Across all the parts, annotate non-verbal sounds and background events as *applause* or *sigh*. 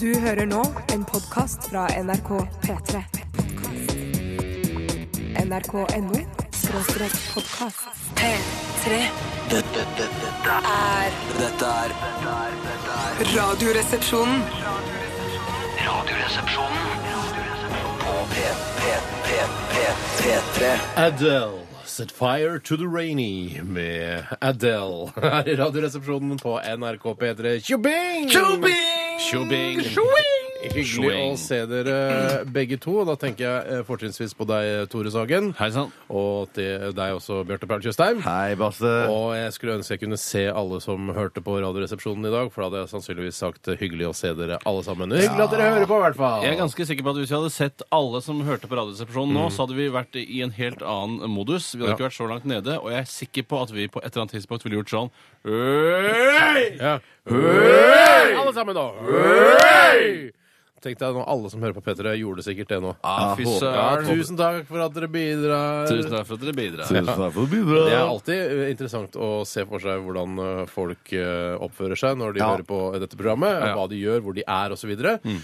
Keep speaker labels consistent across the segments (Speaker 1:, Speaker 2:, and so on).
Speaker 1: Du hører nå en podkast fra NRK P3. NRK.no skråstrek podkast. P3.
Speaker 2: Dette, dette, dette,
Speaker 1: er
Speaker 2: dette er dette er- dette er
Speaker 1: Radioresepsjonen.
Speaker 2: Radioresepsjonen på P, P, P, P, P3.
Speaker 3: Adele. Set fire to the rainy med Adele *laughs* her i Radioresepsjonen på NRK P3. Tjubing! Tjubing! *laughs* Hyggelig å se dere eh, begge to. og Da tenker jeg eh, fortrinnsvis på deg, Tore Sagen.
Speaker 4: Hei sann.
Speaker 3: Og til deg også, Bjarte Paul Tjøstheim.
Speaker 4: Hei, Basse.
Speaker 3: Og jeg skulle ønske jeg kunne se alle som hørte på Radioresepsjonen i dag, for da hadde jeg sannsynligvis sagt eh, hyggelig å se dere alle sammen. Hyggelig at dere hører på, i hvert fall.
Speaker 4: Jeg er ganske sikker på at Hvis vi hadde sett alle som hørte på Radioresepsjonen nå, så hadde vi vært i en helt annen modus. Vi
Speaker 3: Mm. Ja.
Speaker 4: hadde ikke vært så langt nede, og jeg er sikker på at vi på et eller annet tidspunkt ville gjort sånn Øy!
Speaker 3: Ja. Hei! Alle sammen nå. Hei! Tenk deg nå, alle som hører på P3, gjorde sikkert det nå.
Speaker 4: Ah, fy
Speaker 3: Ja,
Speaker 4: søren.
Speaker 3: tusen takk for at dere bidrar.
Speaker 4: Tusen takk for at dere bidrar.
Speaker 5: Tusen takk for bidrag.
Speaker 3: Det er alltid eh, interessant å se for seg hvordan eh, folk eh, oppfører seg når de
Speaker 5: Ja.
Speaker 3: hører på dette programmet.
Speaker 4: Ja.
Speaker 3: Hva de gjør, hvor de er osv. Mm.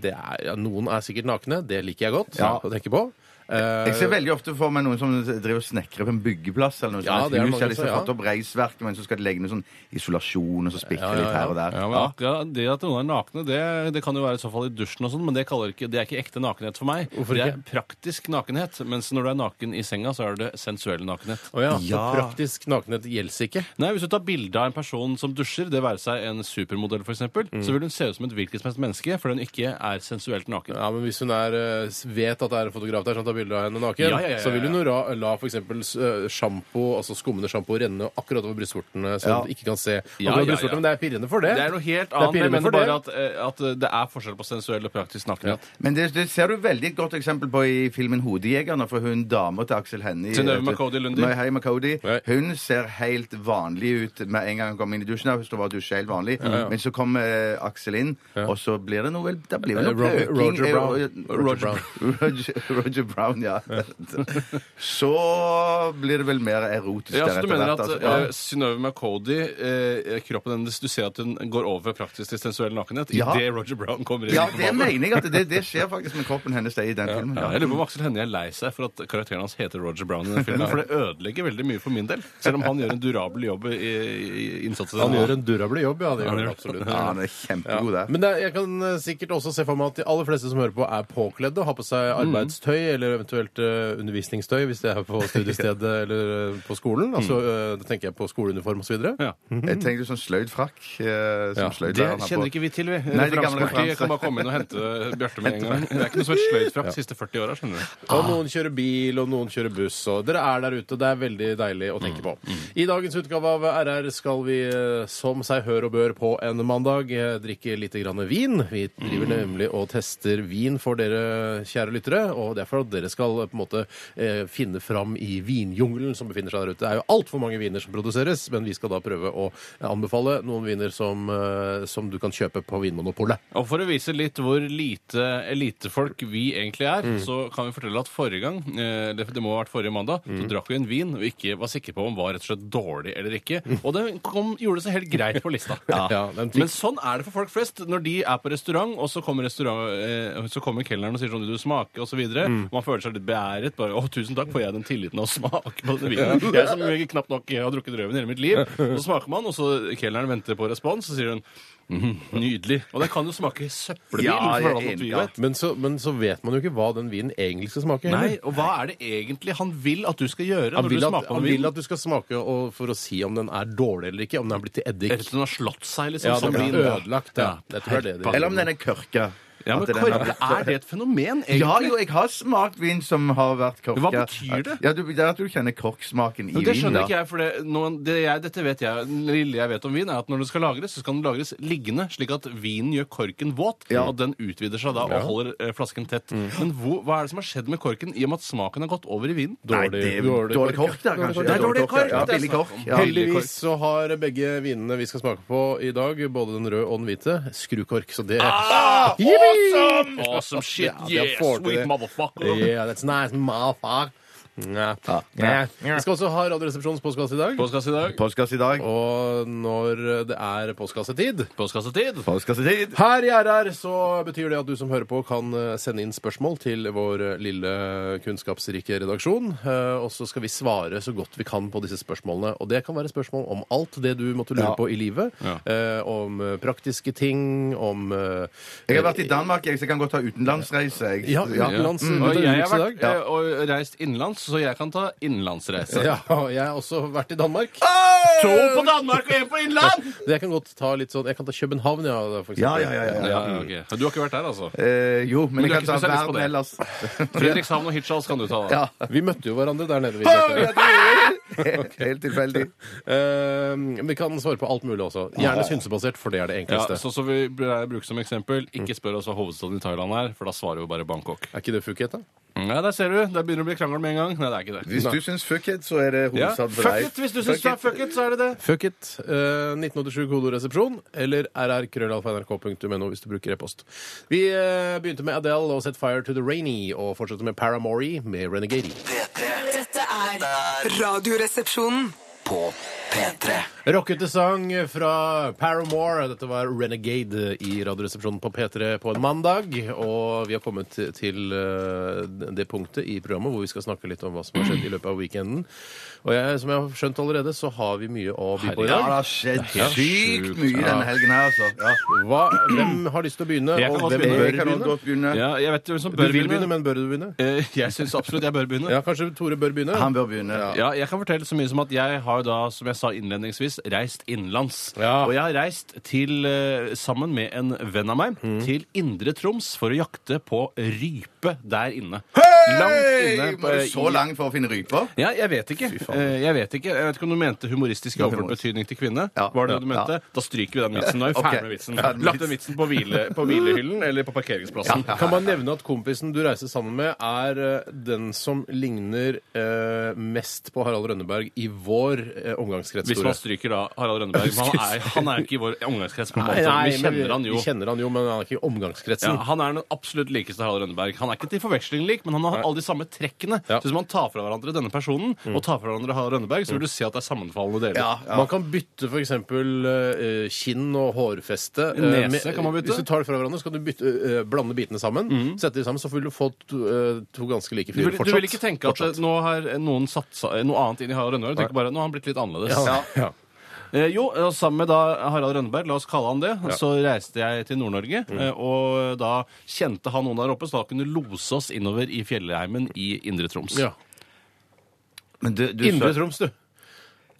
Speaker 3: det er, ja, noen er sikkert nakne. Det liker jeg godt
Speaker 5: Ja.
Speaker 3: å tenke på. Eh,
Speaker 5: Jeg ser veldig ofte for meg noen som driver og snekrer på en byggeplass. eller noe
Speaker 3: Ja,
Speaker 5: sånt.
Speaker 3: det er
Speaker 5: Hus,
Speaker 3: mange
Speaker 5: eller de
Speaker 3: som-
Speaker 5: har
Speaker 3: ja.
Speaker 5: fått opp reisverket, men så skal de legge noe sånn isolasjon, og så spikre
Speaker 3: Ja, ja,
Speaker 5: litt her og der.
Speaker 4: Ja, men
Speaker 5: Ja.
Speaker 4: akkurat Det at noen er nakne, det, det kan jo være i så fall i dusjen, og sånn, men det, kaller ikke, det er ikke ekte nakenhet for meg.
Speaker 3: Hvorfor
Speaker 4: det er
Speaker 3: ikke?
Speaker 4: praktisk nakenhet. Mens når du er naken i senga, så er det sensuell nakenhet.
Speaker 3: å ja, Så
Speaker 5: Ja.
Speaker 3: praktisk nakenhet gjelder ikke.
Speaker 4: Nei, Hvis du tar bilde av en person som dusjer, det være seg en supermodell f.eks., eksempel,
Speaker 3: Mm.
Speaker 4: så vil hun se ut som et hvilket som helst menneske fordi hun ikke er sensuelt naken.
Speaker 3: Ja, men Hvis hun er, eh, s- vet at det er en fotograf der som tar bilde av henne naken,
Speaker 4: Ja, ja, ja, ja.
Speaker 3: så vil hun jo ra- la f.eks. sjampo, altså skummende sjampo renne akkurat over brystvortene, så
Speaker 5: Ja.
Speaker 3: hun ikke kan se
Speaker 4: Ja,
Speaker 3: akkurat
Speaker 4: ja,
Speaker 3: brystvortene.
Speaker 4: ja.
Speaker 3: Men det er pirrende for det.
Speaker 4: Det er noe helt
Speaker 3: er
Speaker 4: annet. Jeg
Speaker 3: pirrende
Speaker 4: mener
Speaker 3: for det.
Speaker 4: bare at, eh, at eh, det er forskjell på sensuell og praktisk nakenhet.
Speaker 5: Men det, det ser du veldig et godt eksempel på i filmen 'Hodejegerne', for hun dama til Aksel Hennie
Speaker 4: Synnøve Macody Lunde.
Speaker 5: Nei, Hei, Macody.
Speaker 3: Nei.
Speaker 5: Hun ser helt vanlig ut med en gang hun kommer inn i dusjen. Hun står bare og dusjer helt vanlig. Men så kommer eh, Aksel inn, og så blir det noe vel Da blir det noe
Speaker 3: Eh, Roger- Roger
Speaker 5: pøking.
Speaker 3: Brown.
Speaker 5: Eh,
Speaker 3: Roger
Speaker 5: Roger, *laughs* Roger, Roger Brown, ja. *laughs* så blir det vel mer erotisk
Speaker 4: Ja, så
Speaker 5: der
Speaker 4: du
Speaker 5: etter
Speaker 4: mener
Speaker 5: hvert,
Speaker 4: at
Speaker 5: altså.
Speaker 4: eh, Synnøve Macody, eh, kroppen hennes, du ser at hun går over fra praktisk til sensuell nakenhet
Speaker 5: Ja.
Speaker 4: idet Roger Brown kommer inn?
Speaker 5: Ja,
Speaker 4: på
Speaker 5: det
Speaker 4: banen?
Speaker 5: mener jeg. at Det, det skjer faktisk med kroppen hennes det, i den filmen.
Speaker 4: Ja, jeg lurer på om Aksel Hennie er lei seg for at karakteren hans heter Roger Brown i den filmen, for det ødelegger veldig mye for min del. Selv om han gjør en durabel jobb i, i innsatsen.
Speaker 3: Han gjør en durable jobb, ja. Det gjør
Speaker 4: Han
Speaker 3: han
Speaker 4: gjør
Speaker 3: absolutt.
Speaker 5: Ja, han er kjempegod der.
Speaker 3: Men det, er- jeg kan eh, sikkert også se for meg at de aller fleste som hører på, er påkledde og har på seg
Speaker 4: Mm.
Speaker 3: arbeidstøy eller eventuelt eh, undervisningstøy hvis det er
Speaker 4: *laughs*
Speaker 3: på studiestedet eller eh, på skolen. Altså, eh, Da tenker jeg på skoleuniform osv.
Speaker 4: Mm. Ja.
Speaker 5: Jeg tenkte sånn sløyd frakk. Eh, som
Speaker 3: Ja,
Speaker 5: sløyd
Speaker 4: Det kjenner ikke vi til, vi.
Speaker 5: Nei, det er gammel
Speaker 4: Referansepartiet
Speaker 5: referanse.
Speaker 4: kan bare komme inn og hente Bjarte med en gang. Det er ikke noe som er sløyt *laughs* fra de siste 40 åra, skjønner du.
Speaker 3: Og noen kjører bil, og noen kjører buss. Og dere er der ute. Det er veldig deilig å tenke på. I dagens utgave av RR skal vi, eh, som seg hør og bør på en mandag, eh, drikke litt grann vin. Vi driver nemlig og tester vin for dere, kjære lyttere. Og det er for at dere skal eh, på en måte eh, finne fram i vinjungelen som befinner seg der ute. Det er jo altfor mange viner som produseres, men vi skal da prøve å eh, anbefale noen viner som, eh, som du kan kjøpe på Vinmonopolet.
Speaker 4: Og for å vise litt hvor lite elitefolk vi egentlig er,
Speaker 3: Mm.
Speaker 4: så kan vi fortelle at forrige gang, eh, det det må ha vært forrige mandag,
Speaker 3: Mm.
Speaker 4: så drakk vi en vin og ikke var sikre på om var rett og slett dårlig eller ikke. Og den kom, gjorde seg helt greit på lista.
Speaker 3: *laughs* Ja, den fikk-
Speaker 4: Men sånn er det for folk flest. Når de er på restaurant, og så kommer, restaurant, eh, så kommer kelneren og sier sånn du smaker, og så videre.
Speaker 3: Mm.
Speaker 4: Man føler seg litt beæret. Bare, å, tusen takk, får jeg den tilliten å smake på denne vinen? Jeg som knapt nok har drukket røven i hele mitt liv. Så smaker man, og så kelneren venter på respons, og så sier hun «Mhm, nydelig. Og den kan jo smake søppelvin.
Speaker 5: Ja,
Speaker 4: for
Speaker 5: jeg er
Speaker 4: det er alt
Speaker 5: enig,
Speaker 4: vi
Speaker 5: ja.
Speaker 4: vet.
Speaker 3: Men så, men så vet man jo ikke hva den vinen egentlig skal smake. heller.
Speaker 4: Nei, og hva er det egentlig han vil at du skal gjøre
Speaker 3: Han
Speaker 4: når du
Speaker 3: vil, at,
Speaker 4: smaker på
Speaker 3: han
Speaker 4: den
Speaker 3: vil
Speaker 4: vinen?
Speaker 3: at du skal smake og, for å si om den er dårlig eller ikke. Om den er blitt til
Speaker 4: Rett og
Speaker 3: eddik.
Speaker 4: slett har slått seg, liksom.
Speaker 3: Ja,
Speaker 4: som
Speaker 3: den blir
Speaker 4: vin.
Speaker 3: ødelagt. Ja. Jeg tror det er det de
Speaker 5: Eller om den er kørka.
Speaker 4: Ja, men
Speaker 5: At den har
Speaker 4: korv,
Speaker 5: blitt-
Speaker 4: er det et fenomen, egentlig?
Speaker 5: Ja, jo, jeg har smakt vin som har vært korka.
Speaker 4: Hva betyr det?
Speaker 5: Ja, du, det er at du kjenner korksmaken i
Speaker 4: Men det
Speaker 5: vinen.
Speaker 4: skjønner
Speaker 5: da.
Speaker 4: ikke jeg, for det, noen, det jeg, dette vet jeg, det lille jeg vet om vin, er at når det skal lagres, så skal den lagres liggende, slik at vinen gjør korken våt,
Speaker 5: Ja.
Speaker 4: og den utvider seg da og holder eh, flasken tett.
Speaker 3: Mm.
Speaker 4: Men hvor, hva er det som har skjedd med korken i og med at smaken har gått over i vinen?
Speaker 5: Nei, det er
Speaker 3: Dårlig-
Speaker 5: dårlig,
Speaker 3: dårlig
Speaker 5: kork der,
Speaker 3: Dårlig
Speaker 5: kanskje.
Speaker 3: kork.
Speaker 4: Det
Speaker 5: Ja,
Speaker 4: er dårlig kork,
Speaker 5: Ja,
Speaker 4: det er
Speaker 5: billig
Speaker 4: snakk
Speaker 5: kork.
Speaker 4: om.
Speaker 5: Ja.
Speaker 4: Heldig-
Speaker 3: Heldigvis så har begge vinene vi skal smake på i dag, både den røde og den hvite, skrukork. Så det ah,
Speaker 4: Awesome shit,
Speaker 3: Ja, det
Speaker 4: yeah,
Speaker 3: får til
Speaker 4: sweet
Speaker 3: det.
Speaker 4: motherfucker!
Speaker 3: Yeah, that's nice, motherfucker. Nei. Nei. Vi skal også ha Radioresepsjonens postkasse i dag.
Speaker 4: Postkasse i dag.
Speaker 5: Postkasse i dag.
Speaker 3: Og når det er postkassetid
Speaker 4: Postkassetid.
Speaker 5: Postkassetid.
Speaker 3: her i RR så betyr det at du som hører på kan eh, sende inn spørsmål til vår eh, lille kunnskapsrike redaksjon. eh, Og så skal vi svare så godt vi kan på disse spørsmålene. Og det kan være spørsmål om alt det du måtte lure
Speaker 5: Ja.
Speaker 3: på i livet.
Speaker 4: Ja.
Speaker 3: eh, Om eh, praktiske ting, om eh,
Speaker 5: Jeg har vært i Danmark, jeg, så jeg kan godt ta utenlandsreise. Jeg.
Speaker 3: Ja, utenlands.
Speaker 4: Mm.
Speaker 3: du
Speaker 4: Og
Speaker 3: tar
Speaker 4: jeg har
Speaker 3: utenriks i dag.
Speaker 4: vært eh, og reist innenlands, så jeg kan ta innenlandsreise.
Speaker 3: *laughs* Ja, og jeg har også vært i Danmark.
Speaker 5: Ah!
Speaker 4: To på Danmark og én på innland!
Speaker 3: Så Jeg kan godt ta litt sånn Jeg kan ta København, ja. For eksempel.
Speaker 5: Ja, ja, ja, ja, ja.
Speaker 4: Ja, ok. Du har ikke vært der, altså?
Speaker 5: Eh, jo, men,
Speaker 4: Men du
Speaker 5: jeg
Speaker 4: er
Speaker 5: kan
Speaker 4: ikke
Speaker 5: ta
Speaker 4: spesialist på
Speaker 5: verden
Speaker 4: det. *laughs*
Speaker 5: ellers. *laughs*
Speaker 4: Fredrikshavn og Hirtshals kan du ta. da.
Speaker 5: Ja.
Speaker 3: *laughs*
Speaker 5: Ah,
Speaker 3: Vi møtte jo hverandre der nede. Vi kjente.
Speaker 5: Helt tilfeldig.
Speaker 3: Eh, men vi kan svare på alt mulig også.
Speaker 5: Ah,
Speaker 3: Gjerne synsebasert, for det er det
Speaker 4: Ja,
Speaker 3: enkleste.
Speaker 4: så, så vi bør bruke som eksempel Ikke spør oss hva hovedstaden i Thailand er, for da svarer jo bare Bangkok. Mm,
Speaker 3: Er ikke det Phuket, da?
Speaker 4: Nei, der ser du. Der begynner det å bli krangel med en gang. Nei, det er ikke det.
Speaker 5: Hvis du syns fuck it, så er det
Speaker 4: Ja.
Speaker 5: hovedstaden for
Speaker 4: Fuck
Speaker 5: deg.
Speaker 4: it! Hvis du syns det er fuck it, så er det det.
Speaker 3: Fuck it. Eh, 1987 kodoresepsjon eller rrkrøllalfa.nrk.no hvis du bruker e-post. Vi eh, begynte med Adele og Set Fire to the Rainy, og fortsatte med Paramore med Renegade.
Speaker 2: Dette er
Speaker 1: Radioresepsjonen.
Speaker 2: på P3.
Speaker 3: Rockete sang fra Paramore. Dette var Renegade i Radioresepsjonen på P3 på en mandag. Og vi har kommet til eh, det punktet i programmet hvor vi skal snakke litt om hva som har skjedd i løpet av weekenden. Og jeg, som jeg har skjønt allerede, så har vi mye å by på i
Speaker 5: Ja, det
Speaker 3: dag.
Speaker 5: har skjedd
Speaker 4: helt
Speaker 5: sykt
Speaker 4: sjukt.
Speaker 5: mye denne helgen her, altså. Ja.
Speaker 3: Hva, hvem har lyst til å begynne,
Speaker 4: Jeg kan
Speaker 3: og
Speaker 4: godt
Speaker 3: hvem
Speaker 4: begynne.
Speaker 3: bør
Speaker 5: Jeg kan også
Speaker 3: begynne?
Speaker 5: godt begynne.
Speaker 4: Ja, jeg vet jo hvem som
Speaker 3: Du
Speaker 4: bør
Speaker 3: vil begynne, men bør du begynne?
Speaker 4: Eh, Jeg syns absolutt jeg bør begynne.
Speaker 3: Ja, kanskje Tore bør begynne?
Speaker 5: Han bør begynne.
Speaker 4: Ja, jeg kan fortelle så mye som at jeg har da, som jeg sa innledningsvis, reist innenlands.
Speaker 3: Ja.
Speaker 4: Og jeg har reist til, eh, sammen med en venn av meg,
Speaker 3: Mm.
Speaker 4: til Indre Troms for å jakte på rype der inne.
Speaker 5: Hey!
Speaker 4: på-
Speaker 5: Må du så
Speaker 4: i-
Speaker 5: lang for å finne ryper?
Speaker 4: Ja, jeg vet ikke. Eh, Jeg vet ikke Jeg vet ikke om du mente humoristisk i overført
Speaker 5: Humorist.
Speaker 4: betydning til kvinne.
Speaker 5: Ja.
Speaker 4: Var det det du
Speaker 5: Ja.
Speaker 4: mente? Da stryker vi den vitsen.
Speaker 3: *laughs*
Speaker 4: Nå er vi ferdig
Speaker 5: Ok.
Speaker 4: med vitsen.
Speaker 5: Ferdig med
Speaker 4: Lagt den vitsen på, hvile, på hvilehyllen eller på parkeringsplassen.
Speaker 3: Kan man nevne at kompisen du reiser sammen med, er eh, den som ligner eh, mest på Harald Rønneberg i vår eh, omgangskrets?
Speaker 4: Hvis
Speaker 3: Tore?
Speaker 4: man stryker da
Speaker 3: *laughs*
Speaker 4: Harald Rønneberg. men Han er, han er jo ikke i vår omgangskrets. på en måte.
Speaker 3: Nei, nei,
Speaker 4: Vi
Speaker 3: men
Speaker 4: kjenner han jo.
Speaker 3: Vi kjenner han jo, men han er ikke i omgangskretsen.
Speaker 4: Ja, han er den absolutt likeste Harald Rønneberg. Han er ikke til forveksling lik, men han har alle de samme trekkene.
Speaker 3: Ja. Mm.
Speaker 4: Så hvis man tar fra hverandre denne personen og tar fra hverandre Harald Rønneberg, så vil du se at det er sammenfallende deler.
Speaker 3: Man kan bytte f.eks. Uh, kinn og hårfeste. eh,
Speaker 4: Nese kan man bytte. Mhm.
Speaker 3: Hvis du tar det fra hverandre, så kan du bytte, eh, blande bitene sammen. Sette de sammen, så vil du få to, eh, to ganske like
Speaker 4: Du
Speaker 3: fyrer
Speaker 4: vil, du vil ikke tenke at eh, nå har noen satsa eh, noe annet inn i Harald Rønneberg. Du tenker bare nå har han blitt litt annerledes.
Speaker 3: Ja. Ja.
Speaker 4: Eh, jo, og sammen med da Harald Rønneberg, la oss kalle han det, så reiste jeg til Nord-Norge. eh, Og da kjente han noen der oppe, så da kunne lose oss innover i fjellheimen i Indre Troms.
Speaker 3: Ja.
Speaker 5: Men du, du,
Speaker 3: Indre
Speaker 5: så-
Speaker 3: Troms, du.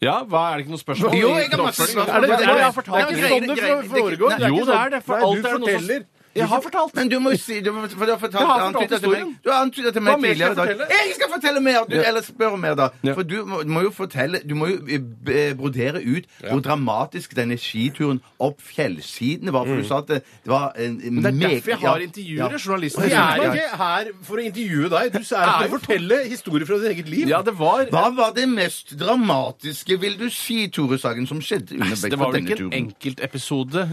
Speaker 4: Ja, hva er det ikke noe spørsmål?
Speaker 5: Jo, jeg har masse
Speaker 4: Oppfølging?
Speaker 5: spørsmål.
Speaker 4: Er det, er det, jeg har
Speaker 3: Det er
Speaker 4: fortalt
Speaker 3: ikke
Speaker 5: Nei,
Speaker 3: sånn det
Speaker 5: greier, det er ikke-
Speaker 3: foregår.
Speaker 5: Nei,
Speaker 3: ikke
Speaker 4: jo, det
Speaker 3: sånn.
Speaker 4: er det, for
Speaker 3: Nei,
Speaker 4: alt
Speaker 3: du
Speaker 4: er det noe som-
Speaker 3: forteller.
Speaker 4: Jeg har fortalt.
Speaker 5: Men du må jo si du, må- for du har fortalt,
Speaker 4: Jeg har fortalt
Speaker 5: antydet til meg,
Speaker 4: historien.
Speaker 5: du har antydet til
Speaker 4: Hva
Speaker 5: meg
Speaker 4: mer skal
Speaker 5: tidligere
Speaker 4: jeg
Speaker 5: i dag
Speaker 4: fortelle?
Speaker 5: Jeg skal fortelle mer! Du, Eller spør om mer, da.
Speaker 4: Ja.
Speaker 5: For du må, må jo fortelle Du må jo eh, b- eh, brodere ut hvor dramatisk denne skituren opp fjellsidene var. For du sa at det, det var en en
Speaker 4: Mm. Det er
Speaker 5: meg-
Speaker 4: derfor jeg har
Speaker 5: ja.
Speaker 4: intervjuer,
Speaker 5: Ja.
Speaker 4: journalister.
Speaker 3: Vi er
Speaker 5: Ja.
Speaker 3: ikke her for å intervjue deg. Du er her for å fortelle historier fra ditt eget liv.
Speaker 4: Ja, det var
Speaker 5: Hva var det mest dramatiske, vil du si, Tore Sagen, som skjedde under
Speaker 4: Det var vel
Speaker 5: denne
Speaker 4: ikke en
Speaker 5: turen?
Speaker 4: enkeltepisode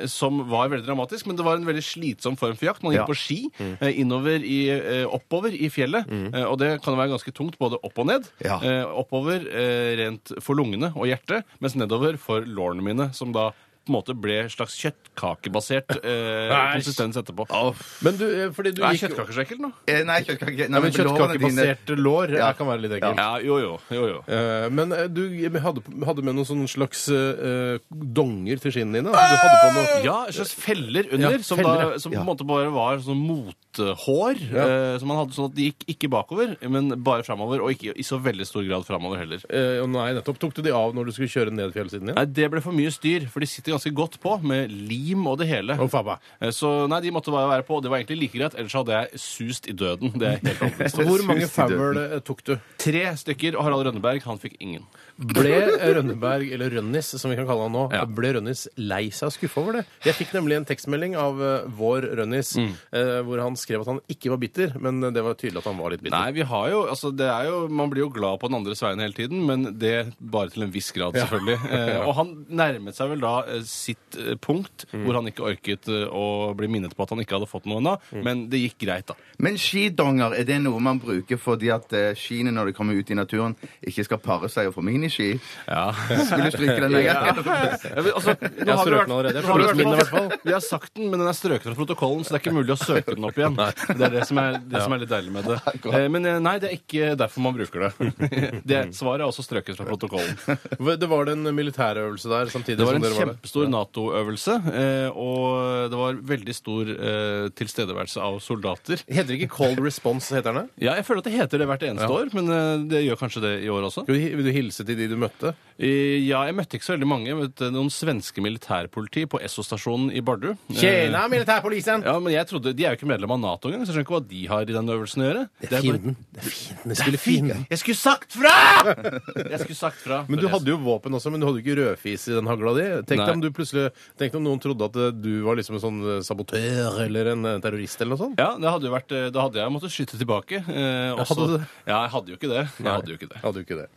Speaker 4: eh, som var veldig dramatisk, men det var en veldig slitsom form for jakt. Man gikk
Speaker 5: Ja.
Speaker 4: på ski eh, innover i, eh, oppover i fjellet, eh, og det kan være ganske tungt både opp og ned.
Speaker 5: Ja.
Speaker 4: Eh, oppover eh, rent for lungene og hjertet, mens nedover for lårene mine, som da på en måte ble slags kjøttkakebasert eh,
Speaker 3: Nei.
Speaker 4: konsistens etterpå.
Speaker 3: Men du, eh, fordi du
Speaker 4: Er
Speaker 3: gikk
Speaker 4: kjøttkaker så ekkelt nå?
Speaker 5: Eh, Nei, kjøttkake nei,
Speaker 3: Ja, men
Speaker 5: men lårene dine-
Speaker 3: Kjøttkakebaserte lår
Speaker 5: Ja.
Speaker 3: eh, kan være litt ekkelt.
Speaker 4: Ja, jo, jo. jo, jo.
Speaker 3: Eh, Men eh, du hadde, hadde med noen sånne slags eh, donger til skinnene dine? Altså, du hadde på noe
Speaker 4: Ja, en slags feller under,
Speaker 3: Ja,
Speaker 4: som,
Speaker 3: feller,
Speaker 4: da, som på en måte bare var sånn mothår. eh, som man hadde sånn at de gikk ikke bakover, men bare framover, og ikke i så veldig stor grad framover heller.
Speaker 3: Eh, og Nei, nettopp. Tok du de av når du skulle kjøre ned fjellsiden igjen?
Speaker 4: Nei, Det ble for mye styr, for de sitter ganske godt på med lim og det hele.
Speaker 3: Å, faen meg.
Speaker 4: Eh, Så nei, de måtte bare være på, og det var egentlig like greit, ellers hadde jeg sust i døden. Det
Speaker 3: *laughs*
Speaker 4: er jeg helt overbevist.
Speaker 3: Så
Speaker 4: om.
Speaker 3: hvor
Speaker 5: synes
Speaker 3: mange
Speaker 5: de
Speaker 3: foul eh, tok du?
Speaker 4: Tre stykker, og Harald Rønneberg, han fikk ingen.
Speaker 3: Ble Rønneberg, eller Rønnis som vi kan kalle han nå,
Speaker 4: Ja.
Speaker 3: ble
Speaker 4: Mm.
Speaker 3: Rønnis lei seg og skuffa over det? Jeg fikk nemlig en tekstmelding av eh, vår Rønnis eh, hvor han skrev at han ikke var bitter, men det var tydelig at han var litt bitter.
Speaker 4: Nei, vi har jo, altså det er jo Man blir jo glad på den andres vegne hele tiden, men det bare til en viss grad, selvfølgelig.
Speaker 3: *laughs*
Speaker 4: Eh, og han nærmet seg vel da eh, sitt eh, punkt
Speaker 3: Mm.
Speaker 4: hvor han ikke orket eh, å bli minnet på at han ikke hadde fått noe ennå,
Speaker 3: Mm.
Speaker 4: men det gikk greit, da.
Speaker 5: Men skidonger, er det noe man bruker fordi at eh, skiene når de kommer ut i naturen, ikke skal pare seg og få miniski?
Speaker 4: *laughs*
Speaker 3: *laughs*
Speaker 5: Skulle stryke den med en gang.
Speaker 4: Ja, men, altså, nå
Speaker 3: Jeg har
Speaker 4: har vi
Speaker 3: strøket
Speaker 4: vært-
Speaker 3: den allerede. Jeg
Speaker 4: nå har
Speaker 3: får
Speaker 4: vi
Speaker 3: løst min i
Speaker 4: vært-
Speaker 3: hvert fall.
Speaker 4: *laughs* Vi har sagt den, men den er strøket fra protokollen, så det er ikke mulig å søke den opp igjen. Det er det som er, det som er litt deilig med det. Eh, Men eh, nei, det er ikke derfor man bruker det. *laughs* det. Svaret er også strøket fra protokollen.
Speaker 3: Det var det en militærøvelse der samtidig
Speaker 4: Det var
Speaker 3: som
Speaker 4: en
Speaker 3: dere var der?
Speaker 4: kjempestor Nato-øvelse, eh, og det var veldig stor eh, tilstedeværelse av soldater.
Speaker 3: Heter ikke Cold Response, heter den det?
Speaker 4: Ja, jeg føler at det heter det hvert eneste år, men eh, det gjør kanskje det i år også.
Speaker 3: Vil du- Vil du hilse til de du møtte?
Speaker 4: Eh, Ja, jeg møtte ikke så veldig mange. Jeg møtte noen svenske militærpoliti på Esso-stasjonen i Bardu. Eh,
Speaker 3: militærpolisen!
Speaker 4: Ja, men jeg trodde, De er jo ikke medlem av Nato engang, så jeg skjønner ikke hva de har i den øvelsen å gjøre. Det er bare-
Speaker 3: Fienden. Det er fienden. Jeg skulle fienden.
Speaker 4: Jeg skulle sagt
Speaker 3: *laughs*
Speaker 4: fra! Jeg skulle sagt fra.
Speaker 3: Men du hadde jo våpen også, men du hadde jo ikke rødfis i den hagla di. Tenk
Speaker 4: Nei.
Speaker 3: deg om du plutselig Tenk deg om noen trodde at eh, du var liksom en sånn eh, sabotør eller en eh, terrorist eller noe sånt.
Speaker 4: Ja, det hadde jo vært, eh, Da hadde jeg måttet skyte tilbake. eh, og
Speaker 3: Hadde
Speaker 4: så-
Speaker 3: du det?
Speaker 4: Ja, jeg hadde jo ikke det. Jeg hadde jo ikke det.
Speaker 3: Hadde du ikke det?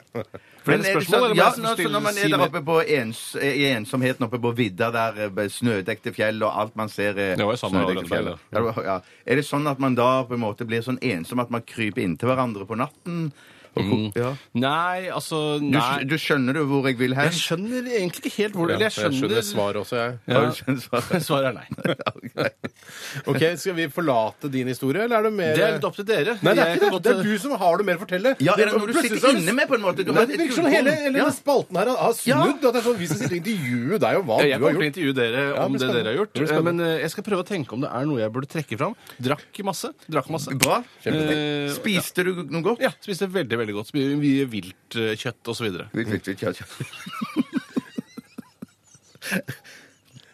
Speaker 4: Flere
Speaker 5: Men er det
Speaker 4: spørsmål,
Speaker 5: sånn-
Speaker 4: eller må
Speaker 5: ja,
Speaker 4: jeg
Speaker 5: nå, så
Speaker 4: stille-
Speaker 5: når man
Speaker 4: si
Speaker 5: er der
Speaker 4: mer?
Speaker 5: oppe på ens, eh, i ensomheten oppe på vidda der, eh, med snødekte fjell og alt man ser er
Speaker 4: Det var jo samme år,
Speaker 5: snødekte
Speaker 4: dette
Speaker 5: fjell.
Speaker 4: der,
Speaker 5: Ja, det var- ja. Er det sånn at man da på en måte blir sånn ensom at man kryper inntil hverandre på natten? Og, ko- ja.
Speaker 4: Nei, altså
Speaker 5: du,
Speaker 4: nei.
Speaker 5: du skjønner jo hvor jeg vil hen?
Speaker 4: Jeg skjønner egentlig ikke helt hvor
Speaker 3: Ja,
Speaker 4: eller jeg skjønner,
Speaker 3: svaret også, jeg.
Speaker 4: Ja.
Speaker 5: Har du skjønt svaret?
Speaker 4: Svaret er nei.
Speaker 5: *laughs*
Speaker 3: Ok, Skal vi forlate din historie, eller er det mer
Speaker 4: Det er litt opp til dere.
Speaker 3: Nei, det er
Speaker 4: Jeg
Speaker 3: ikke
Speaker 4: kan
Speaker 3: det.
Speaker 4: godt-
Speaker 3: Det er du som har det mer å fortelle.
Speaker 5: Ja, er det noe du
Speaker 3: Plutselig
Speaker 5: sitter
Speaker 3: så-
Speaker 5: inne med, på en måte? Du
Speaker 3: Nei,
Speaker 5: har
Speaker 3: det
Speaker 5: et
Speaker 3: virker som hele,
Speaker 5: gullkorn.
Speaker 3: hele
Speaker 5: Ja.
Speaker 3: spalten her har snudd. At det er sånn, Vi som sitter og intervjuer deg om hva
Speaker 4: Jeg
Speaker 3: du har
Speaker 4: kommer til å
Speaker 3: gjort.
Speaker 4: intervjue dere
Speaker 3: Ja,
Speaker 4: om
Speaker 3: det
Speaker 4: det
Speaker 3: blir
Speaker 4: dere har
Speaker 3: spennende. Det blir
Speaker 4: gjort. eh, Men eh, jeg skal prøve å tenke om det er noe jeg burde trekke fram. Drakk masse. Drakk masse.
Speaker 5: Bra.
Speaker 4: Eh,
Speaker 5: Spiste du noe godt?
Speaker 4: Ja, spiste veldig, veldig godt. Spiste mye vilt eh, kjøtt osv.
Speaker 5: Vilt, vilt, vilt, kjøtt, kjøtt.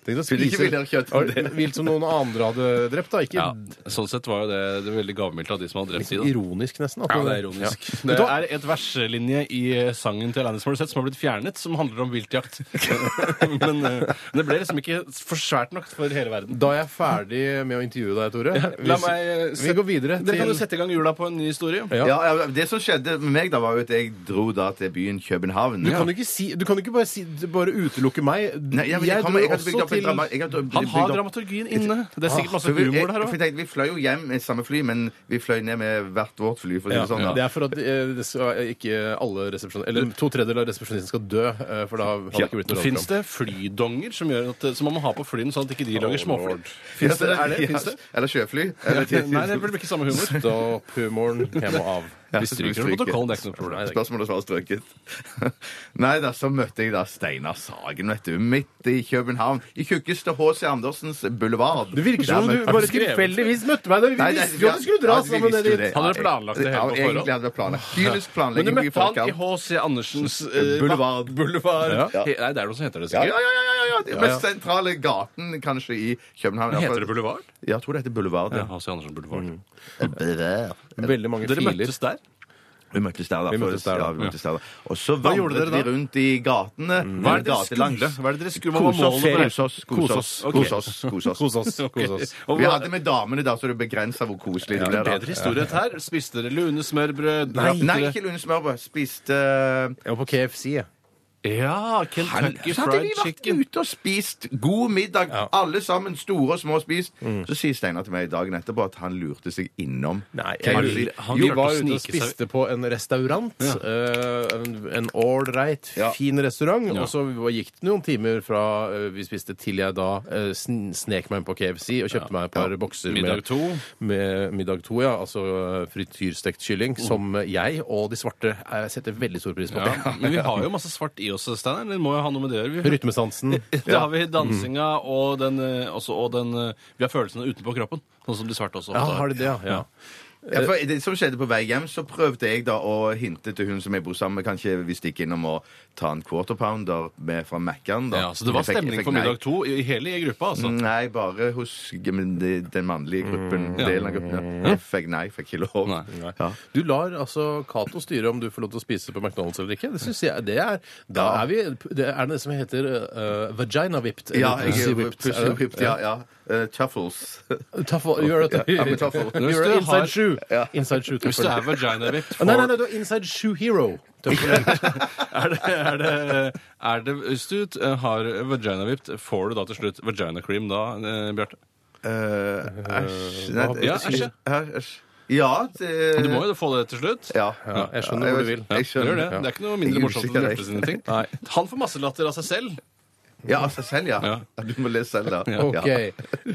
Speaker 3: Tenk å
Speaker 5: Vil ikke
Speaker 3: spise-
Speaker 5: villere kjøtt.
Speaker 3: Ja, det- Vilt som noen andre hadde drept, da. Ikke
Speaker 4: Ja, sånn sett var jo det, det var veldig gavmildt av de som hadde drept de. da.
Speaker 3: ironisk, nesten. at
Speaker 4: Ja,
Speaker 3: man-
Speaker 4: det er ironisk.
Speaker 3: Ja.
Speaker 4: Det er et verslinje i eh, sangen til Alanis Morissette som har blitt fjernet, som handler om viltjakt. Men eh, det ble liksom ikke for svært nok for hele verden.
Speaker 3: Da er jeg ferdig med å intervjue deg, Tore. Vi-
Speaker 4: La meg eh,
Speaker 3: Vi
Speaker 4: sette-
Speaker 3: går videre
Speaker 4: Dere kan jo
Speaker 3: til
Speaker 4: sette i gang jula på en ny historie.
Speaker 3: Ja.
Speaker 5: Ja, ja, det som skjedde med meg da, var jo at jeg dro da til byen København.
Speaker 3: du kan, jo ikke si, du kan jo ikke bare, si, bare utelukke meg.
Speaker 5: Nei, ja, men jeg,
Speaker 3: jeg dro
Speaker 5: kommer, jeg hadde bygd
Speaker 3: også
Speaker 5: opp en
Speaker 3: til
Speaker 5: drama- jeg hadde
Speaker 4: Han
Speaker 5: bygd
Speaker 4: har
Speaker 5: opp- Ah,
Speaker 4: dramaturgien inne. Det er sikkert masse
Speaker 5: For vi, jeg,
Speaker 4: humor der
Speaker 5: for
Speaker 4: òg.
Speaker 5: jeg tenkte, vi fløy jo hjem med samme fly, men vi fløy ned med hvert vårt fly. For å si
Speaker 3: Ja,
Speaker 5: det sånn, da.
Speaker 3: Det er for at eh, det skal, ikke alle resepsjonister Eller to tredjedeler av resepsjonistene skal dø, eh, for da har det ikke blitt noe
Speaker 4: Fins det flydonger som, gjør at, som man må ha på flyene, sånn at ikke de lager småfly?
Speaker 3: lord.
Speaker 4: Finnes det, er det,
Speaker 5: Ja,
Speaker 4: finnes det?
Speaker 5: Eller sjøfly. Eller
Speaker 4: *laughs* Nei, det blir ikke samme humor.
Speaker 3: Stopp humoren hjem og av.
Speaker 4: Vi stryker det på protokollen, det er ikke noe problem.
Speaker 5: Spørsmålet var strøket. *laughs* Nei da, så møtte jeg da Steinar Sagen, vet du. Midt i København. I tjukkeste H.C. Andersens boulevard.
Speaker 3: Det virker som om du
Speaker 5: Der møtte-
Speaker 3: bare
Speaker 4: skrevet.
Speaker 3: tilfeldigvis møtte meg. da Vi
Speaker 5: Nei, nei,
Speaker 3: visste jo at du skulle dra
Speaker 5: ja, altså, vi
Speaker 3: sammen
Speaker 5: visste
Speaker 3: ned
Speaker 5: jo
Speaker 3: dit.
Speaker 5: det.
Speaker 4: Hadde dere planlagt det hele
Speaker 5: Ja,
Speaker 4: på forhånd?
Speaker 5: Egentlig hadde vi
Speaker 4: *laughs*
Speaker 5: planlagt. Kynisk
Speaker 4: Men du
Speaker 5: planlegging.
Speaker 4: møtte han i
Speaker 5: forkant.
Speaker 4: H.C. Andersens eh,
Speaker 5: Boulevard.
Speaker 4: boulevard.
Speaker 5: Ja.
Speaker 4: He- Nei, det er noe som heter det
Speaker 5: Ja,
Speaker 4: sikkert.
Speaker 5: ja, ja, ja, ja, ja. Den mest sentrale gaten kanskje i København.
Speaker 4: Heter det boulevard?
Speaker 5: Ja, jeg tror det heter Boulevard. Ja.
Speaker 4: H.C. Andersen boulevard.
Speaker 5: Boulevard.
Speaker 3: Veldig mange
Speaker 4: Dere
Speaker 3: filer.
Speaker 4: møttes der?
Speaker 5: Vi møttes der, da.
Speaker 3: Vi møttes der, da.
Speaker 5: ja, vi møttes der, da. Og så vandret
Speaker 4: gjorde dere
Speaker 5: vi
Speaker 4: da?
Speaker 5: rundt i
Speaker 4: Hva
Speaker 5: gatene.
Speaker 4: er det dere
Speaker 5: gatelangs.
Speaker 4: skulle? Hva er det dere skulle? Hva var
Speaker 5: Kose oss,
Speaker 4: målet
Speaker 5: kose
Speaker 4: for
Speaker 5: oss, kose oss.
Speaker 4: Ok.
Speaker 5: Kose oss, kose *laughs* oss.
Speaker 3: Kos oss. Kos *laughs* oss.
Speaker 4: Og
Speaker 5: Vi
Speaker 4: hva-
Speaker 5: hadde med damene da, så det begrensa hvor koselig det ble.
Speaker 4: Bedre
Speaker 5: da.
Speaker 4: historie dette her. Spiste dere lunesmørbrød?
Speaker 5: Nei,
Speaker 4: Drakk dere-
Speaker 5: ikke lundsmørbrød. Spiste
Speaker 3: Jeg var på KFC, jeg.
Speaker 4: Ja, Kentucky
Speaker 5: Så hadde vi
Speaker 4: Fried
Speaker 5: vært
Speaker 4: Chicken.
Speaker 5: ute og spist god middag, alle sammen, store og små, spist. Så sier Steinar til meg dagen etterpå at han lurte seg innom.
Speaker 3: jeg
Speaker 5: han,
Speaker 4: lurer-
Speaker 3: lurer-
Speaker 4: han
Speaker 3: vi
Speaker 4: klarte
Speaker 3: var
Speaker 4: å
Speaker 3: ute og
Speaker 4: snike seg-
Speaker 3: spiste på en restaurant. eh, en- En ålreit,
Speaker 5: Ja.
Speaker 3: fin restaurant.
Speaker 4: Ja.
Speaker 3: Og så gikk det noen timer fra eh, vi spiste, til jeg da eh, sn- snek meg inn på KFC og kjøpte meg et par bokser med,
Speaker 4: Middag to.
Speaker 3: med middag to. Ja, altså eh, frityrstekt
Speaker 4: Mm.
Speaker 3: kylling, som jeg og de svarte eh, setter veldig stor pris på.
Speaker 4: Ja, men
Speaker 3: *laughs*
Speaker 4: vi har jo masse svart i oss, Steinar. Det må jo ha noe med det å gjøre. Vi- *laughs*
Speaker 3: Rytmesansen.
Speaker 4: Da har vi dansinga og den, eh, også, og den eh, Vi har følelsene utenpå kroppen, sånn som de svarte også.
Speaker 3: Ja,
Speaker 4: ofte
Speaker 3: har de det, ja? ja.
Speaker 5: Ja, for det som skjedde på vei hjem, så prøvde jeg da å hinte til hun som jeg bor sammen med, kanskje vi stikker innom og tar en quarter pounder med fra Mækkern. da.
Speaker 4: Ja, så det var
Speaker 5: Jeg fikk- jeg
Speaker 4: stemning
Speaker 5: fikk
Speaker 4: for
Speaker 5: nei.
Speaker 4: middag to i i hele gruppa, altså.
Speaker 5: Nei, bare hos men de- den mannlige gruppen.
Speaker 4: Mm, Ja.
Speaker 5: Delen av gruppen. ja. Jeg fikk nei, fikk ikke lov.
Speaker 4: Nei.
Speaker 5: Ja.
Speaker 3: Du lar altså Cato styre om du får lov til å spise på McDonald's eller ikke. Det synes jeg det er Da
Speaker 5: Ja.
Speaker 3: er vi Det er det som heter eh, vagina whipped. eller
Speaker 5: Ja, jeg
Speaker 3: pussy
Speaker 5: er
Speaker 3: whipped.
Speaker 5: pussy whipped. Ja, ja. Eh, tuffles.
Speaker 3: Tuffle, you're, at,
Speaker 5: Ja, men tuffle.
Speaker 4: Hvis du
Speaker 3: you're
Speaker 4: har-
Speaker 3: inside shoe. Inside shoe
Speaker 4: Hvis du er
Speaker 3: tuffle.
Speaker 4: vagina-vipt
Speaker 3: Nei, nei, nei, du er inside shoe hero.
Speaker 4: *laughs*
Speaker 3: Tuffle.
Speaker 4: er det, er det, er det, hvis du t- har vagina-vipt, får du da til slutt vagina-cream da, *laughs* eh, Bjarte?
Speaker 5: Eh, Æsj. Nei,
Speaker 3: hva-
Speaker 4: Ja, æsj, ja.
Speaker 5: æsj. Ja, det
Speaker 4: Du må jo få det til slutt.
Speaker 5: Ja.
Speaker 3: Ja, jeg skjønner hvor du vil.
Speaker 4: Det
Speaker 5: Jeg
Speaker 4: gjør det.
Speaker 5: skjønner.
Speaker 4: Det er ikke noe mindre
Speaker 5: Jeg er
Speaker 4: morsomt enn
Speaker 5: usikker,
Speaker 4: Bjarte sine ting.
Speaker 3: Nei.
Speaker 4: Han får masse latter av seg selv.
Speaker 5: Ja, av seg selv, ja.
Speaker 4: Ja.
Speaker 5: Ja, Du må lese selv, da. Ja.
Speaker 3: Ok.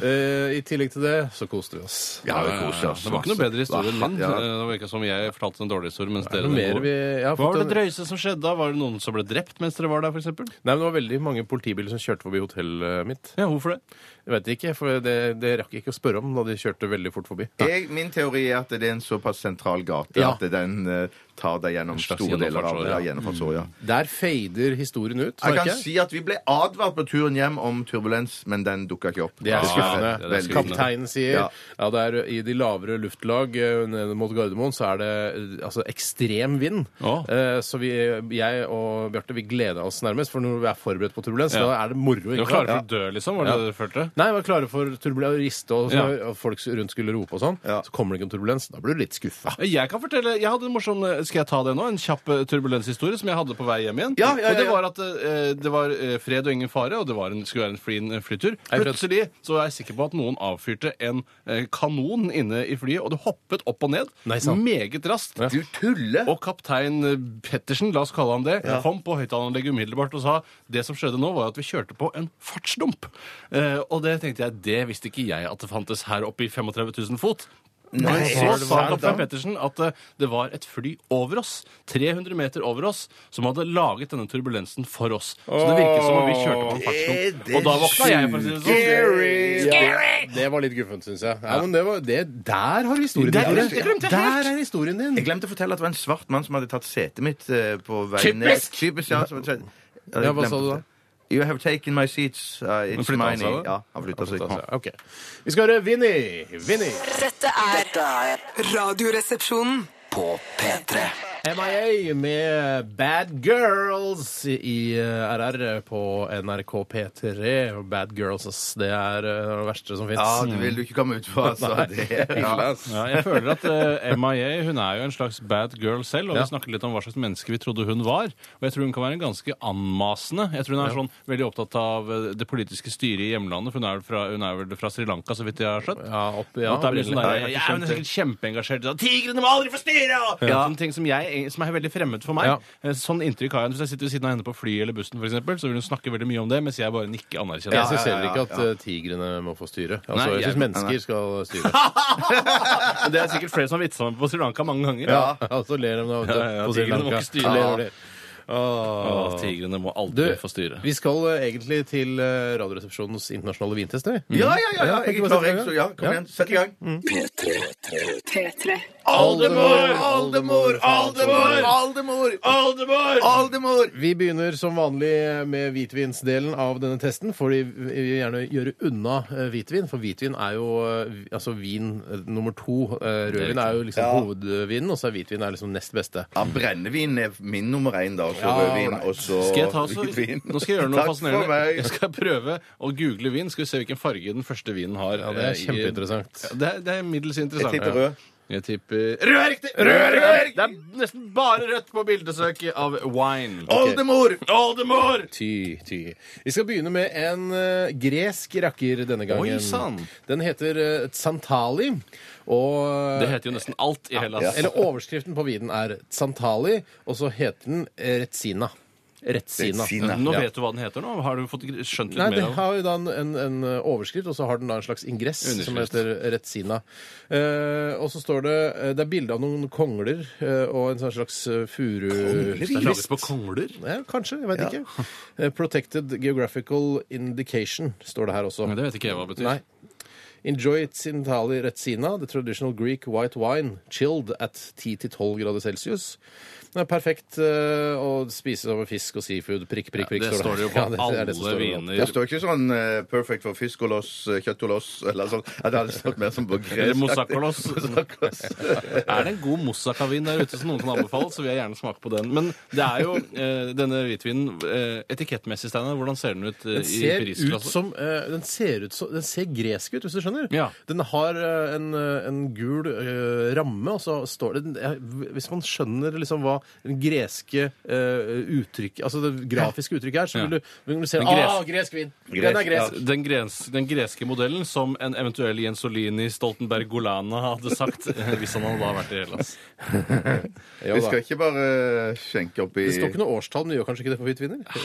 Speaker 3: Eh, I tillegg til det så koste vi oss.
Speaker 5: Ja, vi koser oss.
Speaker 4: Det var ikke noe bedre historie enn min.
Speaker 5: Ja.
Speaker 4: Eh, Det var ikke som jeg fortalte en dårlig historie. Mens
Speaker 3: Er
Speaker 4: dere
Speaker 3: det noe mer vi jeg har
Speaker 4: Hva var
Speaker 3: fått
Speaker 4: det drøyeste som skjedde da? Var det noen som ble drept mens dere var der, f.eks.?
Speaker 3: Nei, men Det var veldig mange politibiler som kjørte forbi hotellet mitt.
Speaker 4: Ja, hvorfor det?
Speaker 3: Jeg vet ikke, for det, det rakk jeg ikke å spørre om da de kjørte veldig fort forbi.
Speaker 5: Jeg, min teori er at det er en såpass sentral gate
Speaker 3: Ja.
Speaker 5: at den eh, tar deg gjennom
Speaker 4: slags
Speaker 5: store deler av
Speaker 4: gjennomfartsåre,
Speaker 5: ja,
Speaker 4: ja. Mm.
Speaker 5: gjennomfartsåret. Ja.
Speaker 3: Der fader historien ut.
Speaker 5: Jeg
Speaker 3: merker
Speaker 5: kan
Speaker 3: jeg.
Speaker 5: si at vi ble advart på turen hjem om turbulens, men den dukka ikke opp.
Speaker 3: Det er skuffende.
Speaker 4: det er
Speaker 5: veldig.
Speaker 4: skuffende.
Speaker 3: Kapteinen sier ja.
Speaker 5: Ja.
Speaker 3: det er i de lavere luftlag eh, nede mot Gardermoen så er det eh, altså, ekstrem vind.
Speaker 4: Ja.
Speaker 3: Eh, så vi, jeg og Bjarte vi gleda oss nærmest, for når vi er forberedt på turbulens,
Speaker 4: Ja.
Speaker 3: da er det moro.
Speaker 4: Dere
Speaker 3: ikke
Speaker 4: var klare for
Speaker 3: sant?
Speaker 4: å dø, liksom? Var det
Speaker 3: Ja.
Speaker 4: det dere følte?
Speaker 3: Nei, vi var klare for turbulens og riste, og, så,
Speaker 4: Ja.
Speaker 3: og folk rundt skulle rope og sånn.
Speaker 5: Ja.
Speaker 3: Så kommer det ikke en turbulens. Da blir du litt skuffa.
Speaker 4: Jeg kan fortelle, jeg hadde en morsom, eh, skal jeg ta det nå, en kjapp eh, turbulenshistorie som jeg hadde på vei hjem igjen.
Speaker 5: Ja, ja, ja,
Speaker 4: Og det
Speaker 5: ja.
Speaker 4: var at eh, det var eh, fred og ingen fare, og det var en, skulle være en flin eh, flytur.
Speaker 3: Hei, Fred.
Speaker 4: Plutselig så var jeg sikker på at noen avfyrte en eh, kanon inne i flyet, og det hoppet opp og ned.
Speaker 3: Nei, sant.
Speaker 4: Meget raskt.
Speaker 5: Du tuller!
Speaker 4: Og kaptein eh, Pettersen, la oss kalle ham det, kom på høyttaleranlegget umiddelbart og sa det som skjedde nå, var at vi kjørte på en fartsdump. Eh, og det tenkte jeg, det visste ikke jeg at det fantes her oppe i 35 000 fot. Men så
Speaker 5: er det
Speaker 4: sa
Speaker 5: sant,
Speaker 4: kaptein
Speaker 5: da?
Speaker 4: Pettersen at eh, det var et fly over oss, 300 meter over oss, som hadde laget denne turbulensen for oss. Så det virket som om vi kjørte på en
Speaker 5: Er
Speaker 4: fartsdump.
Speaker 5: det
Speaker 4: Og da våkna jeg. for å si det sånn.
Speaker 3: Ja, det var litt guffent, syns jeg. Ja, men det var, det, der har historien
Speaker 4: Der-
Speaker 3: din.
Speaker 4: det
Speaker 3: Tore.
Speaker 4: glemte jeg helt.
Speaker 3: Der er historien din.
Speaker 5: Jeg glemte å fortelle at det var en svart mann som hadde tatt setet mitt eh, på veien ned.
Speaker 4: Typisk!
Speaker 5: Typisk! Ja, som hadde tatt- jeg
Speaker 3: Ja, hva
Speaker 5: glemte
Speaker 3: sa du
Speaker 5: å
Speaker 3: da?
Speaker 5: fortelle. You have taken my seats. Uh,
Speaker 4: Men
Speaker 5: it's
Speaker 4: flytta han
Speaker 5: mine.
Speaker 4: seg da?
Speaker 5: Ja, han flytta seg.
Speaker 3: Ok. Vi skal høre Vinni. Vinni.
Speaker 6: Dette er
Speaker 2: Dette er
Speaker 1: Radioresepsjonen.
Speaker 2: på P3.
Speaker 3: MIA med Bad Girls i eh, RR på NRK P3. Bad Girls, ass. Det er eh, det verste som fins.
Speaker 5: Ja, det vil du ikke komme ut på, altså. Det,
Speaker 4: *laughs*
Speaker 5: ja.
Speaker 4: Ja, jeg føler at eh, MIA hun er jo en slags bad girl selv, og
Speaker 3: Ja.
Speaker 4: vi snakket litt om hva slags menneske vi trodde hun var. Og jeg tror hun kan være ganske anmasende. Jeg tror hun er sånn veldig opptatt av eh, det politiske styret i hjemlandet, for hun er vel fra, hun er vel fra Sri Lanka, så vidt jeg har skjønt.
Speaker 3: Ja, opp- ja,
Speaker 4: At det er mye sånn der,
Speaker 3: opprinnelig.
Speaker 4: ja, hun er sikkert kjempeengasjert. Sånn, 'Tigrene må aldri få styre!' og Sånne ting som, jeg, eh, som er veldig fremmed for meg.
Speaker 3: Ja.
Speaker 4: Eh, Sånn inntrykk har jeg. Hvis jeg sitter ved siden av henne på flyet eller bussen, for eksempel, så vil hun snakke veldig mye om det, mens jeg bare nikker anerkjennende.
Speaker 3: Jeg syns
Speaker 5: ja, ja,
Speaker 3: heller ikke at
Speaker 5: ja.
Speaker 3: eh, tigrene må få styre. Altså,
Speaker 4: Nei,
Speaker 3: jeg
Speaker 4: jeg-
Speaker 3: syns mennesker skal styre.
Speaker 4: *laughs* Men Det er sikkert flere som har vitsa meg på Sri Lanka mange ganger.
Speaker 3: Ja, Og så ler de av det
Speaker 4: Ja, ja,
Speaker 3: på Sri
Speaker 4: tigrene må
Speaker 3: Lanka.
Speaker 4: ikke styre.
Speaker 3: Ler og ler.
Speaker 4: Å, tigrene må aldri få styre.
Speaker 3: vi skal eh, egentlig til eh, Radioresepsjonens internasjonale vintest, vi.
Speaker 5: Ja, ja, ja, ja.
Speaker 3: Ja,
Speaker 5: Jeg
Speaker 3: kan
Speaker 5: er
Speaker 3: du bare
Speaker 5: klar.
Speaker 3: sette i
Speaker 5: Jeg, så,
Speaker 3: gang?
Speaker 5: ja, kom
Speaker 3: Ja.
Speaker 5: igjen. Sett i gang.
Speaker 1: P3.
Speaker 5: Oldemor! Oldemor! Oldemor! Oldemor!
Speaker 4: Oldemor!
Speaker 5: Oldemor!
Speaker 3: Vi begynner som vanlig med hvitvinsdelen av denne testen, fordi vi vil gjerne gjøre unna eh, hvitvin. For hvitvin er jo eh, vi- altså vin eh, nummer to. Eh, Rødvin er jo liksom
Speaker 5: Ja.
Speaker 3: hovedvinen, og så er hvitvin er liksom nest beste.
Speaker 5: Ja, brennevin er min nummer én, da. Og så
Speaker 3: Ja,
Speaker 5: rødvin,
Speaker 3: right.
Speaker 5: og så
Speaker 4: Skal jeg ta så,
Speaker 5: hvitvin.
Speaker 4: Nå skal jeg gjøre noe fascinerende.
Speaker 5: Takk for
Speaker 4: Jeg
Speaker 5: meg.
Speaker 4: skal prøve å google vin. Skal vi se hvilken farge den første vinen har.
Speaker 3: Ja, det
Speaker 4: eh,
Speaker 3: er
Speaker 4: i-
Speaker 3: kjempeinteressant.
Speaker 4: Ja, Det er, det er middels interessant.
Speaker 5: Jeg tipper rød.
Speaker 4: Jeg tipper Rød er riktig! Rød er rød! Det er nesten bare rødt på bildesøket av wine.
Speaker 5: Oldemor!
Speaker 4: Oldemor!
Speaker 3: Ty, ty. Vi skal begynne med en eh, gresk rakker denne gangen.
Speaker 4: Oi, sann.
Speaker 3: Den heter eh, Tsantali. Og
Speaker 4: Det altså. heter jo nesten alt i Hellas.
Speaker 3: Eller overskriften på vinen er Tsantali, og så heter den eh, Retsina. Retsina.
Speaker 5: Retsina.
Speaker 4: Nå
Speaker 3: Ja.
Speaker 4: vet du hva den heter nå. Har du fått skjønt litt
Speaker 3: Nei,
Speaker 4: mer
Speaker 3: det
Speaker 4: av den?
Speaker 3: har jo da en, en, en overskrift, og så har den da en slags ingress som
Speaker 4: Underskrift.
Speaker 3: heter Retsina. Eh, og så står det eh, Det er bilde av noen kongler eh, og en sånn slags eh, furu...
Speaker 4: Det er laget på kongler.
Speaker 3: Ja, kanskje. Jeg veit ikke. Eh, Protected Geographical Indication står det her også.
Speaker 4: Men det vet ikke jeg hva det betyr.
Speaker 3: Nei. Enjoy it in Tali Retzina, the traditional Greek white wine, chilled at 10-12 grader celsius. Det er perfekt eh, å spise som en fisk og seafood. Prikk, prikk, prikk.
Speaker 4: det står det jo
Speaker 3: *laughs*
Speaker 4: på
Speaker 3: Ja, det- det er det som
Speaker 4: alle
Speaker 3: står det på.
Speaker 5: Det
Speaker 4: viner.
Speaker 5: står ikke sånn eh, 'perfect for fisk og loss, eh, kjøtt og loss' eller sånn. Ja, det hadde stått mer som på
Speaker 4: Eller *laughs*
Speaker 5: gresk.
Speaker 4: Moussakalos. Er det en god moussakavin der ute som noen kan anbefale, så vil jeg gjerne smake på den. Men det er jo eh, denne hvitvinen eh, etikettmessig, Steinar, hvordan ser den ut eh,
Speaker 3: Den
Speaker 4: i
Speaker 3: ser, ut
Speaker 4: prisklasse?
Speaker 3: som, eh, den, ser ut som, den ser gresk ut, hvis du skjønner.
Speaker 4: Ja.
Speaker 3: Den har eh, en, eh, en gul eh, ramme, og så står det den- eh, Hvis man skjønner liksom hva den greske eh, uttrykk, altså det grafiske uttrykket er, så
Speaker 4: Ja.
Speaker 3: vil du, vil du se
Speaker 4: Den
Speaker 3: gresk,
Speaker 4: gres-
Speaker 3: ah, gresk vin! Den er gresk!
Speaker 4: Den, gres, den greske modellen som en eventuell Jensolini Stoltenberg Golana hadde sagt eh, hvis han hadde da vært i Hellas.
Speaker 3: Ja,
Speaker 5: Vi
Speaker 3: da.
Speaker 5: skal ikke bare eh, skjenke opp i
Speaker 3: det står ikke noe årstall, men det gjør kanskje ikke det for hvitviner?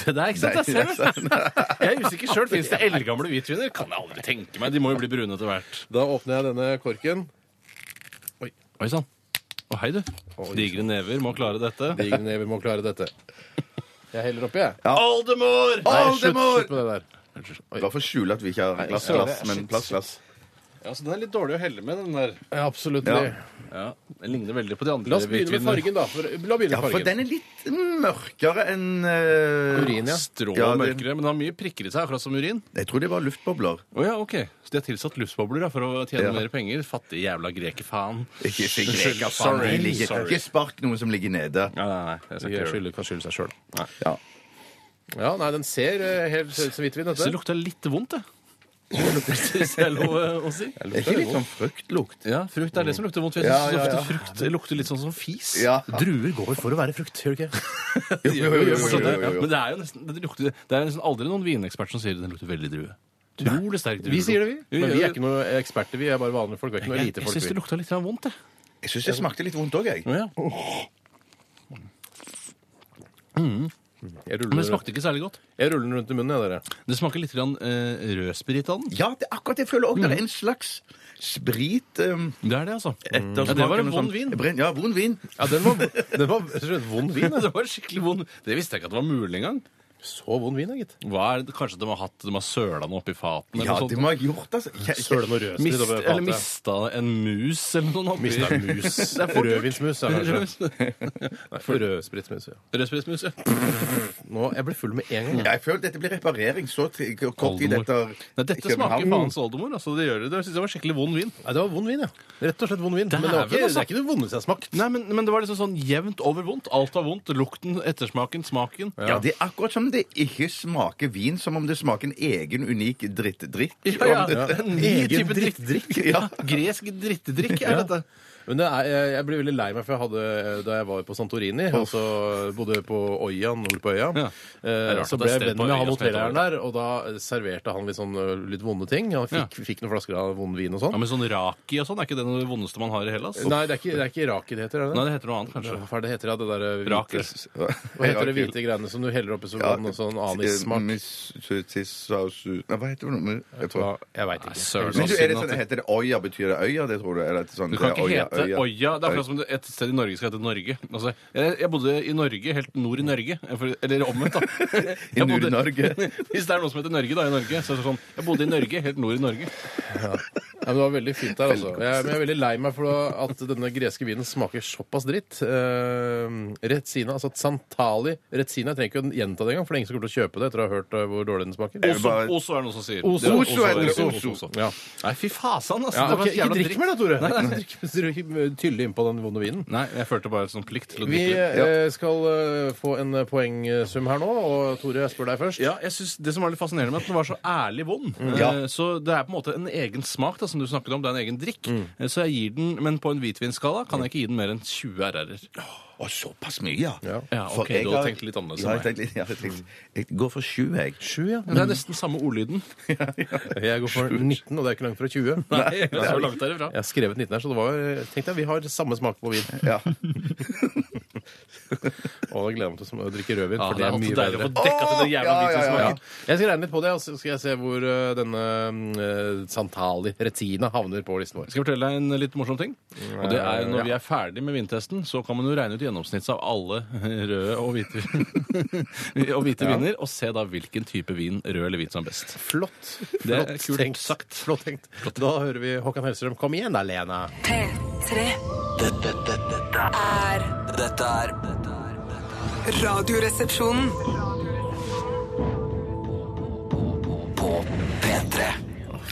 Speaker 4: Det der, ikke sant? Jeg, ser det.
Speaker 3: *laughs*
Speaker 4: jeg er usikker sjøl. Fins det eldgamle hvitviner? Kan jeg aldri tenke meg. De må jo bli brune etter hvert.
Speaker 3: Da åpner jeg denne korken.
Speaker 4: Oi sann. Å, hei, du. Digre never må klare dette.
Speaker 3: Digre never må klare dette. Jeg heller oppi, jeg.
Speaker 4: Oldemor!
Speaker 3: Nei,
Speaker 5: Å, det
Speaker 3: slutt,
Speaker 5: må...
Speaker 3: slutt med det der.
Speaker 5: Bare for å skjule at vi ikke har glass, glass, men plastglass.
Speaker 4: Ja, så den er litt dårlig å helle med, den der.
Speaker 3: Ja, absolutt.
Speaker 5: Ja.
Speaker 4: Ja, Den ligner veldig på de andre
Speaker 3: La oss begynne med fargen, da. For, la oss begynne
Speaker 5: Ja,
Speaker 3: med
Speaker 5: for
Speaker 3: fargen.
Speaker 5: den er litt mørkere enn eh,
Speaker 3: Urin, ja.
Speaker 4: Strå
Speaker 5: Ja, den-
Speaker 4: mørkere, men den har mye prikker i seg, akkurat som urin.
Speaker 5: Jeg tror det var luftbobler.
Speaker 4: Å ja, ok. Så de har tilsatt luftbobler da, for å tjene
Speaker 5: Ja.
Speaker 4: mer penger? Fattige jævla grekerfaen.
Speaker 5: Ikke si greker, faen.
Speaker 4: Sorry,
Speaker 5: de ligger-
Speaker 4: sorry.
Speaker 5: Ikke spark noen som ligger nede.
Speaker 4: Nei, nei, nei. Jeg skal
Speaker 3: Jeg
Speaker 4: ikke gjøre det.
Speaker 3: skylder- kan skylde seg sjøl.
Speaker 5: Ja.
Speaker 3: Ja, nei, den ser eh, helt ser ut som hvitvin,
Speaker 4: Så det
Speaker 3: dette.
Speaker 4: lukta litt vondt, det. Hvis det er lov eh, å si.
Speaker 5: Er ikke litt sånn fruktlukt?
Speaker 4: Ja, frukt er det som lukter vondt. Jeg
Speaker 5: Ja,
Speaker 4: synes
Speaker 5: ja, ja.
Speaker 4: ofte frukt lukter litt sånn som fis.
Speaker 5: Ja.
Speaker 3: Druer går for å være frukt, gjør de ikke?
Speaker 5: Jo, jo, jo, jo, jo,
Speaker 4: Så det,
Speaker 5: jo,
Speaker 4: Sånn,
Speaker 5: jo.
Speaker 4: Men det er jo nesten, det lukter, det er nesten aldri noen vinekspert som sier den lukter veldig drue. Utrolig sterk drue.
Speaker 3: Vi sier det, vi.
Speaker 4: Jo,
Speaker 3: Men
Speaker 4: jo,
Speaker 3: vi
Speaker 4: jo.
Speaker 3: er ikke noe eksperter, vi er bare vanlige folk. Vi er ikke noe
Speaker 4: Jeg,
Speaker 3: elitefolk.
Speaker 4: jeg syns det
Speaker 3: vi.
Speaker 4: lukta litt grann vondt, jeg.
Speaker 5: Jeg syns det smakte litt vondt òg, jeg.
Speaker 4: Ja.
Speaker 3: Jeg
Speaker 4: Men
Speaker 3: ruller,
Speaker 4: det smakte ikke særlig godt.
Speaker 3: jeg ruller den rundt i munnen, jeg, dere.
Speaker 4: Det smaker litt grann, eh, rød spirit av den.
Speaker 5: Ja, det er akkurat det jeg føler òg. Det er en slags sprit um,
Speaker 4: Det er det, altså.
Speaker 5: ettersmak.
Speaker 4: Ja, det var en
Speaker 5: eller noe
Speaker 4: vond
Speaker 5: sånt.
Speaker 4: vin.
Speaker 5: Brenn- Ja, vond vin.
Speaker 3: Ja, Den
Speaker 4: *laughs*
Speaker 3: var, den var rett og slett vond vin.
Speaker 4: Det var skikkelig vond. Det visste jeg ikke at det var mulig engang.
Speaker 3: da. Så vond vin, da, gitt.
Speaker 4: Hva er det? Kanskje de har hatt, de har søla den oppi fatene?
Speaker 5: Ja,
Speaker 4: eller noe
Speaker 5: det
Speaker 4: sånt.
Speaker 5: må jeg ha gjort, altså. Jeg- jeg-
Speaker 3: Søle noe rødsprit
Speaker 4: Mist,
Speaker 3: over
Speaker 4: eller
Speaker 3: fatet.
Speaker 4: mista en mus eller noe oppi.
Speaker 3: Mista en mus.
Speaker 4: Det er fort gjort.
Speaker 3: Rødvinsmus, ja, kanskje. *laughs* Nei, for Rødspritmus, ja.
Speaker 4: Rødspritmus, ja.
Speaker 3: Nå, Jeg ble full med en gang. jeg.
Speaker 5: Ja, jeg føler dette blir reparering så t- kort tid
Speaker 4: Oldemor.
Speaker 5: etter
Speaker 4: Nei, dette smaker
Speaker 5: København.
Speaker 4: faens oldemor. Altså, det gjør det. Jeg synes det var skikkelig vond vin.
Speaker 3: Nei, det var vond vin, ja. Rett og slett vond vin. Men det, var
Speaker 4: Dæven,
Speaker 3: ikke, det
Speaker 4: altså.
Speaker 3: er ikke det vondeste jeg har smakt.
Speaker 4: Nei, men, men det var liksom sånn jevnt over vondt. Alt var vondt. Lukten, ettersmaken, smaken.
Speaker 5: Ja, det er akkurat som det ikke smaker vin, som om det smaker en egen, unik drittdrikk.
Speaker 4: Ja, ja,
Speaker 5: Om det-
Speaker 4: En ny
Speaker 3: Egen
Speaker 4: type dritt-
Speaker 3: drittdrikk.
Speaker 4: *laughs* Ja. Gresk drittedrikk er dette.
Speaker 3: Men det er, jeg, jeg blir veldig lei meg, for jeg hadde, eh, da jeg var på Santorini, altså bodde på øya, nord på øya,
Speaker 4: Ja.
Speaker 3: eh,
Speaker 4: Det er rart
Speaker 3: så
Speaker 4: at
Speaker 3: ble
Speaker 4: det er
Speaker 3: jeg
Speaker 4: sted
Speaker 3: venn
Speaker 4: på
Speaker 3: med han
Speaker 4: øya som heter
Speaker 3: hotelleieren der, og da eh, serverte han litt sånn eh, litt vonde ting. Han fikk, fikk noen flasker av vond vin og
Speaker 4: Ja,
Speaker 3: sånn.
Speaker 4: men sånn raki og sånn, er ikke det noe av det vondeste man har i Hellas?
Speaker 3: Nei, det er ikke, det er ikke raki det heter, er det?
Speaker 4: Nei, det heter noe annet, kanskje.
Speaker 3: Hva er det heter ja, det der eh,
Speaker 4: Raki.
Speaker 3: hvite, hva heter det hvite greiene som du heller oppi så får den sånn anissmak?
Speaker 5: Nei, hva heter det? nå? Jeg tror-
Speaker 3: Hva- Jeg veit
Speaker 4: Nei,
Speaker 3: ikke.
Speaker 4: søren.
Speaker 5: Men du, er det
Speaker 4: Siden
Speaker 5: sånn,
Speaker 4: at-
Speaker 5: Heter det Øya? Betyr det Øya? det tror du? Eller at det sånn,
Speaker 4: Du kan ikke
Speaker 5: øya,
Speaker 4: hete Øya. Det er akkurat som det- et sted i Norge skal hete Norge. Altså, jeg, jeg bodde i Norge, helt nord i Norge. eh, For- Eller omvendt, da.
Speaker 5: I
Speaker 4: Jeg bodde-
Speaker 5: Nord-Norge.
Speaker 4: *laughs* Hvis det er noe som heter Norge, da, i Norge, så er det sånn Jeg bodde i Norge, helt nord i Norge.
Speaker 3: Ja, men det var veldig fint der, altså. Jeg, men jeg er veldig lei meg for at denne greske vinen smaker såpass dritt. Uh, Retsina, altså Santali Retsina, jeg trenger ikke å gjenta det engang, for det er ingen som kommer til å kjøpe det etter å ha hørt eh, hvor dårlig den smaker.
Speaker 5: Jeg vil
Speaker 4: Oso,
Speaker 5: bare-
Speaker 4: Oso er det noen som sier.
Speaker 3: Oso,
Speaker 4: Det er-
Speaker 5: Oso heter det,
Speaker 4: Oso,
Speaker 5: Oso.
Speaker 4: Oso.
Speaker 3: Ja.
Speaker 4: Nei, fy fasan, altså.
Speaker 3: Ja,
Speaker 4: det var
Speaker 3: ok,
Speaker 4: så
Speaker 3: ikke
Speaker 4: jævla
Speaker 3: drikk
Speaker 4: dritt.
Speaker 3: mer da, Tore. Drikk- drikk- Tylle eh, innpå den vonde vinen.
Speaker 4: Nei, jeg følte bare sånn plikt til å
Speaker 3: Vi
Speaker 4: drikke. litt.
Speaker 3: eh, skal eh, få en eh, poengsum her nå, og Tore, jeg spør deg først.
Speaker 4: Ja, jeg synes Det som var litt fascinerende med at den var så ærlig vond Eh,
Speaker 5: Ja.
Speaker 4: Så Det er på en måte en egen smak, da, som du snakket om. Det er en egen drikk. Eh, Så jeg gir den, men på en hvitvinskala kan jeg ikke gi den mer enn 20 RR-er.
Speaker 5: Å, såpass mye, ja.
Speaker 4: Ja,
Speaker 5: For
Speaker 4: ok,
Speaker 5: jeg
Speaker 4: du har
Speaker 5: har-
Speaker 4: tenkt litt annerledes
Speaker 5: Ja,
Speaker 4: enn
Speaker 5: jeg,
Speaker 4: meg.
Speaker 5: tenkte litt- ja, jeg, tenkte, jeg går for sju, jeg.
Speaker 3: Sju, ja.
Speaker 4: Men det er nesten samme ordlyden.
Speaker 3: Jeg går for 19, og det er ikke langt fra 20.
Speaker 4: Nei, så langt derifra.
Speaker 3: *laughs* Jeg har skrevet 19 her, så det var, tenkte jeg vi har samme smak på vin.
Speaker 5: Ja.
Speaker 3: Og jeg gleder meg til å sm- å drikke rødvin,
Speaker 4: Ja,
Speaker 3: for det er mye
Speaker 4: deilig å
Speaker 3: bedre.
Speaker 4: få dekka til den jævla
Speaker 5: Åh, ja, ja,
Speaker 4: hvite
Speaker 5: ja.
Speaker 3: Ja.
Speaker 4: smaken.
Speaker 3: Jeg skal regne litt på det, og så skal jeg se hvor eh, denne eh, Santali Retina havner på listen vår.
Speaker 4: Skal jeg fortelle deg en litt morsom ting? Og det er jo Når vi er ferdig med vintesten, så kan man jo regne ut gjennomsnittet av alle *laughs* røde og hvite, *laughs* og hvite viner, og se da hvilken type vin, rød eller hvit, som er best.
Speaker 3: Flott.
Speaker 4: Det er
Speaker 3: Flott
Speaker 4: kult
Speaker 3: tenkt.
Speaker 4: sagt.
Speaker 3: Flott tenkt. Da hører vi Håkan Hellstrøm. Kom igjen da, Lena.
Speaker 1: P3
Speaker 2: Dette, dette, dette er- dette er
Speaker 1: er
Speaker 2: dette er- dette er
Speaker 1: Radioresepsjonen.
Speaker 2: På P3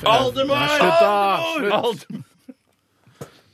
Speaker 4: Aldemar!
Speaker 3: Slutt, da! Slutt.
Speaker 4: Aldemar!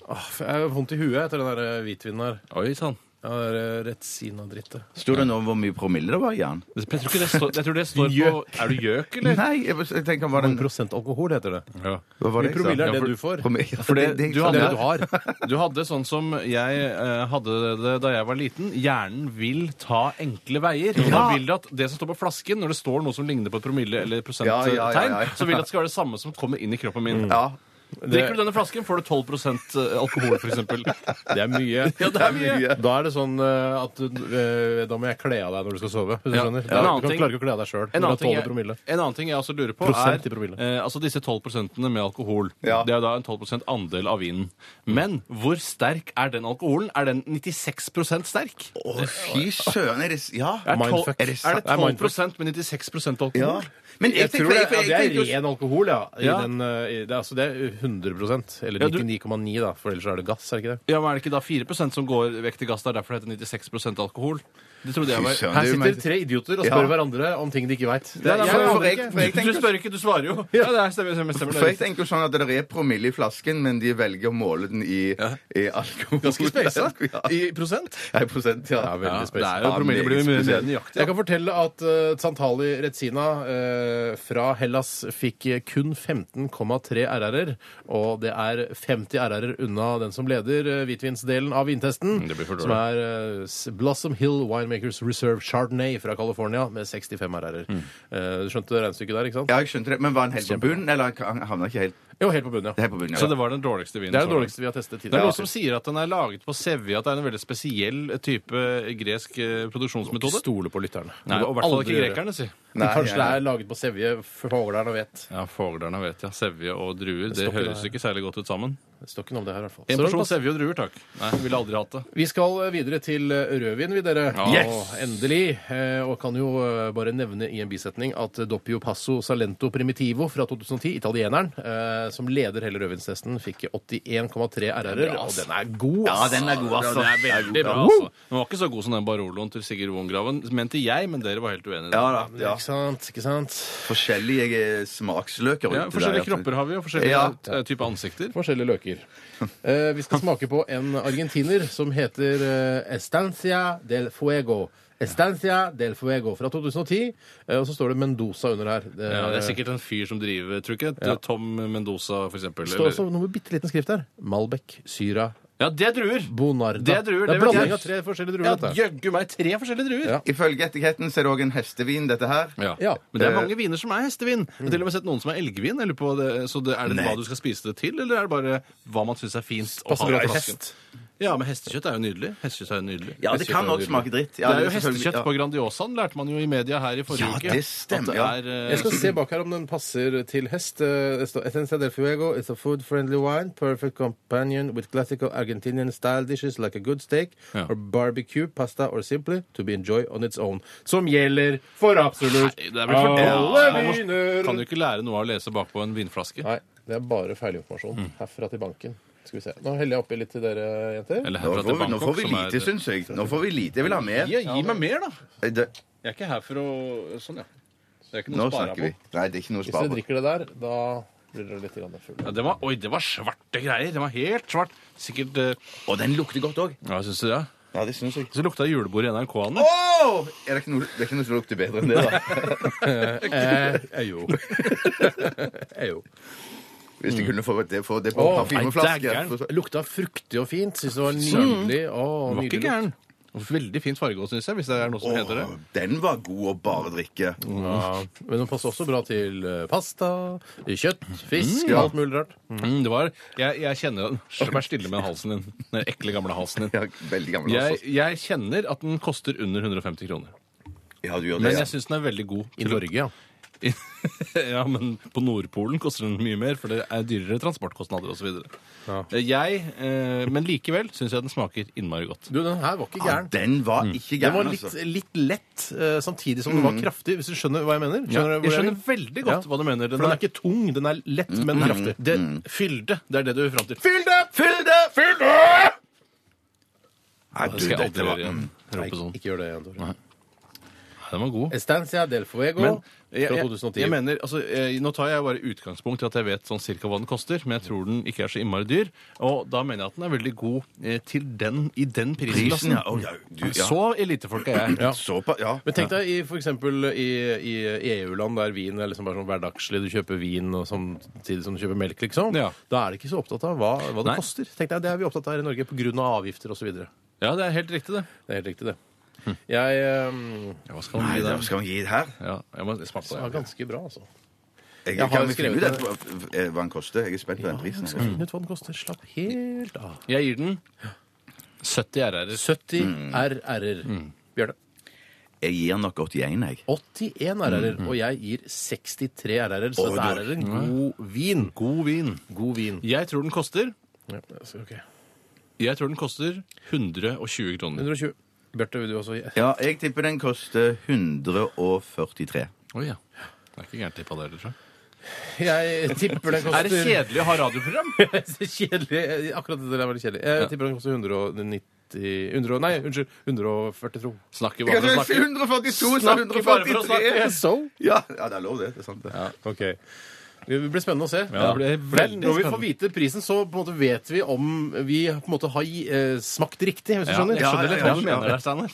Speaker 3: Jeg har vondt i huet etter den der eh, hvitvinen her.
Speaker 4: Oi sann.
Speaker 3: Ja, det er, eh, Retsina-drittet.
Speaker 5: Sto det nå hvor mye promille det var i den?
Speaker 4: Jeg tror, ikke det står, jeg tror det står på Er du gjøk, eller?
Speaker 5: Nei, jeg, jeg tenker var den
Speaker 3: 1 alkohol heter det.
Speaker 4: Ja.
Speaker 5: Hva
Speaker 3: Mye
Speaker 5: var jeg sa?
Speaker 3: promille er
Speaker 5: Ja,
Speaker 3: det
Speaker 5: for-
Speaker 3: du får.
Speaker 5: promille-
Speaker 4: For det-
Speaker 5: det- det-
Speaker 4: du
Speaker 5: så
Speaker 3: Det
Speaker 4: hadde-
Speaker 5: det-
Speaker 3: er det du har.
Speaker 4: Du hadde sånn som jeg eh, hadde det da jeg var liten. Hjernen vil ta enkle veier. Og Da vil det at det som står på flasken, når det står noe som ligner på et promille eller
Speaker 5: Ja,
Speaker 4: prosenttegn,
Speaker 5: ja, ja, ja, ja.
Speaker 4: så vil det at det skal være det samme som kommer inn i kroppen min.
Speaker 5: Ja.
Speaker 4: Drikker du denne flasken, får du 12 alkohol,
Speaker 5: *laughs*
Speaker 4: f.eks.
Speaker 3: Det er mye.
Speaker 4: Ja, det er mye.
Speaker 3: Da er det sånn eh, at eh, da må jeg kle av deg når du skal sove. Hvis du
Speaker 4: Ja.
Speaker 3: skjønner.
Speaker 4: En annen
Speaker 3: du kan
Speaker 4: ting-
Speaker 3: klarer ikke å kle av deg sjøl.
Speaker 4: En annen, ting
Speaker 3: promille.
Speaker 4: jeg, en annen ting jeg også lurer på,
Speaker 3: Prosent i
Speaker 4: er
Speaker 3: promille.
Speaker 4: eh, altså disse 12 med alkohol.
Speaker 5: Ja.
Speaker 4: Det er da en 12 andel av vinen. Men hvor sterk er den alkoholen? Er den 96 sterk?
Speaker 5: Å, fy søren. Er det s- Ja.
Speaker 4: Er, tolv-
Speaker 3: Mindfuck.
Speaker 4: er det
Speaker 5: sant?
Speaker 3: Det er
Speaker 4: 12
Speaker 3: mindfuck.
Speaker 4: med 96 alkohol?
Speaker 5: ja. Men jeg,
Speaker 3: Jeg tror det,
Speaker 5: tenker, jeg,
Speaker 3: ja,
Speaker 5: jeg,
Speaker 3: det
Speaker 5: tenker
Speaker 3: er ren alkohol, ja. I
Speaker 4: Ja.
Speaker 3: den, eh, i- det, er, altså, det er 100 Eller
Speaker 4: Ja, du-
Speaker 3: 99,9, da, for ellers er det gass, er det ikke det?
Speaker 4: Ja, men Er det ikke da 4 som går vekk til gass? Det er derfor det heter 96 alkohol. Det trodde jeg
Speaker 5: Fy
Speaker 4: var
Speaker 5: søren,
Speaker 3: Her
Speaker 5: det er jo
Speaker 3: sitter
Speaker 5: meg-
Speaker 3: tre idioter og
Speaker 5: Ja.
Speaker 3: spør hverandre om ting de ikke veit.
Speaker 4: Nei, nei, for- for
Speaker 5: jeg- for jeg
Speaker 4: Du
Speaker 5: tenker-
Speaker 4: spør ikke, du svarer jo. Ja, det er stemmer, stemmer, stemmer.
Speaker 5: for jeg tenker jo sånn at det er promille i flasken, men de velger å måle den i, i alkohol.
Speaker 4: Ganske spesa.
Speaker 5: *laughs* Ja.
Speaker 4: I prosent?
Speaker 5: Ja, i prosent, ja.
Speaker 3: Ja, veldig
Speaker 4: det
Speaker 3: spesielt.
Speaker 4: er jo
Speaker 5: Ja,
Speaker 4: promille blir
Speaker 5: meget
Speaker 4: mye mer
Speaker 5: spesielt.
Speaker 4: nøyaktig.
Speaker 3: Jeg kan fortelle at eh, Santali Retsina eh, fra Hellas fikk eh, kun 15,3 RR-er. Og det er 50 RR-er unna den som leder eh, hvitvinsdelen av vintesten.
Speaker 4: Mm, det blir for dårlig.
Speaker 3: som er eh, S- Blossom Hill Winemakers Reserve Chardonnay fra California med 65 RR-er.
Speaker 4: Mm.
Speaker 3: Eh, du skjønte regnestykket der, ikke sant?
Speaker 5: Ja, jeg skjønte det. Men var han helt på bunnen, eller han havna ikke helt
Speaker 3: Jo, helt på bunnen, ja.
Speaker 5: helt på bunnen?
Speaker 4: Så det var den dårligste vinen?
Speaker 3: Det er
Speaker 4: så
Speaker 3: det
Speaker 4: langt.
Speaker 3: dårligste vi har testet
Speaker 4: Det er
Speaker 3: tidligere.
Speaker 4: noen som sier at den er laget på Sevje, at det er en veldig spesiell eh, type gresk eh, produksjonsmetode.
Speaker 3: Stole på lytterne.
Speaker 4: Nei, og i hvert fall ikke grekerne, si.
Speaker 5: Nei,
Speaker 3: Kanskje det
Speaker 5: ja, ja.
Speaker 3: er laget på sevje. Fåglerne vet.
Speaker 4: *laughs* Ja, Fogderne vet jeg. Sevje og druer. Det
Speaker 3: står ikke
Speaker 4: høres
Speaker 3: der.
Speaker 4: ikke særlig godt ut sammen.
Speaker 3: Det står ikke noe om det her, i hvert fall.
Speaker 4: En
Speaker 3: Så
Speaker 4: porsjon
Speaker 3: pass-
Speaker 4: sevje og druer, takk. Nei, ville aldri hatt det.
Speaker 3: Vi skal videre til eh, rødvin, vi dere.
Speaker 4: Yes!
Speaker 3: Og endelig. eh, Og kan jo eh, bare nevne i en bisetning at Doppio Passo Salento Primitivo fra 2010, italieneren, eh, som leder hele rødvinstesten, fikk 81,3 RR-er. Og den er god,
Speaker 5: Ja, den er god, altså. Den er
Speaker 4: Veldig bra, altså. Den var ikke så god som den Baroloen til Sigurd Wongraven, mente jeg, men dere var helt uenige. i
Speaker 5: Ja
Speaker 4: det.
Speaker 5: da. Ja.
Speaker 3: Ikke sant? ikke sant?
Speaker 5: Forskjellige eh, smaksløker.
Speaker 4: Ja,
Speaker 5: ute der,
Speaker 4: forskjellige
Speaker 5: ja.
Speaker 4: kropper har vi, og forskjellige
Speaker 5: Ja.
Speaker 4: eh, type ansikter.
Speaker 3: Forskjellige
Speaker 5: *laughs*
Speaker 3: løker. Eh, Vi skal smake på en argentiner som heter eh, Estancia del Fuego. Estancia del Fuego fra 2010. eh, Og så står det Mendoza under her. Eh,
Speaker 4: Ja, det er sikkert en fyr som driver, tror du ikke? det? Tom Mendoza, for eksempel.
Speaker 3: Det står også
Speaker 4: eller-
Speaker 3: noe med bitte liten skrift der. Malbec, Syra,
Speaker 4: Ja, det er druer!
Speaker 3: Bonarda.
Speaker 4: Det er druer,
Speaker 3: det
Speaker 4: det
Speaker 3: er
Speaker 4: vet
Speaker 3: blanding
Speaker 4: jeg.
Speaker 3: av tre forskjellige druer.
Speaker 4: Ja,
Speaker 3: dette.
Speaker 4: jøggu meg tre forskjellige druer!
Speaker 3: Ja.
Speaker 5: Ifølge etiketten så er det òg en hestevin, dette her.
Speaker 4: Ja.
Speaker 3: Ja.
Speaker 4: Men
Speaker 5: Eh,
Speaker 4: det er mange viner som er hestevin. Jeg har til og med sett noen som er elgvin. Jeg lurer på det. Så det, er det hva du skal spise det til, eller er det bare hva man syns er fint å ha
Speaker 3: Passer bra
Speaker 4: i
Speaker 3: til
Speaker 4: flasken?
Speaker 3: hest.
Speaker 4: Ja, men hestekjøtt er jo nydelig. Hestekjøtt er jo nydelig.
Speaker 5: Ja, det kan nok smake dritt. Ja,
Speaker 4: det er jo
Speaker 5: selvfølgelig-
Speaker 4: hestekjøtt
Speaker 5: ja.
Speaker 4: på Grandiosaen, lærte man jo i media her i forrige
Speaker 5: Ja,
Speaker 4: uke.
Speaker 5: det stemmer, ja.
Speaker 4: At det er, eh,
Speaker 3: Jeg skal se bak her om den passer til hest. Eh, det står, Esencia del Fuego is a food-friendly wine, perfect companion with classical Argentinian style dishes like a good steak
Speaker 4: Ja.
Speaker 3: or barbecue, pasta or simply to be enjoyed on its own. Som gjelder for absolutt
Speaker 4: Nei, det er vel for
Speaker 3: alle
Speaker 4: Ja, man
Speaker 3: viner!
Speaker 4: Kan du ikke lære noe av å lese bakpå en vinflaske?
Speaker 3: Nei, det er bare feilinformasjon
Speaker 4: Mm.
Speaker 3: herfra til banken. Skal vi se. Nå heller jeg oppi litt til dere, jenter.
Speaker 4: Eller
Speaker 5: Nå
Speaker 4: herfra
Speaker 5: får,
Speaker 4: til
Speaker 5: vi, nå får
Speaker 4: Bangkok,
Speaker 5: vi
Speaker 4: som er
Speaker 5: lite, syns jeg. Nå får vi lite. Jeg vil ha mer.
Speaker 4: Ja, gi meg mer, da!
Speaker 5: Det,
Speaker 4: Jeg er ikke her for å Sånn, ja. Det er ikke noe
Speaker 5: nå
Speaker 4: å spare
Speaker 5: snakker vi.
Speaker 4: på.
Speaker 5: Nei, det er ikke noe
Speaker 3: Hvis dere
Speaker 5: spare på.
Speaker 3: drikker det der, da blir dere litt grann fulle.
Speaker 4: Ja, det var, oi, det var svarte greier! Det var helt svart. Sikkert eh,
Speaker 5: Og den lukter godt òg.
Speaker 4: Ja, syns du det?
Speaker 5: Ja, det syns jeg.
Speaker 4: Så lukta det julebord i NRK. Anne.
Speaker 5: Åh! Er det, ikke noe, det er ikke noe som lukter bedre enn det,
Speaker 4: *laughs*
Speaker 5: da.
Speaker 3: Eh, eh, jo. eh, jo.
Speaker 5: Hvis de kunne få det, få det på
Speaker 3: Åh,
Speaker 5: parfymeflaske.
Speaker 4: nei, dægeren.
Speaker 5: For så-
Speaker 3: Lukta fruktig og fint. Syns det var nydelig. Å,
Speaker 4: Den var
Speaker 3: nydelig
Speaker 4: ikke
Speaker 3: lukt.
Speaker 4: gæren. Veldig fint fargeås, syns jeg, hvis det er noe som heter det.
Speaker 5: Åh, den var god å bare drikke.
Speaker 3: Ja, men den passer også bra til eh, pasta, kjøtt, fisk,
Speaker 5: ja.
Speaker 3: alt mulig rart.
Speaker 4: Mm, det var, jeg, jeg kjenner Slutt å være stille med halsen din. Den ekle, gamle halsen din.
Speaker 5: Ja, veldig gammel
Speaker 4: Jeg,
Speaker 5: også.
Speaker 4: jeg kjenner at den koster under 150 kroner.
Speaker 5: Ja, du gjør det.
Speaker 4: Men
Speaker 5: ja.
Speaker 4: jeg syns den er veldig god.
Speaker 3: I
Speaker 4: til-
Speaker 3: Norge, ja.
Speaker 4: *laughs* ja, men på Nordpolen koster den mye mer, for det er dyrere transportkostnader osv.
Speaker 3: Ja.
Speaker 4: Jeg, eh, men likevel syns jeg den smaker innmari godt.
Speaker 3: Du, den her var ikke
Speaker 5: Ja,
Speaker 3: gæren.
Speaker 5: den var
Speaker 4: Mm.
Speaker 5: ikke
Speaker 3: Den
Speaker 5: Ah, gæren,
Speaker 3: var litt,
Speaker 5: altså.
Speaker 3: litt lett, eh, samtidig som den var kraftig, hvis du skjønner hva jeg mener? Skjønner du hvor
Speaker 4: jeg skjønner
Speaker 3: vil?
Speaker 4: veldig godt
Speaker 3: Ja.
Speaker 4: hva du mener. Mm.
Speaker 3: For den er ikke tung, den er lett, men kraftig.
Speaker 4: Det, fylde, det er det du er fram til. Fylde!
Speaker 5: Fylde! Fylde! Nei,
Speaker 4: Det
Speaker 5: du,
Speaker 4: skal jeg
Speaker 5: dette
Speaker 4: aldri
Speaker 5: var
Speaker 4: gjøre igjen.
Speaker 3: Nei,
Speaker 4: Rope sånn.
Speaker 3: ikke gjør det igjen, Tore.
Speaker 4: Nei, Den var god.
Speaker 3: Estancia del Fuego
Speaker 4: Men jeg,
Speaker 3: fra
Speaker 4: jeg,
Speaker 3: 2010.
Speaker 4: jeg mener, altså, eh, Nå tar jeg bare utgangspunkt i at jeg vet sånn cirka hva den koster, men jeg tror den ikke er så innmari dyr. Og da mener jeg at den er veldig god eh, til den i den
Speaker 5: Prisen,
Speaker 4: prisklassen.
Speaker 5: ja. Å, ja, du, ja.
Speaker 4: Så elitefolk er jeg.
Speaker 5: Såpa, ja.
Speaker 3: Men tenk deg i for eksempel i, i EU-land der vin er liksom bare sånn hverdagslig. Du kjøper vin og samtidig som du kjøper melk, liksom.
Speaker 4: Ja.
Speaker 3: Da er de ikke så opptatt av hva, hva det
Speaker 4: Nei.
Speaker 3: koster. Tenk deg, Det er vi opptatt av her i Norge pga. avgifter osv. Det
Speaker 4: Ja, det er helt riktig, det.
Speaker 3: er helt riktig, det.
Speaker 5: Hm.
Speaker 3: Jeg eh,
Speaker 4: Ja, hva skal man
Speaker 5: Nei,
Speaker 4: gi
Speaker 5: da
Speaker 4: der?
Speaker 5: skal vi gi det her.
Speaker 4: Ja, jeg må smake på
Speaker 3: det var
Speaker 4: det.
Speaker 3: ganske bra, altså.
Speaker 5: Jeg,
Speaker 3: Jeg har
Speaker 5: kan vi
Speaker 3: skrevet
Speaker 5: finne ut etterpå, f- f- hva den koster? Jeg er spent på den prisen. altså.
Speaker 3: Skal finne ut hva den koster. Slapp helt av.
Speaker 4: Jeg gir den 70 RR-er.
Speaker 3: 70
Speaker 5: Hm.
Speaker 3: RR-er. Bjørne.
Speaker 5: Jeg gir den nok 81, jeg.
Speaker 3: 81 RR-er, og jeg gir 63 RR-er, så
Speaker 5: Hm, Oi,
Speaker 3: dette her
Speaker 5: da.
Speaker 3: er en god vin.
Speaker 4: God vin.
Speaker 3: God vin.
Speaker 4: Jeg tror den koster
Speaker 3: Ja, så, ok.
Speaker 4: Jeg tror den koster 120 kroner.
Speaker 3: 120. Bjarte, vil du også gi?
Speaker 5: Ja, jeg tipper den koster 143.
Speaker 4: Oi, ja. Det er ikke gærent tippa, det heller, tror jeg.
Speaker 3: Jeg tipper den koster
Speaker 4: Er det
Speaker 3: *laughs*
Speaker 4: kjedelig å ha *laughs* radioprogram?
Speaker 3: Så kjedelig. Akkurat det der var litt kjedelig. Jeg tipper den koster 190 100, Nei, unnskyld. 142.
Speaker 4: Snakker bare for å snakke.
Speaker 5: 142,
Speaker 4: Snakker bare for å snakke.
Speaker 3: So?
Speaker 5: Ja, ja, det er lov, det. Det er sant, det.
Speaker 3: OK. Det blir spennende å se.
Speaker 4: Ja, det blir
Speaker 3: For det er-
Speaker 4: veldig
Speaker 3: Når vi
Speaker 4: spennende.
Speaker 3: får vite prisen, så på en måte vet vi om vi på en måte har eh, smakt riktig, hvis du
Speaker 4: Ja,
Speaker 3: skjønner?
Speaker 4: jeg skjønner litt
Speaker 5: Ja,
Speaker 4: hva
Speaker 5: ja,
Speaker 4: du
Speaker 5: ja.
Speaker 4: mener der, Steinar.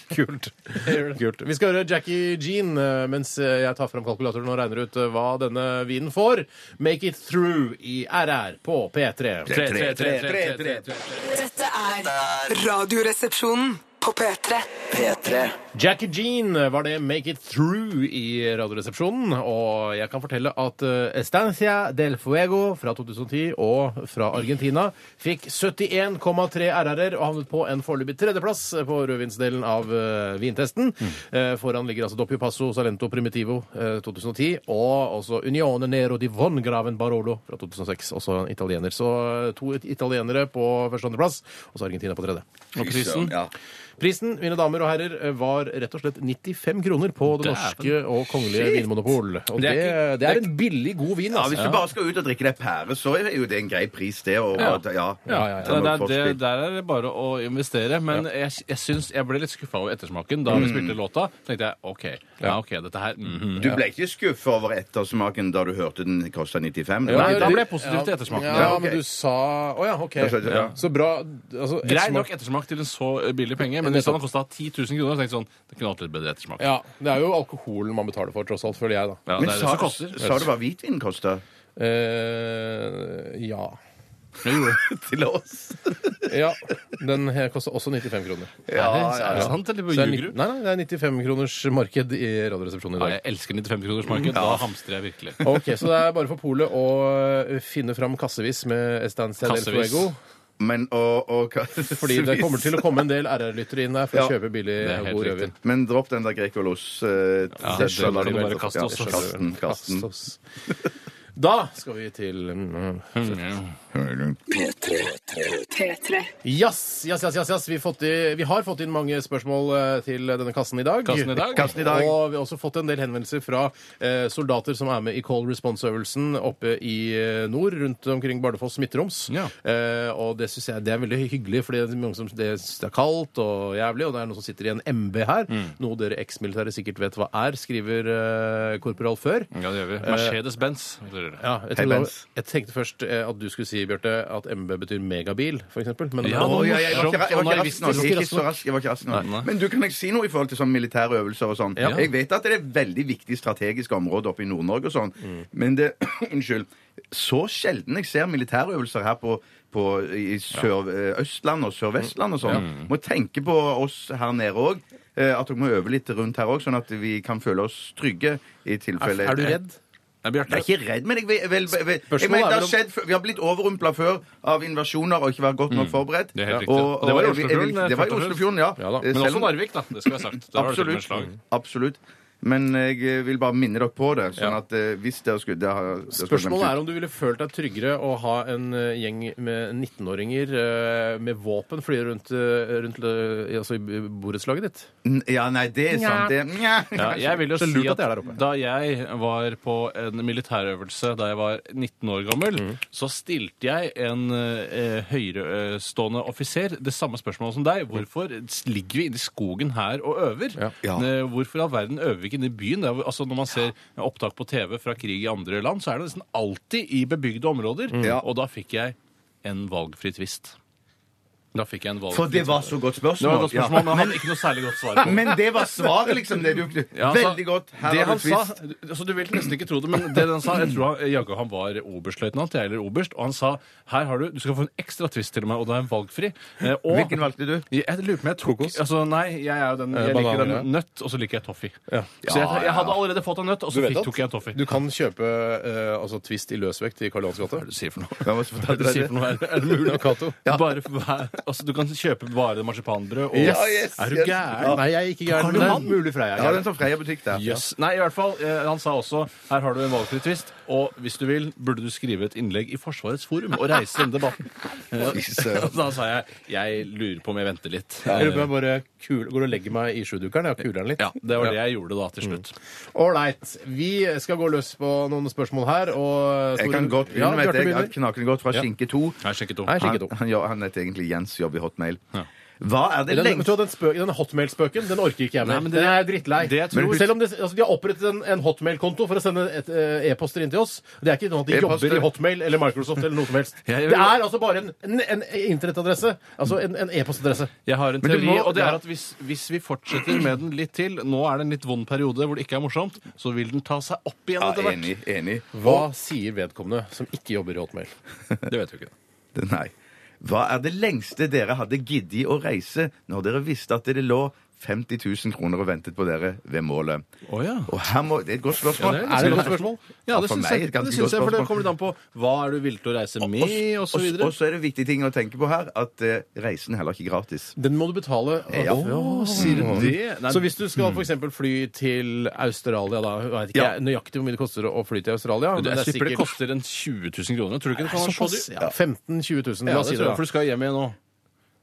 Speaker 3: *laughs* Kult. Kult. Vi skal høre Jackie Jean eh, mens eh, jeg tar fram kalkulatoren og regner ut eh, hva denne vinen får. Make it through i RR på P3.
Speaker 4: Tre, tre, tre, tre, tre, tre.
Speaker 6: Dette er Radioresepsjonen på P3.
Speaker 2: P3
Speaker 3: Jackie Jean var det Make It Through i Radioresepsjonen. Og jeg kan fortelle at eh, Estancia del Fuego fra 2010 og fra Argentina fikk 71,3 RR-er og havnet på en foreløpig tredjeplass på rødvinsdelen av eh, vintesten. Eh, Foran ligger altså Doppio Passo Salento Primitivo eh, 2010 og også Unione Nero di Von Graven Barolo fra 2006. Også en italiener. Så eh, to it- italienere på første og andreplass, og så Argentina på tredje.
Speaker 4: Og prisen?
Speaker 5: Ja.
Speaker 3: Prisen mine damer og herrer, var rett og slett 95 kroner på det
Speaker 4: Dæven.
Speaker 3: norske og kongelige vinmonopol. Og det,
Speaker 4: Det er
Speaker 3: det,
Speaker 4: ikke-
Speaker 3: er, en billig, god vin.
Speaker 5: Ja, hvis
Speaker 3: Altså.
Speaker 5: du bare skal ut og drikke deg pære, så er jo det en grei pris, det. Og,
Speaker 4: Ja.
Speaker 5: og- ja.
Speaker 3: Ja, ja, ja.
Speaker 5: Ta
Speaker 4: Det,
Speaker 5: noe
Speaker 4: det, det,
Speaker 5: forspill.
Speaker 4: der er det bare å investere. Men jeg, jeg syns jeg ble litt skuffa over ettersmaken da vi
Speaker 3: Mm.
Speaker 4: spilte låta. tenkte jeg OK, ja, ok, dette her mhm.
Speaker 5: Du ble ikke skuffa over ettersmaken da du hørte den kosta 95? Det var
Speaker 4: Nei,
Speaker 5: ikke
Speaker 4: da
Speaker 5: det.
Speaker 4: ble jeg positiv til ettersmaken.
Speaker 3: Ja,
Speaker 5: Ja, ok.
Speaker 3: men du sa Å ja, OK.
Speaker 5: Da skjønte jeg, ja.
Speaker 3: Så bra. Altså,
Speaker 4: Grei
Speaker 3: ettersmak-
Speaker 4: nok ettersmak til en så eh, billig penge, men hvis den hadde kosta 10 000 kroner, tenkte jeg sånn Det kunne hatt litt bedre ettersmak.
Speaker 3: Ja, Det er jo alkoholen man betaler for, tross alt, føler jeg, da.
Speaker 4: Ja,
Speaker 5: Men
Speaker 4: det er det
Speaker 5: sa,
Speaker 4: som koster.
Speaker 5: sa du hva
Speaker 4: *laughs*
Speaker 5: hvitvin kosta?
Speaker 3: Eh, ja.
Speaker 4: Jeg gjorde det.
Speaker 5: Til *laughs* oss?
Speaker 3: ja. Den her koster også 95 kroner.
Speaker 5: Ja, ja,
Speaker 4: Er det
Speaker 5: ja.
Speaker 4: sant, eller
Speaker 3: Så det er ni-
Speaker 4: ljuger du?
Speaker 3: nei, nei, det er 95 kroners marked i Radioresepsjonen i
Speaker 4: Nei,
Speaker 3: dag.
Speaker 4: jeg elsker 95 kroners marked. Da hamstrer jeg virkelig.
Speaker 3: Ok, Så det er bare for polet å eh, finne fram kassevis med Estancia del
Speaker 4: Kassevis.
Speaker 3: Fuego.
Speaker 5: Men og, og
Speaker 4: *laughs*
Speaker 3: Fordi det kommer til å komme en del RR-lyttere inn der for
Speaker 5: Ja.
Speaker 3: å kjøpe billig
Speaker 4: Det er
Speaker 3: og
Speaker 4: helt
Speaker 3: god
Speaker 4: riktig.
Speaker 3: rødvin.
Speaker 5: Men dropp den der Grecolos. Eh,
Speaker 4: Ja,
Speaker 5: til
Speaker 4: det må
Speaker 5: salaten.
Speaker 4: du bare kaste oss. altså.
Speaker 5: Ja, kast den, kast den.
Speaker 3: Kastos. Da skal vi til mm,
Speaker 6: P3.
Speaker 3: Jazz, jazz, jazz, jazz, jazz. Vi, har fått i- vi har fått inn mange spørsmål eh, til denne *laughs* kassen i dag.
Speaker 4: Kassen i dag.
Speaker 5: Kassen i dag.
Speaker 3: Og vi har også fått en del henvendelser fra eh, soldater som er med i Call Response-øvelsen oppe i eh, nord, rundt omkring Bardufoss Midtroms.
Speaker 4: Ja.
Speaker 3: Eh, og det syns jeg det er veldig hyggelig, fordi det er mange som det, synes det er kaldt og jævlig, og det er noen som sitter i en MB her,
Speaker 4: Mm.
Speaker 3: noe dere eksmilitære sikkert vet hva er, skriver eh, korporal før.
Speaker 4: Ja, det gjør vi. Mercedes-Benz.
Speaker 3: Ja, jeg,
Speaker 5: Hei,
Speaker 3: trodde,
Speaker 5: Benz.
Speaker 3: jeg tenkte først eh, at du skulle si, Bjarte, at MB betyr megabil, for eksempel. Men
Speaker 4: Ja,
Speaker 3: Å,
Speaker 5: Å, ja, ja, jeg var ikke ra- jeg var ikke
Speaker 4: Morsomt
Speaker 5: rask nok.
Speaker 4: og
Speaker 5: Jeg er ikke så rask, jeg var ikke rask nok.
Speaker 4: Nei, nei.
Speaker 5: Men du, kan jeg si noe i forhold til sånn militære øvelser og sånn? Jeg vet at det er veldig viktig strategisk område oppe i Nord-Norge og sånn, men det *clears throat* Unnskyld. så sjelden jeg ser militærøvelser her på på, i Sør-Østland og Sør-Vestland og sånn. Må tenke på oss her nede òg. At dere må øve litt rundt her òg, sånn at vi kan føle oss trygge. i
Speaker 3: Er,
Speaker 5: tilfelle...
Speaker 3: er du redd?
Speaker 4: Nei,
Speaker 5: Jeg
Speaker 4: Bjarte,
Speaker 5: er ikke redd, men jeg, vil- jeg, vil- jeg, vil- jeg
Speaker 3: Spørsmålet
Speaker 5: mener,
Speaker 3: er
Speaker 5: det
Speaker 3: vel
Speaker 5: har
Speaker 3: om-
Speaker 5: skjedd, før- Vi har blitt overrumpla før av invasjoner og ikke vært godt nok forberedt.
Speaker 4: Mm. Det er helt riktig.
Speaker 5: og,
Speaker 4: Og det var i
Speaker 5: og jeg vil- jeg vil-
Speaker 4: Oslofjorden,
Speaker 5: Det var i
Speaker 4: først og fremst.
Speaker 5: Oslofjorden, ja.
Speaker 3: Ja da.
Speaker 5: Eh,
Speaker 4: men
Speaker 5: selv
Speaker 4: også
Speaker 5: om-
Speaker 4: Narvik, da. Det skulle jeg sagt. Der var det til og med
Speaker 5: Absolutt. Mm.
Speaker 4: slag.
Speaker 5: Absolutt. Men jeg eh, vil bare minne dere på det, sånn
Speaker 3: Ja.
Speaker 5: at eh, hvis dere skulle det har, det skulle jeg glemt
Speaker 3: Spørsmålet
Speaker 5: ut.
Speaker 3: er om du ville følt deg tryggere å ha en eh, gjeng med 19-åringer eh, med våpen fly rundt, eh, rundt eh, altså i b- borettslaget ditt.
Speaker 5: N- Ja, nei, det er sant. Det, nja.
Speaker 4: Ja, jeg vil jo
Speaker 3: Så
Speaker 4: si
Speaker 3: lurt at
Speaker 4: at
Speaker 3: det er der oppe.
Speaker 4: da jeg var på en militærøvelse da jeg var 19 år gammel,
Speaker 5: Mm.
Speaker 4: så stilte jeg en eh, høyrestående offiser det samme spørsmålet som deg. Hvorfor ligger vi inne i skogen her og øver?
Speaker 5: Ja.
Speaker 4: Eh, Hvorfor i all verden øver vi ikke inne i byen? Det er, jo- altså, når man ser opptak på TV fra krig i andre land, så er det nesten alltid i bebygde områder.
Speaker 5: Mm. Ja.
Speaker 4: Og da fikk jeg en valgfri tvist. Da fikk jeg en valgfri
Speaker 5: For det var så godt spørsmål.
Speaker 4: Det var et godt spørsmål, men
Speaker 5: Ja.
Speaker 4: jeg hadde ikke noe særlig godt svar på.
Speaker 5: Men det var svaret, liksom. Det du,
Speaker 4: Ja, altså,
Speaker 5: veldig godt. Her
Speaker 4: det
Speaker 5: har
Speaker 4: han
Speaker 5: du twist.
Speaker 4: sa, altså, Du vil nesten ikke tro det, men det han sa Jeg tror han, jaggu han var oberstløytnant, jeg, eller oberst, og han sa her har du du skal få en ekstra twist til meg, og det er en valgfri. Eh, og,
Speaker 5: Hvilken valgte du?
Speaker 4: Jeg lurer på om jeg tok altså, Nei, jeg er jo den
Speaker 3: Eh,
Speaker 4: Jeg liker
Speaker 3: banan,
Speaker 4: den nøtt, og så liker jeg toffee. Så jeg,
Speaker 5: Ja,
Speaker 4: jeg hadde allerede fått en nøtt, og så fikk, tok jeg en toffee.
Speaker 3: du kan kjøpe eh, altså, Twist i løsvekt i Karl Johans gate?
Speaker 4: du sier for noe?
Speaker 5: Hvem var det som
Speaker 4: Hva er det du
Speaker 5: fortalte deg
Speaker 4: sier
Speaker 5: det?
Speaker 4: for noe her?
Speaker 5: *laughs*
Speaker 4: Er det mulig?
Speaker 3: Mulla Cato.
Speaker 4: Bare for, hver- altså, du kan kjøpe bare marsipanbrød og
Speaker 5: Ja, yes,
Speaker 4: Er du
Speaker 5: yes.
Speaker 4: gæren?
Speaker 3: Nei, jeg er ikke gæren.
Speaker 4: Karl
Speaker 3: men det er
Speaker 4: Johan?
Speaker 3: mulig for deg.
Speaker 5: Ja, den som Freia butikk der.
Speaker 4: Jøss. Nei, i hvert fall, eh, han sa også her har du en valgfri tvist, og hvis du vil, burde du skrive et innlegg i Forsvarets forum og reise denne *laughs* debatten. Eh, *laughs* da sa jeg jeg lurer på om jeg venter litt.
Speaker 3: Jeg lurer på om jeg bare kul, går og legger meg i sjudukeren. Jeg kuler den litt.
Speaker 4: Ja, Mm. Det var det jeg gjorde da til slutt.
Speaker 3: Ålreit. Vi skal gå løs på noen spørsmål her. Og
Speaker 5: Jeg kan godt begynne,
Speaker 3: ja,
Speaker 5: vet jeg.
Speaker 3: Bjarte
Speaker 5: jeg. Knakende godt fra Skinke 2.
Speaker 4: Jeg sjekket opp.
Speaker 3: Nei,
Speaker 5: Han,
Speaker 3: Skinke 2.
Speaker 5: han, ja, han heter egentlig Jens, jobber i Hotmail. Hva er det
Speaker 3: Den, vet du
Speaker 5: lengste
Speaker 3: hva, den, spø- den hotmail-spøken den orker ikke jeg mer.
Speaker 4: Nei, men
Speaker 3: Den
Speaker 4: det-
Speaker 3: er jeg drittlei.
Speaker 4: det jeg tror-
Speaker 3: Selv om det, altså, de har opprettet en, en hotmail-konto for å sende et, eh, e-poster inn til oss. Det er ikke noe at de
Speaker 5: E-poster.
Speaker 3: jobber i Hotmail eller Microsoft eller noe som helst.
Speaker 4: Ja, jeg vil-
Speaker 3: Det er altså bare en, en, en internettadresse. Altså en, en e-postadresse.
Speaker 4: Jeg har en
Speaker 5: Men du
Speaker 4: teori,
Speaker 5: må-
Speaker 4: og det
Speaker 5: ja.
Speaker 4: er at hvis, hvis vi fortsetter med den litt til Nå er det en litt vond periode hvor det ikke er morsomt, så vil den ta seg opp igjen
Speaker 5: ja,
Speaker 4: etter hvert.
Speaker 5: Enig. enig.
Speaker 3: Hva sier vedkommende som ikke jobber i Hotmail?
Speaker 4: Det vet vi ikke.
Speaker 5: Nei. Hva er det lengste dere hadde giddet å reise når dere visste at det lå 50 000 kroner og ventet på dere ved målet?
Speaker 4: Å ja.
Speaker 5: Og her må, det er et godt spørsmål.
Speaker 4: Ja,
Speaker 3: Er det et godt spørsmål?
Speaker 4: Ja,
Speaker 5: for
Speaker 4: det syns
Speaker 5: meg
Speaker 4: jeg.
Speaker 5: et ganske
Speaker 4: Det syns
Speaker 5: godt
Speaker 4: jeg, for det
Speaker 5: spørsmål.
Speaker 4: kommer litt an på hva er du villig til å reise med, og så
Speaker 5: Og
Speaker 4: videre.
Speaker 5: og så er det viktige ting å tenke på her, at eh, reisen er heller ikke gratis.
Speaker 3: Den må du betale.
Speaker 5: Ja. Mm.
Speaker 3: Å,
Speaker 4: Sier du det? Nei,
Speaker 3: Så hvis du skal for eksempel fly til Australia, da jeg vet ikke
Speaker 5: Ja.
Speaker 3: jeg nøyaktig hvor mye det koster å fly til Australia men
Speaker 4: Det,
Speaker 3: det er
Speaker 4: jeg slipper det
Speaker 3: sikkert
Speaker 4: koster en 20 000 kroner. Tror du ikke det kan være så
Speaker 3: såpass.
Speaker 4: dyrt?
Speaker 3: Ja. 15 000-20 000,
Speaker 4: Ja,
Speaker 3: la
Speaker 4: det
Speaker 3: oss si det.
Speaker 4: tror jeg,
Speaker 3: da.
Speaker 4: for du skal hjem igjen nå.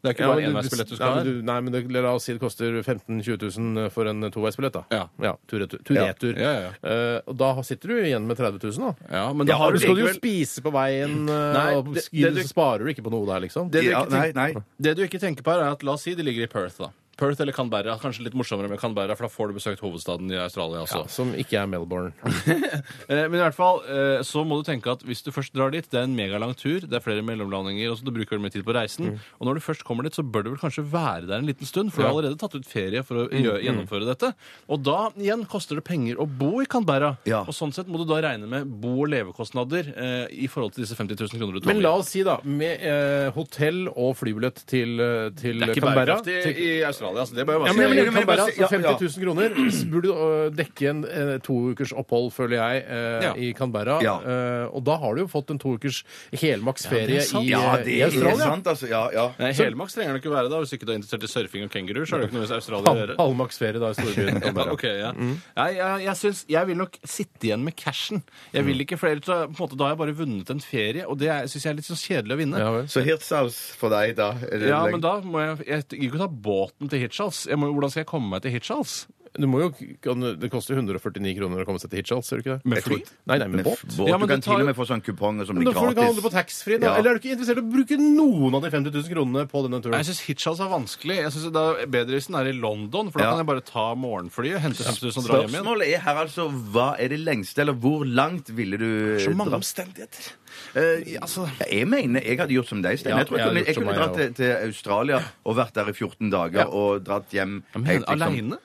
Speaker 4: Det er ikke
Speaker 3: Ja,
Speaker 4: bare
Speaker 3: men du-
Speaker 4: enveisbillett
Speaker 3: ja,
Speaker 4: du skal
Speaker 3: men
Speaker 4: ha.
Speaker 3: du- Nei, men det, La oss si det koster 15 000-20 000 for en toveisbillett, da.
Speaker 4: Ja.
Speaker 3: Tur-retur. Tur,
Speaker 5: Ja.
Speaker 3: retur.
Speaker 4: Ja, ja,
Speaker 3: Eh, og da sitter du igjen med 30 000, da.
Speaker 4: Ja, men
Speaker 5: Ja,
Speaker 4: da har
Speaker 3: Du
Speaker 4: du
Speaker 3: skal jo
Speaker 4: likevel
Speaker 3: spise på veien, eh,
Speaker 4: Nei,
Speaker 3: og
Speaker 4: det-
Speaker 3: sk-
Speaker 4: det du-
Speaker 3: så sparer du ikke på noe der, liksom.
Speaker 4: det du,
Speaker 5: Ja,
Speaker 4: ikke
Speaker 5: nei,
Speaker 4: tenker,
Speaker 5: nei.
Speaker 4: det du ikke tenker på, her er at la oss si de ligger i Perth, da. Perth eller Canberra. Kanskje litt morsommere med Canberra, for da får du besøkt hovedstaden i Australia også.
Speaker 3: Som ikke er Melbourne.
Speaker 4: Eh, Men i hvert fall, eh, så må du tenke at hvis du først drar dit, det er en megalang tur, det er flere mellomlandinger, og så du bruker veldig mye tid på reisen, og når du først kommer dit, så bør du vel kanskje være der en liten stund, for du har allerede tatt ut ferie for å gjø- gjennomføre dette. Og da igjen koster det penger å bo i Canberra,
Speaker 5: Ja.
Speaker 4: og sånn sett må du da regne med bo- og levekostnader eh, i forhold til disse 50 000 kroner du tar
Speaker 3: Men la oss si, da, med eh, hotell og flybillett til, eh, til
Speaker 4: det er ikke
Speaker 3: Canberra
Speaker 4: bærekraftig i Australia, altså det bør jo
Speaker 3: Ja,
Speaker 4: være
Speaker 3: men,
Speaker 5: men-
Speaker 3: men,
Speaker 5: men-
Speaker 3: Canberra,
Speaker 5: men- ja,
Speaker 3: for 50 000 kroner så burde du øh, dekke en eh, to ukers opphold, føler jeg, eh,
Speaker 4: Ja.
Speaker 3: i Canberra.
Speaker 5: Ja.
Speaker 3: Eh, og da har du jo fått en to ukers helmaksferie
Speaker 4: Ja, det er sant.
Speaker 3: i, eh,
Speaker 5: Ja, det
Speaker 3: i
Speaker 5: er
Speaker 3: Australia.
Speaker 5: sant, altså. Ja, ja.
Speaker 4: Nei, Helmaks trenger det ikke være da, hvis ikke du er interessert i surfing og kenguruer, så er det jo ikke noe med Australia å
Speaker 3: Hal-
Speaker 4: gjøre.
Speaker 3: Halvmaksferie da i storbyen
Speaker 4: Ja,
Speaker 3: Canberra.
Speaker 4: ok, ja.
Speaker 5: Mm.
Speaker 4: Nei, jeg, jeg, syns, jeg vil nok sitte igjen med cashen. Jeg vil ikke flere, så, på en måte, Da har jeg bare vunnet en ferie, og det syns jeg er litt sånn kjedelig å vinne.
Speaker 3: Ja,
Speaker 4: *laughs* Ja,
Speaker 3: vel.
Speaker 5: Så Hirtshals for deg, da. er det lenge-
Speaker 4: men da må jeg Jeg gidder ikke å ta båten til Hirtshals. Jeg må, hvordan skal jeg komme meg til Hirtshals?
Speaker 3: Du må jo, kan, det koster 149 kroner å komme seg til Hitchhals, gjør det ikke det?
Speaker 4: Med
Speaker 3: Jeg
Speaker 4: fly?
Speaker 3: tror- Nei, nei, med
Speaker 5: Med
Speaker 3: båt.
Speaker 5: båt.
Speaker 4: Ja, men
Speaker 5: du kan
Speaker 4: det tar-
Speaker 5: til og med få sånne kuponger som
Speaker 3: Men
Speaker 5: blir
Speaker 3: da får du ikke handle på
Speaker 5: gratis.
Speaker 3: taxfree. da.
Speaker 5: Ja.
Speaker 3: Eller er du ikke interessert i å bruke noen av de 50 000 kronene på denne turen?
Speaker 4: Jeg syns Hitchhals er vanskelig. Jeg synes det er Bedre hvis den er i London, for da
Speaker 5: Ja.
Speaker 4: kan jeg bare ta morgenflyet, hente 50 000 og dra hjem igjen.
Speaker 5: Spørsmålet er her altså hva er det lengste, eller hvor langt ville du
Speaker 4: Så mange
Speaker 5: dra?
Speaker 4: omstendigheter.
Speaker 5: Eh, altså, jeg mener jeg hadde gjort som deg, Stein.
Speaker 3: Ja,
Speaker 5: jeg tror jeg,
Speaker 3: jeg hadde
Speaker 5: kunne,
Speaker 3: gjort
Speaker 5: jeg
Speaker 3: som meg,
Speaker 5: kunne dratt
Speaker 3: jeg
Speaker 5: til, til Australia og vært der i 14 dager og dratt hjem
Speaker 4: Men,
Speaker 5: helt liksom- sånn-
Speaker 4: Aleine?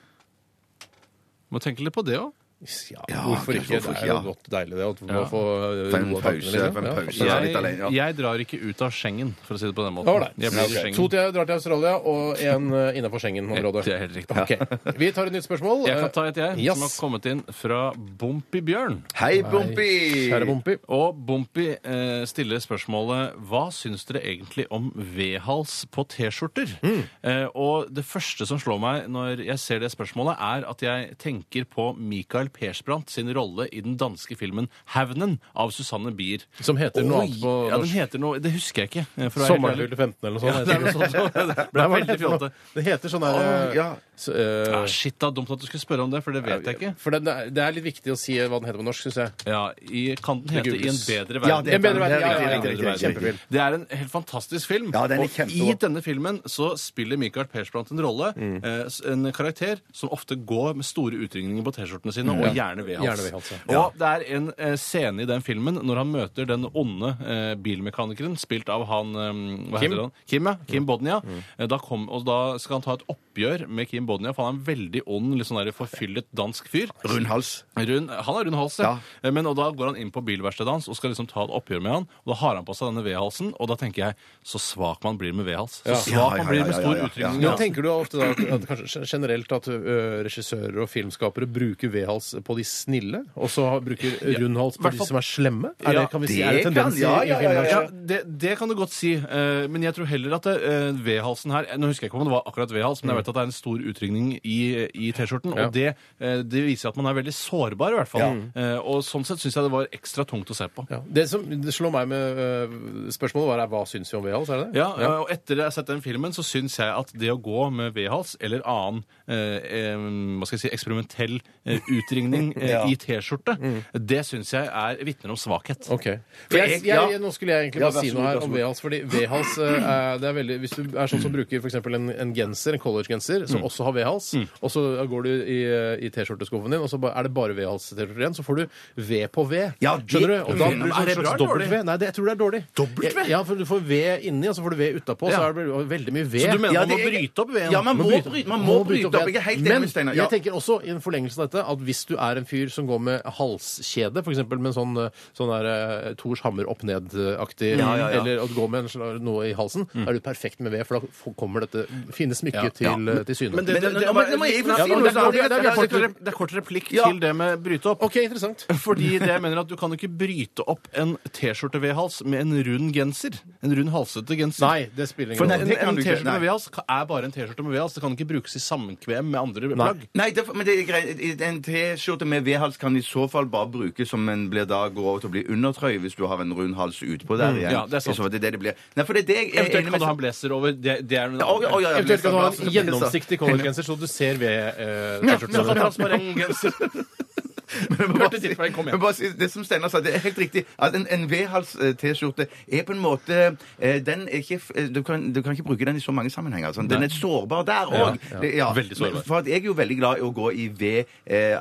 Speaker 4: Må tenke litt på det òg.
Speaker 3: Ja, hvorfor
Speaker 5: kanskje
Speaker 3: ikke? Det
Speaker 5: hvorfor
Speaker 3: er
Speaker 5: ikke,
Speaker 3: jo
Speaker 5: ja.
Speaker 3: godt deilig det. At man
Speaker 4: Ja.
Speaker 3: får eh,
Speaker 5: For en
Speaker 3: roa
Speaker 5: pause,
Speaker 3: tankene, liksom.
Speaker 5: for en
Speaker 3: Ja.
Speaker 5: pause.
Speaker 3: Ja.
Speaker 5: er litt alene, ja.
Speaker 4: Jeg, jeg drar ikke ut av Schengen, for å si det på den måten.
Speaker 3: Ålreit.
Speaker 4: Jeg blir i
Speaker 3: Ok.
Speaker 4: Schengen.
Speaker 3: To til jeg drar til Australia, og én innafor Schengen-området.
Speaker 4: Det er helt riktig.
Speaker 3: Ok. Vi tar et nytt spørsmål. Eh,
Speaker 4: Jeg kan ta et, jeg,
Speaker 3: Yes.
Speaker 4: som har kommet inn fra Bompi Bjørn.
Speaker 5: Hei, Bompi!
Speaker 3: Kjære Bompi.
Speaker 4: Og Bompi eh, stiller spørsmålet Hva syns dere egentlig om V-hals på T-skjorter?
Speaker 3: Mm.
Speaker 4: Eh, og det første som slår meg når jeg ser det spørsmålet, er at jeg tenker på Michael Persbrandt sin rolle i den danske filmen 'Havnen' av Susanne Bier.
Speaker 3: Som heter noe
Speaker 4: Oi!
Speaker 3: annet på
Speaker 4: Ja, den
Speaker 3: norsk.
Speaker 4: heter noe Det husker jeg ikke. eh, for å være helt
Speaker 3: Sommerfugl
Speaker 4: ærlig. *laughs*
Speaker 3: 15 eller noe sånt.
Speaker 4: Ja, det er noe sånt. som- *laughs* Det ble
Speaker 3: Nei, hva er
Speaker 4: veldig
Speaker 3: det for noe?
Speaker 4: fjollete.
Speaker 3: Det heter sånn der
Speaker 5: Å, ja.
Speaker 3: s- eh,
Speaker 4: Ah, shit, da. Dumt at du skulle spørre om det, for det vet jeg ikke.
Speaker 3: For den, det er litt viktig å si hva den heter på norsk, syns jeg.
Speaker 4: Ja, i, Kan den
Speaker 3: Det
Speaker 4: hete 'I en
Speaker 3: googles.
Speaker 4: bedre verden'?
Speaker 5: Ja, det er
Speaker 3: En bedre
Speaker 5: det er
Speaker 3: verden, ja,
Speaker 5: riktig,
Speaker 3: ja,
Speaker 5: riktig,
Speaker 3: ja,
Speaker 5: riktig, riktig.
Speaker 3: kjempefilm.
Speaker 4: Det er en helt fantastisk film.
Speaker 5: Ja, den er
Speaker 4: og
Speaker 5: kjempebra.
Speaker 4: i denne filmen så spiller Michael Persbrandt en rolle.
Speaker 3: Mm.
Speaker 4: eh, s- En karakter som ofte går med store utringninger på T-skjortene sine, og gjerne ved hals.
Speaker 3: Mm, Gjerne ved hals,
Speaker 4: Og det er en eh, scene i den filmen når han møter den onde eh, bilmekanikeren, spilt av han eh, hva
Speaker 3: Kim? Mm.
Speaker 4: heter han? Kim, ja. Kim Bodnia. Eh, Da, kom, og da skal han ta et oppgjør med Kim Bodnia, for han er en veldig ond, litt sånn der forfyllet dansk fyr.
Speaker 5: Rund hals.
Speaker 4: Rund, han har rund hals, ja. Men, og da går han inn på bilverkstedet hans og skal liksom ta et oppgjør med han. Og da har han på seg denne V-halsen, og da tenker jeg så svak man blir med V-hals. Så svak
Speaker 5: Ja, ja,
Speaker 4: man blir med
Speaker 5: ja, ja,
Speaker 4: stor
Speaker 5: ja, ja.
Speaker 4: utrykning.
Speaker 3: Men tenker du ofte da at, at kanskje generelt at ø, regissører og filmskapere bruker V-hals på de snille, og så har- bruker rund hals på de
Speaker 4: Hvertfall-
Speaker 3: som er slemme? Er det,
Speaker 4: Ja,
Speaker 3: kan vi si,
Speaker 5: det
Speaker 3: er det
Speaker 5: kan-
Speaker 3: tendens i-
Speaker 5: ja,
Speaker 3: i
Speaker 5: ja, ja, ja,
Speaker 3: filmbransjen?
Speaker 4: Ja, det, det kan du godt si, eh, men jeg tror heller at eh, V-halsen her Nå husker jeg ikke om det var akkurat V-hals, men jeg vet at det er en stor utrykning i, i T-skjorten.
Speaker 3: Ja.
Speaker 4: Og det, eh, det viser at man er veldig sårbar, i hvert fall. Eh, og sånn sett syns jeg det var ekstra tungt å se på.
Speaker 3: Ja. Det som det slår meg med ø, spørsmålet, var er, hva syns vi om V-hals? Er det det?
Speaker 4: Ja, eh, og etter jeg har sett den filmen, så syns jeg at det å gå med V-hals eller annen eh, eh, hva skal jeg si, eksperimentell eh, utringning eh, i T-skjorte, det syns jeg er vitner om svakhet.
Speaker 3: Ok. Jeg,
Speaker 5: jeg-
Speaker 3: jeg,
Speaker 5: ja.
Speaker 3: nå skulle jeg egentlig
Speaker 5: Ja,
Speaker 3: bare
Speaker 5: vær
Speaker 3: si
Speaker 5: så
Speaker 3: noe
Speaker 5: god,
Speaker 3: her
Speaker 5: vær så
Speaker 3: om
Speaker 5: god.
Speaker 3: V-hals. fordi V-hals eh, er, det er veldig, Hvis du er sånn som bruker f.eks. En, en genser, en collegegenser, som også har V-hals, og så går du i, eh, i T-skjorteskuffen din, og så ba- er det bare V-hals-T-skjorter igjen, så får du V på V.
Speaker 5: Ja, det- sånn
Speaker 3: Skjønner du? Og da
Speaker 5: Men
Speaker 3: blir det sånn
Speaker 5: er
Speaker 3: en
Speaker 5: det bra
Speaker 3: slags
Speaker 5: eller
Speaker 3: W. Nei, det, jeg tror det er dårlig.
Speaker 5: W?
Speaker 3: Ja, for du får V inni, og så får du V utapå, så
Speaker 4: Ja.
Speaker 3: er det vel- veldig mye V.
Speaker 4: Så du mener
Speaker 5: Ja,
Speaker 4: man må
Speaker 5: det-
Speaker 4: bryte opp V-en?
Speaker 5: Ja, man må bryte, man må bryte opp.
Speaker 3: igjen.
Speaker 5: Jeg er helt enig
Speaker 3: Men
Speaker 5: med Steinar.
Speaker 3: jeg
Speaker 5: Ja.
Speaker 3: tenker også i en forlengelse av dette at hvis du er en fyr som går med halskjede, f.eks. med en sånn, eh, sånn der eh, Thors hammer opp ned-aktig,
Speaker 5: Ja, ja, ja.
Speaker 3: eller at går med en, sla- noe i halsen, er du perfekt med ved, for da f- kommer dette fine smykket
Speaker 4: Ja, ja.
Speaker 3: til, eh, til syne.
Speaker 4: Men det,
Speaker 5: Men-
Speaker 4: det, det,
Speaker 5: nå må- nå må jeg få si
Speaker 4: Ja, men
Speaker 5: noe,
Speaker 4: det er
Speaker 5: så-
Speaker 4: kort- det er- det er
Speaker 5: Ja,
Speaker 4: kort
Speaker 5: ja, ja.
Speaker 4: rep- sånn. det er kort replikk
Speaker 5: Ja.
Speaker 4: til det med bryte opp.
Speaker 3: OK, *laughs* interessant.
Speaker 4: Fordi det jeg mener at du kan ikke bryte opp en T-skjorte-V-hals med en rund genser. En rund halsete genser.
Speaker 3: Nei, det spiller
Speaker 4: For
Speaker 3: ingen
Speaker 4: en,
Speaker 3: rolle.
Speaker 5: det kan
Speaker 4: en
Speaker 5: du ikke.
Speaker 4: T-skjorte med
Speaker 5: Nei.
Speaker 4: V-hals ka- er bare en T-skjorte med V-hals. Det kan ikke brukes i sammenkvem med andre plagg.
Speaker 5: Nei, det, er- men det er greit. En T-skjorte med V-hals kan i så fall bare brukes som en blir da går over til å bli undertrøye hvis du har en rund hals utpå der igjen.
Speaker 4: Mm, Ja, det er sant.
Speaker 5: I så fall, det er det det blir. Nei, for det er det jeg er
Speaker 4: Eventuelt
Speaker 5: enig
Speaker 4: kan
Speaker 5: med
Speaker 4: du ha en blazer over. Det, det er en
Speaker 5: Å, ja, å, ja, ja,
Speaker 3: Eventuelt kan du ha en
Speaker 5: blazer,
Speaker 3: gjennomsiktig collegegenser, så du ser
Speaker 4: Men
Speaker 3: ved-T-skjorta.
Speaker 4: altså, bare en genser.
Speaker 5: Men
Speaker 4: Hørte
Speaker 5: bare-
Speaker 4: til for deg, kom igjen.
Speaker 5: men bare si- Det som Steinar sa, det er helt riktig. At en, en V-hals-T-skjorte er på en måte eh, Den er ikke f- eh, du kan, du kan ikke bruke den i så mange sammenhenger. Sånn. Den er sårbar der òg.
Speaker 4: ja.
Speaker 5: Ja,
Speaker 4: Veldig sårbar.
Speaker 5: Men- For at jeg er jo veldig glad i å gå i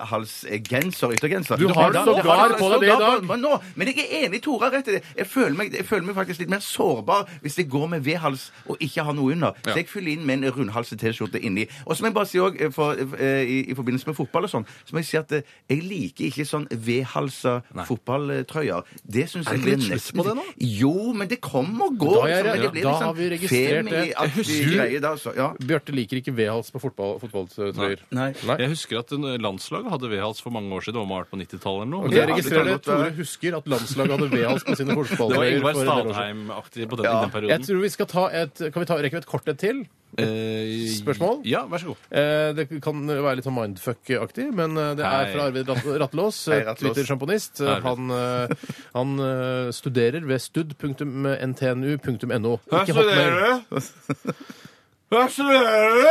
Speaker 5: V-halsgenser, yttergenser.
Speaker 3: Du har
Speaker 5: Men da-
Speaker 3: sågar
Speaker 5: Jeg har
Speaker 3: på deg det i
Speaker 5: sågar
Speaker 3: dag.
Speaker 5: på- Men, nå, men jeg er enig, Tora har rett i det. Jeg føler, meg, jeg føler meg faktisk litt mer sårbar hvis jeg går med V-hals og ikke har noe under. Så jeg fyller inn med en rundhalset T-skjorte inni. Og så må jeg bare si også, eh, for, eh, i, i forbindelse med fotball og sånn, så må jeg si at eh, jeg liker ikke sånn V-halsa fotballtrøyer. Det syns jeg
Speaker 4: ikke
Speaker 5: blir
Speaker 4: litt slutt
Speaker 5: nesten
Speaker 4: på det nå?
Speaker 5: Jo, men det kommer og
Speaker 3: Da er
Speaker 5: går.
Speaker 3: jeg-
Speaker 5: liksom, men det blir
Speaker 3: da
Speaker 5: litt
Speaker 3: har
Speaker 5: sånn
Speaker 3: vi registrert det.
Speaker 5: feminiaktig
Speaker 3: Husker du-
Speaker 5: greie da, så, altså. ja.
Speaker 3: Bjarte liker ikke V-hals på fotball, fotballtrøyer.
Speaker 5: Nei.
Speaker 4: Jeg husker at en- landslaget hadde V-hals for mange år siden. Det var malt på 90-tallet eller noe.
Speaker 3: Ok,
Speaker 4: Men
Speaker 3: jeg
Speaker 4: det-
Speaker 3: registrerer at
Speaker 5: det kan godt
Speaker 3: Tore
Speaker 5: være.
Speaker 3: husker at landslaget hadde V-hals på
Speaker 4: *laughs*
Speaker 3: sine
Speaker 4: det var
Speaker 3: fotballtrøyer. for
Speaker 4: Ingvar
Speaker 3: en del år siden.
Speaker 4: Stadheim-aktig på den,
Speaker 5: Ja.
Speaker 4: i den
Speaker 3: Jeg
Speaker 4: perioden.
Speaker 3: tror vi skal ta et, Kan vi ta, rekke vi et kort et til?
Speaker 4: Eh,
Speaker 3: Spørsmål?
Speaker 4: Ja, vær så god.
Speaker 3: Eh, det kan være litt sånn mindfuck-aktig, men eh, det er
Speaker 4: Hei.
Speaker 3: fra Arvid
Speaker 4: *laughs*
Speaker 3: Rat- Rattlås,
Speaker 5: Hei, Rattlås.
Speaker 3: Twitter-sjamponist. Eh,
Speaker 4: Arvid.
Speaker 3: Han, eh, han eh, studerer ved stud.ntnu.no.
Speaker 4: Hva
Speaker 3: Ikke
Speaker 4: studerer
Speaker 3: hotmail.
Speaker 4: du? Hva studerer du?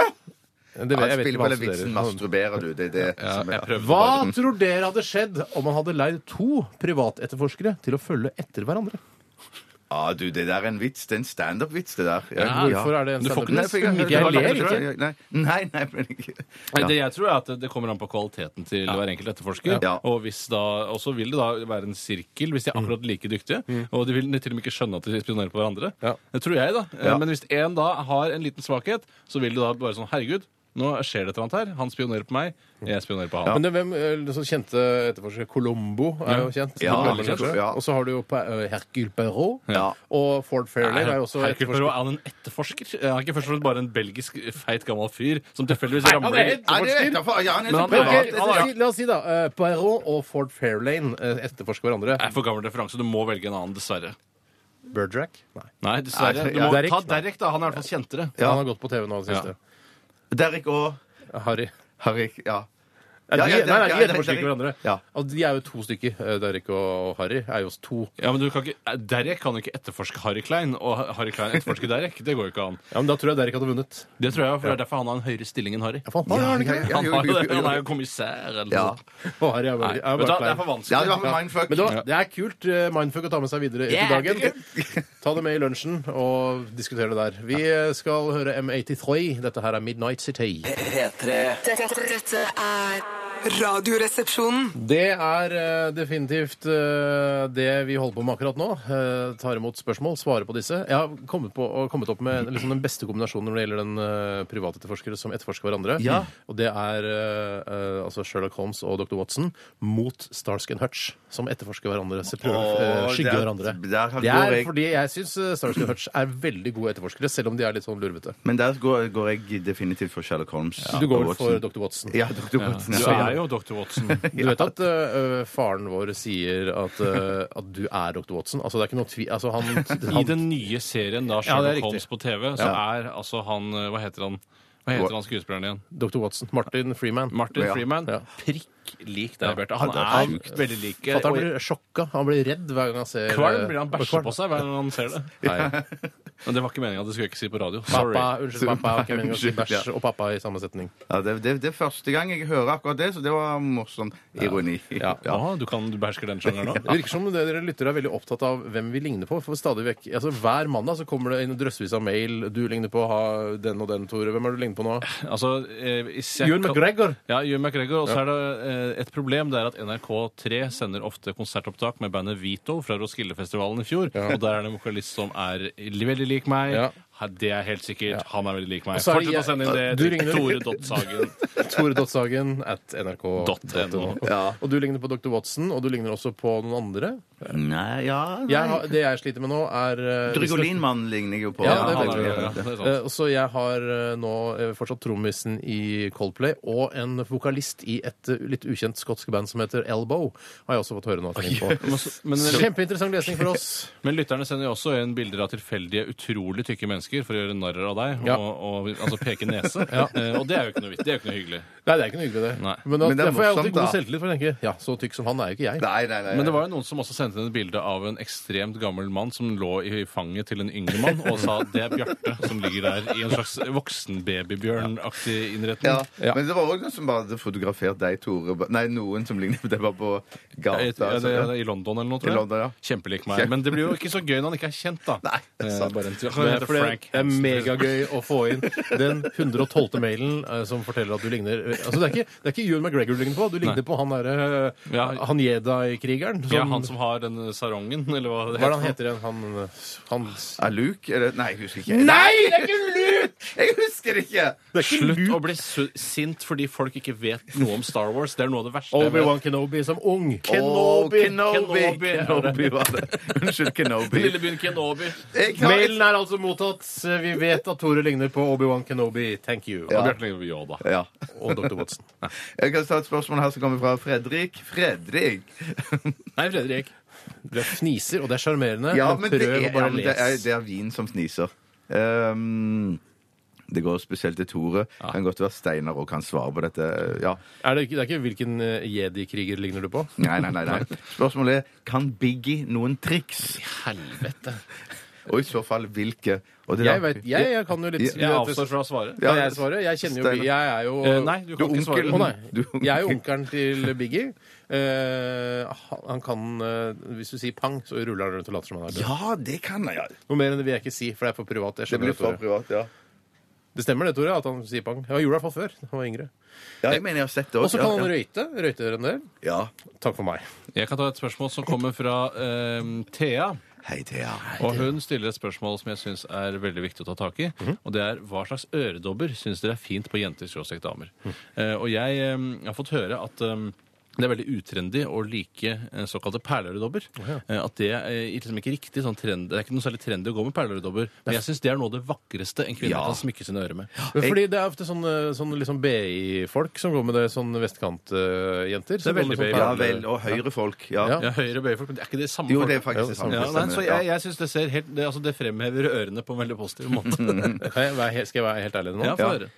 Speaker 3: Det vet, jeg
Speaker 5: Han
Speaker 3: vet
Speaker 5: spiller
Speaker 3: ikke hva
Speaker 5: på
Speaker 3: han
Speaker 5: den vitsen
Speaker 3: studerer.
Speaker 5: masturberer, du. Det er det
Speaker 4: Ja,
Speaker 5: som er
Speaker 4: jeg prøvde
Speaker 3: Hva
Speaker 4: bare.
Speaker 3: tror dere hadde skjedd om man hadde leid to privatetterforskere til å følge etter hverandre?
Speaker 5: Ja, Ah, du, det der er en vits. Det er en standup-vits, det der.
Speaker 4: Ja,
Speaker 3: hvorfor er det en
Speaker 4: Du får ikke
Speaker 5: Nei,
Speaker 3: standup-vits?
Speaker 5: for jeg,
Speaker 3: Jeg ler ikke.
Speaker 5: Nei, nei, nei, men ikke.
Speaker 4: Nei, Det jeg tror er at det- det kommer an på kvaliteten til hver enkelt etterforsker.
Speaker 5: Ja.
Speaker 4: Og hvis da, og så vil det da være en sirkel hvis de
Speaker 5: Mm.
Speaker 4: er akkurat like dyktige. Og de vil til og med ikke skjønne at de spionerer på hverandre.
Speaker 3: Ja.
Speaker 4: Det tror jeg, da. Eh,
Speaker 5: Ja.
Speaker 4: Men hvis én da har en liten svakhet, så vil det da bare sånn Herregud, Nå skjer det et eller annet her. Han spionerer på meg, jeg spionerer på han.
Speaker 3: Men det, hvem eh, som kjente etterforsker Colombo er jo kjent.
Speaker 5: Ja,
Speaker 3: Veldig
Speaker 5: han er
Speaker 3: kjent.
Speaker 5: kjent, ja.
Speaker 3: Og så har du jo Pa- eh, Hercule Perrault
Speaker 5: Ja.
Speaker 3: og Ford Fairlane er jo også
Speaker 4: Hercule Poirot,
Speaker 3: etterforsker.
Speaker 4: er han en etterforsker? Er han ikke først og fremst bare en belgisk feit gammel fyr som tilfeldigvis
Speaker 3: han
Speaker 4: ramler
Speaker 3: er helt-
Speaker 5: Er det etterfor? Ja, han er
Speaker 4: Men
Speaker 5: så
Speaker 4: han-
Speaker 3: Men,
Speaker 5: privat.
Speaker 3: ok, la, oss si, la oss si da eh, Poirot og Ford Fairlane eh, etterforsker hverandre.
Speaker 4: Det er for gammel referanse. Du må velge en annen, dessverre.
Speaker 3: Bergerac? Nei.
Speaker 4: Nei, dessverre.
Speaker 5: Nei,
Speaker 4: Du må
Speaker 3: Derek,
Speaker 4: ta Derek, da. Han er i hvert fall kjentere.
Speaker 3: Han har gått på TV nå i det siste.
Speaker 5: Derek og
Speaker 3: Harry.
Speaker 5: Harry. Ja.
Speaker 3: Er
Speaker 5: Ja,
Speaker 3: de,
Speaker 5: ja, det-
Speaker 3: nei, nei,
Speaker 5: ja,
Speaker 3: de
Speaker 5: det-
Speaker 3: etterforsker
Speaker 5: det-
Speaker 3: ikke hverandre.
Speaker 5: ja.
Speaker 3: Altså, de er jo to stykker. eh, Derek og Harry er jo to.
Speaker 4: Ja, men du kan ikke, eh, Derek kan ikke etterforske Harry Klein, og Harry Klein etterforsker Derek. Det går jo ikke an.
Speaker 3: Ja, men Da tror jeg Derek hadde vunnet.
Speaker 4: Det tror jeg, for det er derfor han har en høyere stilling enn Harry.
Speaker 3: Ja, faen, har han ikke det?
Speaker 5: Ja,
Speaker 4: Han,
Speaker 5: jo,
Speaker 4: har jo
Speaker 5: jo,
Speaker 4: det.
Speaker 5: jo,
Speaker 4: han er
Speaker 5: jo.
Speaker 4: jo kommissær eller
Speaker 5: Ja.
Speaker 4: noe.
Speaker 3: *laughs* Og Harry er
Speaker 4: Nei,
Speaker 3: bare, er
Speaker 4: vet du,
Speaker 3: bare
Speaker 4: hva, det er
Speaker 3: klein.
Speaker 4: for
Speaker 5: Ja, det
Speaker 4: vanskelig.
Speaker 5: var mindfuck.
Speaker 3: Men det, var, det er kult eh, mindfuck å ta med seg videre ut i dagen. Ta det med i lunsjen og diskutere det der. Vi eh, skal høre M83. Dette her er Midnight City.
Speaker 2: P3
Speaker 6: Dette, dette er Radioresepsjonen.
Speaker 3: Det er eh, definitivt eh, det vi holder på med akkurat nå. Eh, tar imot spørsmål, svarer på disse. Jeg har kommet, på, og kommet opp med liksom den beste kombinasjonen når det gjelder den eh, private etterforskere som etterforsker hverandre.
Speaker 5: Ja.
Speaker 3: Og det er eh, eh, altså Sherlock Holmes og dr. Watson mot Starsk and Hutch, som etterforsker hverandre. Så prøver, eh,
Speaker 5: Åh,
Speaker 3: skygger
Speaker 5: der-
Speaker 3: hverandre.
Speaker 5: der har-
Speaker 3: det
Speaker 5: går
Speaker 3: er
Speaker 5: jeg-
Speaker 3: fordi jeg syns Starsk and Hutch er veldig gode etterforskere, selv om de er litt sånn lurvete.
Speaker 5: Men der går, går jeg definitivt for Sherlock Holmes.
Speaker 3: Så du går
Speaker 5: og
Speaker 3: vel for
Speaker 5: Watson.
Speaker 3: dr. Watson?
Speaker 5: Ja, Dr. Watson.
Speaker 4: Du
Speaker 5: Ja.
Speaker 4: er jo Dr. Watson.
Speaker 3: Du vet at ø, ø, faren vår sier at,
Speaker 4: *laughs*
Speaker 3: ø, at du er dr. Watson? Altså, det er ikke noe tvi... Altså, han,
Speaker 4: I
Speaker 3: han
Speaker 4: den nye serien da
Speaker 3: Ja, det er
Speaker 4: Sherlock
Speaker 3: riktig.
Speaker 4: Holmes på TV, så er altså han eh, Hva heter han Hva heter han skuespilleren igjen?
Speaker 3: Dr. Watson. Martin Freeman.
Speaker 4: Martin
Speaker 5: Ja.
Speaker 4: Freeman.
Speaker 3: Ja.
Speaker 4: Prikk lik deg, Bjarte. Han
Speaker 5: det er
Speaker 4: er veldig lik.
Speaker 3: Fatter'n
Speaker 4: Og
Speaker 3: blir sjokka. Han blir redd hver gang han ser eh,
Speaker 4: Kvalm blir han bæsjer
Speaker 3: Kvalm.
Speaker 4: på seg hver gang han ser det.
Speaker 3: Nei.
Speaker 4: Men det var ikke meninga. Det skulle jeg ikke si på radio. Sorry.
Speaker 3: Pappa, unnskyld, pappa. har
Speaker 4: *laughs*
Speaker 3: Ikke meningen å si bæsj og pappa i samme setning.
Speaker 5: Ja, det, det, det er første gang jeg hører akkurat det, så det var morsom ironi. Ja.
Speaker 4: Aha, du, kan, du behersker den sjangeren nå?
Speaker 3: Det virker som dere lyttere er veldig opptatt av hvem vi ligner på. For stadig vekk, altså Hver mandag så kommer det inn drøssevis av mail. 'Du ligner på ha den og den, Tore'. Hvem er det du ligner
Speaker 4: *laughs*
Speaker 3: på nå?
Speaker 4: Altså, eh, hvis jeg kan- Ja, Ewan McGregor. Og så er det eh, et problem. Det er at NRK3 sender ofte konsertopptak med bandet Vito fra Roskildefestivalen i fjor. Og der er det en vokalist som er li- veldig lik meg.
Speaker 3: Ja.
Speaker 4: Ha- Det er helt sikkert. Han er veldig lik meg.
Speaker 3: Og så er det
Speaker 4: Fortsett
Speaker 3: jeg-
Speaker 4: å sende inn det
Speaker 3: Du
Speaker 4: til
Speaker 3: ringer- *laughs*
Speaker 4: Tore.sagen.
Speaker 3: Tore Dottsagen at nrk.no.
Speaker 5: Ja.
Speaker 3: Og du ligner på dr. Watson, og du ligner også på noen andre.
Speaker 5: Nei, ja nei.
Speaker 3: Jeg har, det jeg sliter med nå, er eh,
Speaker 5: Drygolin-mannen ligner jeg jo på.
Speaker 3: Ja,
Speaker 4: Ja,
Speaker 3: det
Speaker 4: han
Speaker 3: vet
Speaker 4: er
Speaker 3: vi.
Speaker 4: jo- ja, det er sant.
Speaker 3: *laughs* Eh, Så jeg har eh, nå eh, fortsatt trommisen i Coldplay og en vokalist i et eh, litt ukjent skotsk band som heter Elbow. Har jeg også fått høre noe ting på.
Speaker 4: Men,
Speaker 3: eh, Kjempeinteressant lesning for oss.
Speaker 4: *laughs* men lytterne sender jo også inn bilder av tilfeldige, utrolig tykke mennesker for å gjøre narr av deg.
Speaker 3: Ja.
Speaker 4: Og, og altså peke nese.
Speaker 3: Ja.
Speaker 4: Eh, og det er jo ikke noe vits. Det er jo ikke noe hyggelig.
Speaker 3: Nei, det er ikke noe hyggelig, det.
Speaker 4: Nei.
Speaker 3: Men, da,
Speaker 5: Men det er
Speaker 3: derfor har jeg
Speaker 5: morsomt,
Speaker 3: alltid god
Speaker 5: da.
Speaker 3: selvtillit for å tenke ja, så tykk som han er jo ikke jeg.
Speaker 5: Nei, nei, nei.
Speaker 4: Men det var jo noen som også sendte inn et bilde av en ekstremt gammel mann som lå i fanget til en yngre mann, og sa at det er Bjarte som ligger der i en slags voksenbabybjørn-aktig
Speaker 5: ja.
Speaker 4: innretning.
Speaker 3: Ja.
Speaker 5: Men det var òg noen som bare hadde fotografert deg, Tore. ba- Nei, noen som ligner på deg, bare på
Speaker 4: Ja,
Speaker 5: gata.
Speaker 4: jeg- ja, det,
Speaker 5: altså.
Speaker 4: det, I London eller noe,
Speaker 5: I
Speaker 4: tror jeg.
Speaker 5: London, ja.
Speaker 4: Kjempelik meg. Men det blir jo ikke så gøy når han ikke er kjent, da.
Speaker 5: Nei, det er
Speaker 4: Eh,
Speaker 5: sant.
Speaker 4: Bare en tur. Han
Speaker 3: Men
Speaker 4: heter
Speaker 3: for det
Speaker 4: Frank
Speaker 3: det er
Speaker 4: Hansen.
Speaker 3: megagøy å få inn den 112. mailen eh, som forteller at du ligner eh, Altså Det er ikke, det er ikke Ewan McGregor du ligner på. Du ligner på han derre eh,
Speaker 4: Ja.
Speaker 3: Han Jedi-krigeren.
Speaker 4: Ja,
Speaker 3: som-
Speaker 4: han som har den sarongen, eller hva det
Speaker 3: Hva er det han heter igjen? Han, eh, han
Speaker 5: Ja, Luke? Er det? Nei, jeg husker ikke.
Speaker 3: det er ikke Luke!
Speaker 5: Jeg husker det ikke!
Speaker 3: Det er ikke
Speaker 4: Slutt å
Speaker 3: Luke.
Speaker 4: bli su- sint fordi folk ikke vet noe om Star Wars. Det er noe av det verste. jeg vet.
Speaker 3: Obi-Wan Kenobi som ung.
Speaker 5: Åh, Kenobi.
Speaker 4: Kenobi.
Speaker 5: Kenobi var det. Unnskyld, Kenobi.
Speaker 4: Lille byen Kenobi.
Speaker 5: Jeg har-
Speaker 3: Mailen er altså mottatt. Vi vet at Tore ligner på Obi-Wan Kenobi. Thank you.
Speaker 4: Ja. Bjarte ligner på Yoda.
Speaker 5: Ja.
Speaker 3: Og Dr. Watson.
Speaker 5: Jeg kan ta et spørsmål her som kommer fra Fredrik. Fredrik!
Speaker 4: Nei, Fredrik.
Speaker 3: Du fniser, og det er sjarmerende.
Speaker 5: *laughs* Ja,
Speaker 3: men
Speaker 5: men det
Speaker 3: prøv
Speaker 5: er,
Speaker 3: å bare
Speaker 5: ja, men det er,
Speaker 3: lese.
Speaker 5: det er vin som fniser. Ehm, det går spesielt til Tore. Kan godt være Steinar og kan svare på dette. Ja.
Speaker 3: Er det, ikke, det er ikke hvilken eh, jedi-kriger ligner du på?
Speaker 5: Nei, nei, nei, nei. *laughs* Spørsmålet er kan Biggie noen triks,
Speaker 4: Helvete.
Speaker 5: og i så fall hvilke? Og det
Speaker 3: Jeg,
Speaker 5: da-
Speaker 3: vet, jeg, jeg kan jo litt
Speaker 5: Jeg
Speaker 4: Jeg
Speaker 3: du vet-
Speaker 4: avstår fra å svare.
Speaker 5: Ja,
Speaker 3: Kan jeg svare? Jeg kjenner jo
Speaker 5: Steinar.
Speaker 3: Biggie. Jeg er jo
Speaker 4: Eh, nei, du kan
Speaker 5: Du er
Speaker 4: ikke svare.
Speaker 5: onkel.
Speaker 3: Å
Speaker 5: Du
Speaker 3: nei.
Speaker 5: er onkel.
Speaker 3: Jeg er jo onkelen til Biggie. Eh, han- han kan eh, Hvis du sier pang, så ruller han rundt og later som han er død.
Speaker 5: Ja, det kan jeg. Ja.
Speaker 3: Noe mer enn det vil jeg ikke si, for det er for privat. Jeg
Speaker 5: Det
Speaker 3: skjønner
Speaker 5: blir
Speaker 3: det,
Speaker 5: for
Speaker 3: Tore.
Speaker 5: privat, ja.
Speaker 3: Det stemmer det, Tore, at han sier pang. Jeg gjorde det iallfall før. Han var yngre.
Speaker 5: ja. Jeg mener jeg har sett det
Speaker 3: Og så
Speaker 5: også.
Speaker 3: kan han
Speaker 5: ja, ja.
Speaker 3: røyte. Røyter en del.
Speaker 5: Ja.
Speaker 3: Takk for meg.
Speaker 4: Jeg kan ta et spørsmål som kommer fra eh, Thea.
Speaker 5: Hei, Thea.
Speaker 4: Og hun stiller et spørsmål som jeg syns er veldig viktig å ta tak i.
Speaker 3: Mhm.
Speaker 4: Og det er hva slags øredobber syns dere er fint på jenter skråstrek damer?
Speaker 3: Mhm.
Speaker 4: Eh, og jeg, eh, har fått høre at eh, det er veldig utrendy å like eh, såkalte perleøredobber. Eh, At det er eh, liksom ikke riktig sånn trend, Det er ikke noe særlig trendy å gå med perleøredobber, men jeg syns det er noe av det vakreste en kvinne
Speaker 5: Ja.
Speaker 4: kan smykke sine ører med.
Speaker 3: Men Fordi det er ofte sånne, sånne liksom BI-folk som går med det, sånn eh, vestkantjenter.
Speaker 4: Det er veldig
Speaker 3: sånn
Speaker 4: BI.
Speaker 5: Ja vel. Og Høyre-folk. Ja.
Speaker 3: Ja.
Speaker 4: Ja, høyre bøyefolk, men det er ikke det samme
Speaker 5: Jo,
Speaker 4: folk.
Speaker 5: det er faktisk det samme.
Speaker 4: ja, nei, så
Speaker 5: Stemmer,
Speaker 4: jeg, jeg synes det ser helt det, altså det fremhever ørene på en veldig positiv måte.
Speaker 3: Kan jeg være, he- skal jeg være helt ærlig nå?
Speaker 4: Ja, få høre.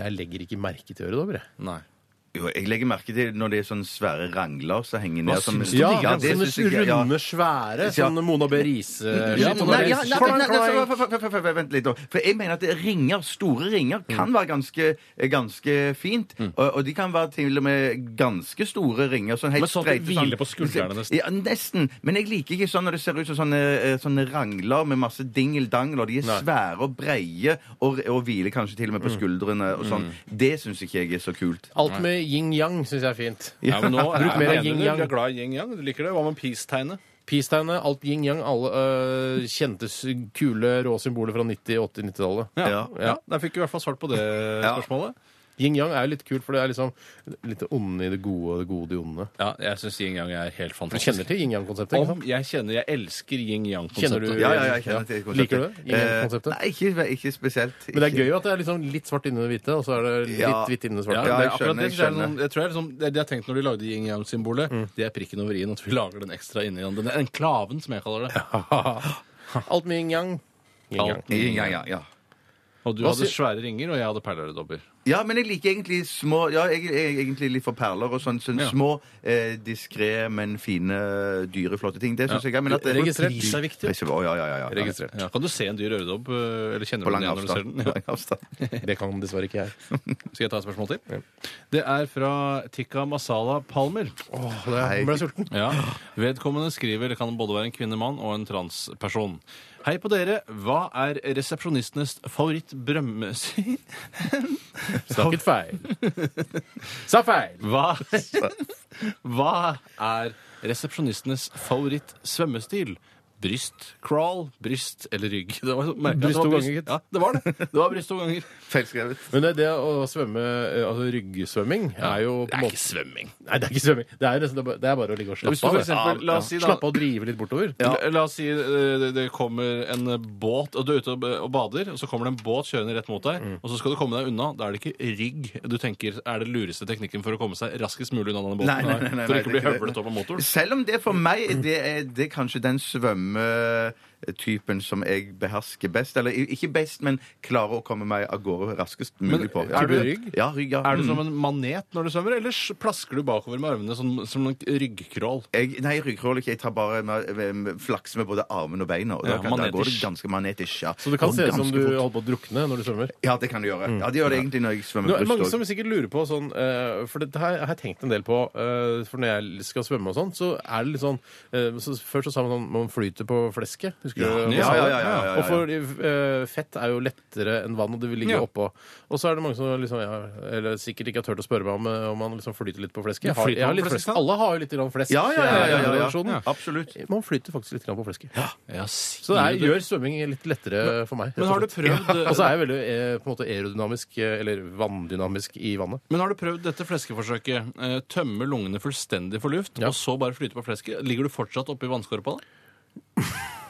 Speaker 3: Jeg legger ikke merke til øredobber, jeg.
Speaker 4: Nei.
Speaker 5: Jo, jeg legger merke til når det er sånne svære rangler som henger ned som
Speaker 4: syns du
Speaker 3: Ja,
Speaker 4: de
Speaker 5: ja,
Speaker 4: er?
Speaker 5: det
Speaker 3: sånne
Speaker 5: syns jeg, ja.
Speaker 3: runde, svære,
Speaker 5: Ja.
Speaker 3: sånn Mona B. Riise
Speaker 5: Ja,
Speaker 3: Mona
Speaker 5: nei,
Speaker 3: B.
Speaker 5: ja,
Speaker 3: Riise.
Speaker 5: nei, nei, nei, nei, så- vent- vent- vent- Vent litt, da. For jeg mener at det er ringer, store ringer kan være ganske, ganske fint. Og, og de kan være til og med ganske store ringer. Sånn helt
Speaker 4: Men sånn at det
Speaker 5: streite, sånn-
Speaker 4: hviler på skuldrene nesten.
Speaker 5: Ja, nesten. Men jeg liker ikke sånn når det ser ut som sånne, eh, sånne rangler med masse dingeldangler. De er svære og breie og, og hviler kanskje til og med på skuldrene og sånn. Det syns ikke jeg er så kult.
Speaker 3: Alt med yin-yang syns jeg er fint.
Speaker 4: Ja, men nå,
Speaker 3: Bruk mer
Speaker 4: Mener du
Speaker 3: yin-yang.
Speaker 4: Du er glad i yin-yang, du liker det. Hva med peace-tegnet?
Speaker 3: Peace-tegnet, alt yin-yang, alle øh, kjente s- kule, rå symboler fra 90-, 80-, 90-tallet.
Speaker 4: Ja.
Speaker 5: Ja.
Speaker 4: ja. Der fikk vi i hvert fall svart på det spørsmålet.
Speaker 3: Yin-yang er jo litt kult, for det er liksom litt det onde i det gode og det gode i det onde.
Speaker 4: Ja, jeg syns yin-yang er helt
Speaker 3: Du
Speaker 4: fantastisk.
Speaker 3: kjenner til yin-yang-konseptet? ikke
Speaker 4: Om
Speaker 3: sant?
Speaker 4: jeg kjenner Jeg elsker
Speaker 3: Kjenner du-
Speaker 4: yin-yang-konseptet.
Speaker 5: Ja, ja, jeg kjenner til konseptet.
Speaker 3: Liker du det? Ingen
Speaker 5: Eh,
Speaker 3: konseptet?
Speaker 5: Nei, ikke, ikke spesielt.
Speaker 3: Men det er gøy at det er liksom litt svart inni det hvite, og så er det litt
Speaker 5: Ja.
Speaker 3: hvitt inni det svarte.
Speaker 4: Ja,
Speaker 5: Ja,
Speaker 4: det,
Speaker 5: jeg
Speaker 4: er akkurat det,
Speaker 5: skjønner, jeg
Speaker 4: det, er sånn,
Speaker 5: skjønner.
Speaker 4: jeg tror jeg liksom, det, det jeg tenkte når de lagde yin-yang-symbolet, det er prikken over i-en. At vi lager den ekstra inni den. Den enklaven, som jeg kaller det.
Speaker 3: Alt med yin-yang. Yin-yang.
Speaker 4: Alt.
Speaker 5: Ja, ja, ja.
Speaker 4: Og du
Speaker 3: Hva
Speaker 4: hadde
Speaker 3: sier-
Speaker 4: svære ringer, og jeg hadde perleøredobber.
Speaker 5: Ja, men jeg liker egentlig små Ja, jeg jeg er egentlig litt for perler og sånn. sånn
Speaker 4: Ja.
Speaker 5: Små, eh, diskré, men fine, dyre, flotte ting. Det syns jeg er men at det-
Speaker 3: Registrert.
Speaker 5: Pris er viktig. Pris er- å, ja, ja, ja, ja.
Speaker 3: Registrert.
Speaker 4: Ja, kan du se en dyr øredobb? øh, Eller kjenner du
Speaker 5: På lang
Speaker 4: den igjen når du ser
Speaker 5: avstand.
Speaker 4: den?
Speaker 5: På lang avstand.
Speaker 3: Det kan dessverre ikke jeg.
Speaker 4: Skal jeg ta et spørsmål til? Det er fra Tikka Masala Palmer.
Speaker 3: Åh, det
Speaker 5: Nei.
Speaker 3: jeg ble sulten.
Speaker 4: Ja. Vedkommende skriver det kan både være en kvinne, mann og en transperson. Hei på dere. Hva er resepsjonistenes *laughs* favorittbrømmesyn?
Speaker 3: Snakket feil. Sa feil.
Speaker 4: Hva, *laughs* hva er resepsjonistenes favorittsvømmestil? Bryst, crawl, bryst eller rygg? Det var, så merkelig at
Speaker 3: Bryst
Speaker 4: det var
Speaker 3: to ganger, gitt.
Speaker 4: Ja, det var det. Det var bryst to ganger.
Speaker 5: Feilskrevet.
Speaker 3: Men det, det å svømme, eh, altså ryggsvømming, er jo på en måte
Speaker 4: svømming.
Speaker 3: Nei, det er ikke svømming. Det er, jo nesten, det er bare- det er bare å ligge og
Speaker 4: Hvis du
Speaker 3: slappe
Speaker 4: for
Speaker 3: av. det.
Speaker 4: eksempel, la oss si da-
Speaker 3: Slappe av og drive litt bortover.
Speaker 4: La- La oss si eh, det, det kommer en eh, båt, og du er ute og, og bader, og så kommer det en båt kjørende rett mot deg, og så skal du komme deg unna. Da er det ikke rygg du tenker er den lureste teknikken for å komme seg raskest mulig unna denne båten.
Speaker 5: Nei, nei, nei, nei,
Speaker 4: for
Speaker 5: nei,
Speaker 4: ikke å
Speaker 5: det
Speaker 4: bli
Speaker 5: er ikke det.
Speaker 4: høvlet opp av motoren.
Speaker 5: Selv om det for meg det er, det er kanskje den svømmetypen som jeg behersker best. Eller i- ikke best, men klarer å komme meg av gårde raskest mulig på. Ja.
Speaker 4: er du rygg?
Speaker 5: Ja, rygg, ja.
Speaker 4: Er du
Speaker 5: Mm.
Speaker 4: som en manet når du svømmer, eller s- plasker du bakover med armene som, som en ryggkrål?
Speaker 5: jeg, nei, ryggkrål ikke. Jeg tar bare flaks med både armen og beina. Og
Speaker 4: Ja,
Speaker 5: da, kan, da går det
Speaker 4: manetisk.
Speaker 5: ganske manetisk. Ja.
Speaker 3: Så det kan
Speaker 5: Og
Speaker 3: se ut som
Speaker 5: ganske
Speaker 3: du
Speaker 5: fort.
Speaker 3: holder på å drukne når du svømmer.
Speaker 5: Ja, det kan du gjøre.
Speaker 3: Mm.
Speaker 5: Ja, Det gjør det egentlig når jeg
Speaker 3: Nå
Speaker 5: svømmer
Speaker 3: er det mange
Speaker 5: bryst
Speaker 3: som
Speaker 5: òg.
Speaker 3: sikkert lurer på sånn eh, For dette her har jeg tenkt en del på. eh, for når jeg skal svømme og sånn, så er det litt sånn eh, så Før så sa man sånn man flyter på flesket. Husker du? hva man
Speaker 5: ja,
Speaker 3: sa
Speaker 5: ja,
Speaker 3: det?
Speaker 5: ja, ja, ja, ja.
Speaker 3: Og for eh, fett er jo lettere enn vann, og det vil ligge
Speaker 4: Ja.
Speaker 3: oppå. Og så er det mange som liksom, ja, eller sikkert ikke har turt å spørre meg om, eh, om man liksom flyter litt på flesket. Jeg har,
Speaker 4: Flyter
Speaker 3: jeg
Speaker 4: man
Speaker 3: har
Speaker 4: på
Speaker 3: litt flesk.
Speaker 4: flesket, da?
Speaker 3: Alle har jo litt grann flesk.
Speaker 5: Ja, ja, ja, ja, ja, ja,
Speaker 3: generasjonen.
Speaker 5: ja. Absolutt.
Speaker 3: Man flyter faktisk litt grann på flesket.
Speaker 4: Ja, sier
Speaker 3: Så det er,
Speaker 4: du
Speaker 3: gjør svømming litt lettere for meg. rett
Speaker 4: Men
Speaker 3: og
Speaker 4: har du
Speaker 3: slett.
Speaker 4: prøvd,
Speaker 3: Og så er jeg veldig eh, på en måte aerodynamisk, eh, eller vanndynamisk, i vannet.
Speaker 4: men har du prøvd dette fleskeforsøket? Eh, Tømme lungene fullstendig for luft,
Speaker 3: Ja.
Speaker 4: og så bare flyte på flesket? Ligger du fortsatt oppi vannskorpa da?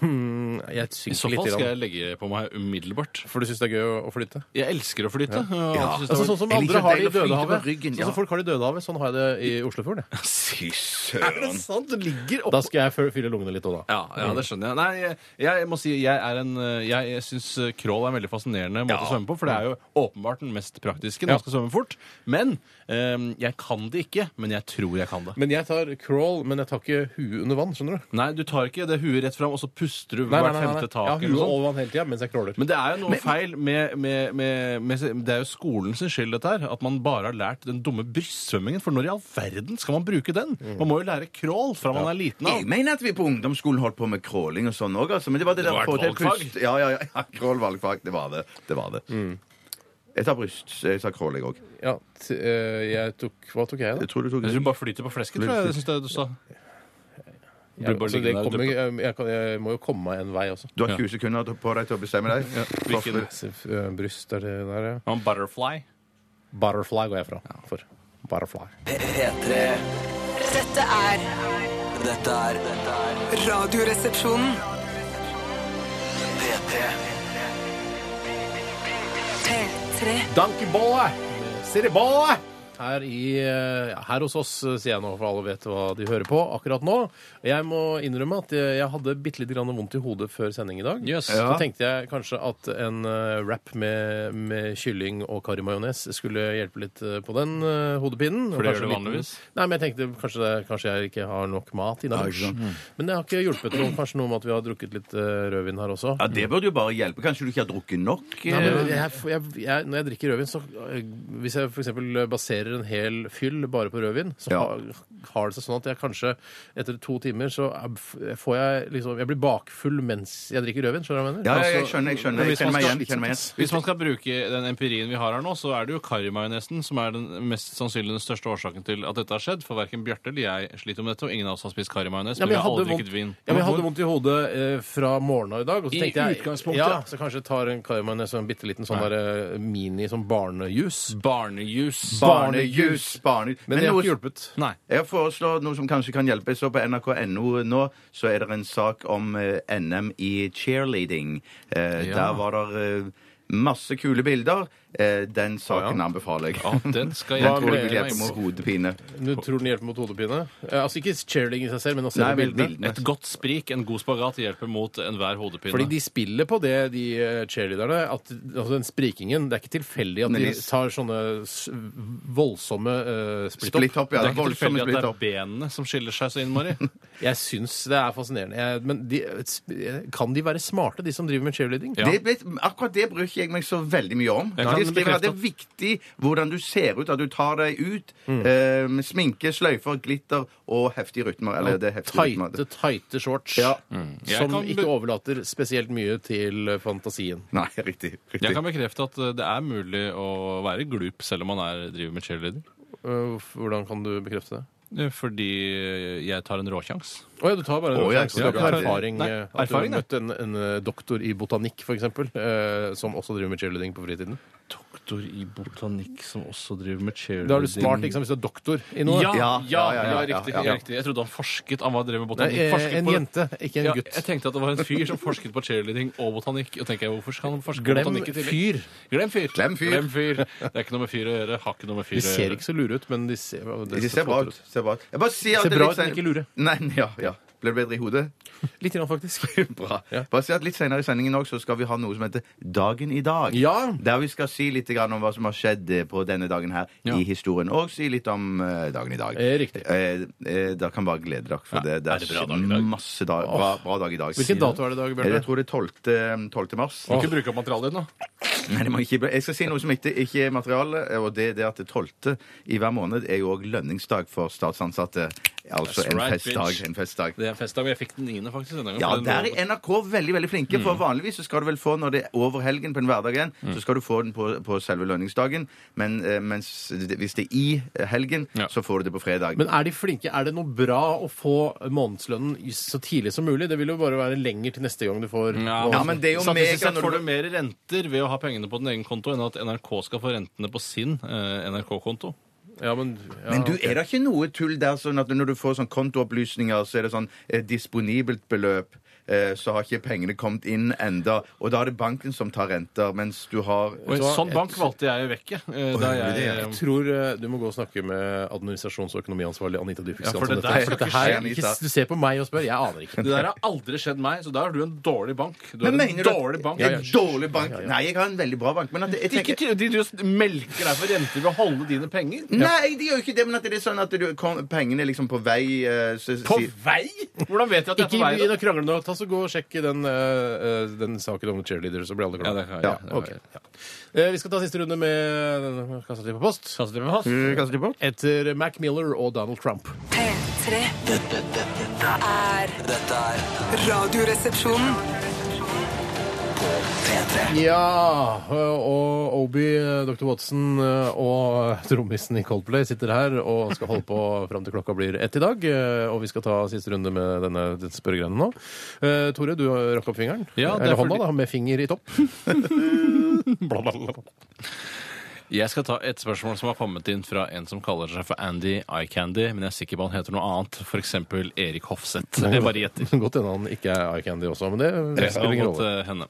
Speaker 3: Jeg
Speaker 4: I så
Speaker 3: synker
Speaker 4: fall
Speaker 3: litt.
Speaker 4: skal
Speaker 3: Grann.
Speaker 4: jeg legge på meg umiddelbart.
Speaker 3: For du syns det er gøy å, å flyte?
Speaker 4: Jeg elsker å flyte. og
Speaker 5: Ja.
Speaker 4: synes det
Speaker 3: Altså,
Speaker 4: var-
Speaker 3: sånn som
Speaker 5: Jeg liker
Speaker 3: andre har det i
Speaker 5: deilig å flyte på
Speaker 3: Dødehavet.
Speaker 5: ryggen,
Speaker 3: Sånn
Speaker 5: ja.
Speaker 3: som folk har det i Dødehavet, sånn har jeg det i Oslofjorden. jeg.
Speaker 5: Fy søren.
Speaker 4: sant? Du ligger
Speaker 3: Da skal jeg fø- fylle lungene litt òg, da.
Speaker 4: Ja, ja, det skjønner jeg. Nei, jeg, jeg må si jeg er en eh, Jeg, jeg syns crawl er en veldig fascinerende måte å svømme på, for det er jo åpenbart den mest praktiske når man skal svømme fort. Men eh, jeg kan det ikke, men jeg tror jeg kan det.
Speaker 3: Men jeg tar crawl, men jeg tar ikke huet under vann, skjønner du.
Speaker 4: Nei, du tar ikke det huet rett fram, og så puster du
Speaker 3: Nei, nei,
Speaker 4: hvert
Speaker 3: nei, nei.
Speaker 4: femte tak.
Speaker 3: Jeg har
Speaker 4: eller
Speaker 3: huet sånn.
Speaker 4: noe sånt.
Speaker 3: over vann hele tida mens jeg crawler.
Speaker 4: Men det er jo noe feil med, med, med, med Det er jo skolen sin skyld, dette her. At man bare har lært den dumme brystsvømmingen. For når i all verden skal man bruke den?
Speaker 3: Mm.
Speaker 4: Man må jo lære crawl fra man er liten av.
Speaker 5: Jeg mener at vi på ungdomsskolen holdt på med crawling og sånn òg, altså. Men det var det,
Speaker 4: Det
Speaker 5: der
Speaker 4: var et
Speaker 5: få til
Speaker 4: valgfag.
Speaker 5: pust- Ja, ja, ja. ja crawl valgfag. Det var det. Det var det.
Speaker 3: Mm.
Speaker 5: Jeg tar bryst. så Jeg tar crawl, jeg òg.
Speaker 3: Ja, t eh, jeg tok Hva tok jeg, da?
Speaker 5: Jeg tror du tok
Speaker 4: Jeg tror du bare flyter på flesket, tror jeg. jeg synes det du sa. Blir bare
Speaker 3: altså, det
Speaker 4: liggende der.
Speaker 3: kommer, jeg, jeg, kan, jeg må jo komme meg en vei også.
Speaker 5: Du har 20 sekunder til- på deg til å bestemme deg.
Speaker 4: Hvilken-
Speaker 5: Slåss
Speaker 3: Se, f- eh, Bryst er det der, ja.
Speaker 4: Han butterfly.
Speaker 3: Butterfly går jeg fra. For. Butterfly.
Speaker 2: P3.
Speaker 6: Dette er
Speaker 2: Dette er dette er
Speaker 6: Radioresepsjonen.
Speaker 2: P3.
Speaker 6: P3.
Speaker 3: Donkeybolle! Siribolle! Her, i, eh, ja, her hos oss, eh, sier jeg nå, for alle vet hva de hører på akkurat nå. Jeg må innrømme at jeg, jeg hadde bitte litt grann vondt i hodet før sending i dag.
Speaker 4: Yes.
Speaker 5: Ja.
Speaker 3: Så tenkte jeg kanskje at en eh, wrap med, med kylling og karrimajones skulle hjelpe litt eh, på den eh, hodepinen.
Speaker 4: For det gjør
Speaker 3: Kanskje
Speaker 4: du
Speaker 3: en liten-
Speaker 4: vanligvis?
Speaker 3: Nei, men jeg tenkte kanskje, det, kanskje jeg ikke har nok mat innabords. men det har ikke hjulpet noe. Kanskje noe med at vi har drukket litt eh, rødvin her også.
Speaker 5: Ja, Det burde jo bare hjelpe. Kanskje du ikke har drukket nok?
Speaker 3: Nei, men Eh, jeg, jeg, jeg, når jeg drikker rødvin, så øh, Hvis jeg f.eks. baserer en hel fyll bare på rødvin, så
Speaker 5: Ja.
Speaker 3: har, har det seg sånn at jeg kanskje etter to timer så er- f- får jeg liksom Jeg blir bakfull mens jeg drikker rødvin. Skjønner du hva jeg mener?
Speaker 5: Ja, ja, jeg skjønner. jeg skjønner. Jeg kjenner meg igjen. kjenner meg igjen.
Speaker 4: Hvis man skal bruke den empirien vi har her nå, så er det jo karrimajonesen som er den mest sannsynlig den største årsaken til at dette har skjedd. For verken Bjarte eller jeg sliter med dette, og ingen av oss har spist karrimajones.
Speaker 3: Ja, men
Speaker 4: men vi
Speaker 3: jeg
Speaker 4: har
Speaker 3: hadde
Speaker 4: aldri
Speaker 3: vondt,
Speaker 4: drikket
Speaker 3: ja,
Speaker 4: vin.
Speaker 3: men jeg hadde vondt i hodet eh, fra morgenen av i dag. Og så
Speaker 4: I
Speaker 3: tenkte jeg,
Speaker 4: utgangspunktet.
Speaker 3: Ja, så kanskje jeg tar en karriomanes og en bitte liten sånn der, eh, mini sånn barnejus.
Speaker 4: Barnejus.
Speaker 5: Barnejus. barne-
Speaker 3: Men det har
Speaker 5: noe-
Speaker 3: ikke hjulpet.
Speaker 4: Nei.
Speaker 5: Jeg foreslår noe som kanskje kan hjelpe. Så på nrk.no nå så er det en sak om eh, NM i cheerleading. Eh,
Speaker 4: Ja.
Speaker 5: Der var det eh, masse kule bilder. Eh, den saken anbefaler jeg.
Speaker 4: Å, den skal *laughs* jeg
Speaker 5: jeg tror det
Speaker 4: glede
Speaker 5: vil hjelpe
Speaker 4: meg
Speaker 5: mot hodepine.
Speaker 3: Du tror den hjelper mot hodepine? Eh, Altså ikke cheerleading i seg selv, men å se
Speaker 5: Nei,
Speaker 3: på
Speaker 5: men
Speaker 3: bildene.
Speaker 5: bildene.
Speaker 4: Et godt sprik, en god spagat, hjelper mot enhver hodepine.
Speaker 3: Fordi de spiller på det, de eh, cheerleaderne. At, altså den sprikingen Det er ikke tilfeldig at de
Speaker 5: Nemlig.
Speaker 3: tar sånne s voldsomme eh,
Speaker 5: Splitt
Speaker 3: splitt-opp.
Speaker 5: opp, ja.
Speaker 4: det er ikke tilfeldig
Speaker 5: Voldsomme
Speaker 4: at det
Speaker 5: splitt
Speaker 4: er
Speaker 5: opp.
Speaker 4: benene som skiller seg så innmari.
Speaker 3: Jeg syns det er fascinerende. Jeg, men de, kan de være smarte, de som driver med cheerleading?
Speaker 4: Ja.
Speaker 5: Det, vet, akkurat det bryr ikke jeg meg så veldig mye om.
Speaker 4: Jeg kan
Speaker 5: De skriver at
Speaker 4: bekrefte.
Speaker 5: Det
Speaker 4: Mm.
Speaker 5: er viktig hvordan du ser ut, at du tar deg ut eh, med sminke, sløyfer, glitter og heftige rytmer. Eller det er heftige rytmer.
Speaker 3: Tighte, tighte shorts
Speaker 5: Ja.
Speaker 4: Mm. Jeg
Speaker 3: som
Speaker 4: kan be-
Speaker 3: ikke overlater spesielt mye til eh, fantasien.
Speaker 5: Nei, *laughs* riktig. riktig.
Speaker 4: Jeg kan bekrefte at eh, det er mulig å være glup selv om man er, driver med cheerleader.
Speaker 3: Eh, Hvordan kan du bekrefte det?
Speaker 4: Eh, Fordi jeg tar en råsjans.
Speaker 3: Å ja, du tar bare en
Speaker 5: Å, ja,
Speaker 3: sjanse. Du
Speaker 5: så
Speaker 3: har
Speaker 5: det
Speaker 3: ikke
Speaker 5: er-
Speaker 3: erfaring,
Speaker 4: Nei,
Speaker 3: eh, at du har
Speaker 4: erfaring,
Speaker 3: møtt en, en eh, doktor i botanikk, f.eks., eh, som også driver med cheerleading på fritiden?
Speaker 4: Doktor i botanikk som også driver med cheerleading.
Speaker 3: Da er du smart ikke sant, hvis du er doktor i noe.
Speaker 4: Ja, ja, ja,
Speaker 5: Ja, ja, ja, ja,
Speaker 4: riktig,
Speaker 5: ja, ja.
Speaker 4: riktig. Jeg trodde han forsket. Han var drevet med
Speaker 3: Nei,
Speaker 4: botanikk.
Speaker 3: eh,
Speaker 4: forsket
Speaker 3: en
Speaker 4: på-
Speaker 3: jente, ikke en
Speaker 4: Ja,
Speaker 3: gutt.
Speaker 4: jeg tenkte at det var en fyr som forsket på cheerleading og botanikk. Og tenker jeg, hvorfor skal han forske på
Speaker 3: Glem
Speaker 4: botanikk i tillegg?
Speaker 3: fyr.
Speaker 4: Glem fyr.
Speaker 5: Glem fyr.
Speaker 4: Glem fyr. Det er ikke noe med fyr å gjøre. Har ikke noe med fyr
Speaker 3: De
Speaker 4: å
Speaker 3: ser
Speaker 4: gjøre.
Speaker 3: ikke så lure ut, men de ser,
Speaker 5: De ser bra ut. Ser bra ut. Jeg bare sier at
Speaker 3: Ser
Speaker 5: det er
Speaker 3: bra ut,
Speaker 5: litt
Speaker 3: men
Speaker 5: sen-
Speaker 3: ikke lure.
Speaker 5: Nei, *laughs* nei, ja, ja. Ble det bedre i hodet?
Speaker 3: Litt, grann, faktisk.
Speaker 4: *laughs*
Speaker 5: Bra.
Speaker 3: Ja.
Speaker 5: Bare si at Litt senere i sendingen også, så skal vi ha noe som heter Dagen i dag.
Speaker 3: Ja.
Speaker 5: Der vi skal si litt grann om hva som har skjedd eh, på denne dagen her
Speaker 4: Ja.
Speaker 5: i historien. Og si litt om eh, dagen i dag.
Speaker 3: Eh, riktig.
Speaker 5: Eh, eh, da kan bare glede dere, for
Speaker 4: Ja,
Speaker 5: det, det
Speaker 4: er
Speaker 5: er,
Speaker 4: det bra dag i dag?
Speaker 5: masse dag, bra, bra dag i dag.
Speaker 3: Hvilken dato er det i dag,
Speaker 5: Jeg
Speaker 3: Bjarte?
Speaker 5: tror det er 12. 12. mars.
Speaker 4: Må Ikke bruke opp materialet ditt nå.
Speaker 5: Nei, det må ikke bli. Jeg skal si noe som ikke, ikke er materiale, og det er det at det 12. i hver måned er jo òg lønningsdag for statsansatte. Altså
Speaker 4: That's
Speaker 5: en
Speaker 4: right,
Speaker 5: festdag.
Speaker 4: bitch.
Speaker 5: En festdag.
Speaker 4: Det er en festdag, men jeg fikk den niende, faktisk. denne gangen,
Speaker 5: Ja,
Speaker 4: for den
Speaker 5: der
Speaker 4: lå-
Speaker 5: er NRK veldig veldig flinke.
Speaker 4: Mm.
Speaker 5: For vanligvis så skal du vel få, når det er over helgen på en hverdag igjen, så skal du få den på, på selve lønningsdagen. Men eh, mens, det- hvis det er i helgen,
Speaker 4: Ja.
Speaker 5: så får du det på fredag.
Speaker 3: Men er de flinke? Er det noe bra å få månedslønnen i- så tidlig som mulig? Det vil jo bare være lenger til neste gang du får
Speaker 5: Ja, men det er jo mega
Speaker 4: Statistisk sett
Speaker 5: når
Speaker 4: får
Speaker 5: du-
Speaker 4: du mer renter ved å ha pengene på din egen konto enn at NRK skal få rentene på sin eh, NRK-konto.
Speaker 3: Ja, men, ja,
Speaker 5: Men du,
Speaker 3: ok.
Speaker 5: er det ikke noe tull der sånn at når du får sånn kontoopplysninger, så er det sånn eh, disponibelt beløp, eh, så har ikke pengene kommet inn enda, og da er det banken som tar renter, mens du har...
Speaker 4: Og en
Speaker 3: Så-
Speaker 4: sånn bank valgte jeg å vekke. eh, da
Speaker 5: gjorde
Speaker 4: jeg,
Speaker 5: det,
Speaker 3: Jeg tror eh, du må gå og snakke med administrasjons- og økonomiansvarlig Anita Dybvik
Speaker 4: Ja, for
Speaker 3: Skansen.
Speaker 4: det
Speaker 3: om
Speaker 4: der
Speaker 3: dette.
Speaker 4: skal
Speaker 3: Dette
Speaker 4: ikke
Speaker 3: her-
Speaker 5: skje, Anita.
Speaker 3: ikke- Du ser på meg og spør. Jeg aner ikke.
Speaker 4: det der har aldri skjedd meg, så da er du en dårlig bank. Du er
Speaker 5: Men
Speaker 4: en
Speaker 5: mener du at-
Speaker 4: dårlig bank.
Speaker 5: En dårlig bank? Nei, jeg har en veldig bra bank, men at jeg
Speaker 4: Ikke ty-
Speaker 5: tenker...
Speaker 4: de just melker deg for renter ved å holde dine penger.
Speaker 5: Nei, de gjør jo ikke det, men at det er sånn at du, kom, pengene er liksom på vei... eh, så-
Speaker 4: På
Speaker 5: si-
Speaker 4: vei?! Hvordan vet jeg at jeg er
Speaker 3: Ikke
Speaker 4: på vei?
Speaker 3: begynn å krangle nå. Ta så Gå og sjekk den, eh, eh, den saken om cheerleader, så blir alle
Speaker 4: Ja,
Speaker 3: glade.
Speaker 4: det kan jeg.
Speaker 5: Ja,
Speaker 4: det kan jeg.
Speaker 3: Eh, Vi skal ta siste runde med denne Kassa til på post.
Speaker 4: Kastet dere med oss?
Speaker 5: Eh, kastet de på?
Speaker 3: Etter Mac Miller og Donald Trump.
Speaker 6: P3
Speaker 2: Dette, dette, dette er
Speaker 6: er
Speaker 2: Dette er
Speaker 6: Radioresepsjonen.
Speaker 2: NRK P3.
Speaker 3: Ja, eh, og Obi, Dr. Watson eh, og trommisen i Coldplay sitter her og skal holde på fram til klokka blir ett i dag. eh, Og vi skal ta siste runde med denne dette spørregreiene nå. Eh, Tore, du rakk opp fingeren.
Speaker 4: Ja, det er
Speaker 3: Eller hånda,
Speaker 4: fordi-
Speaker 3: da, med finger i topp. Bla, bla, bla.
Speaker 4: Jeg skal ta et spørsmål som har kommet inn fra en som kaller seg for Andy Eye Candy, men jeg er sikker på han heter noe annet, f.eks. Erik Hofseth. Det bare gjetter.
Speaker 3: Godt hende han ikke er eye candy også, men det, det spiller ingen
Speaker 4: Mot,
Speaker 3: rolle.
Speaker 4: eh, henne.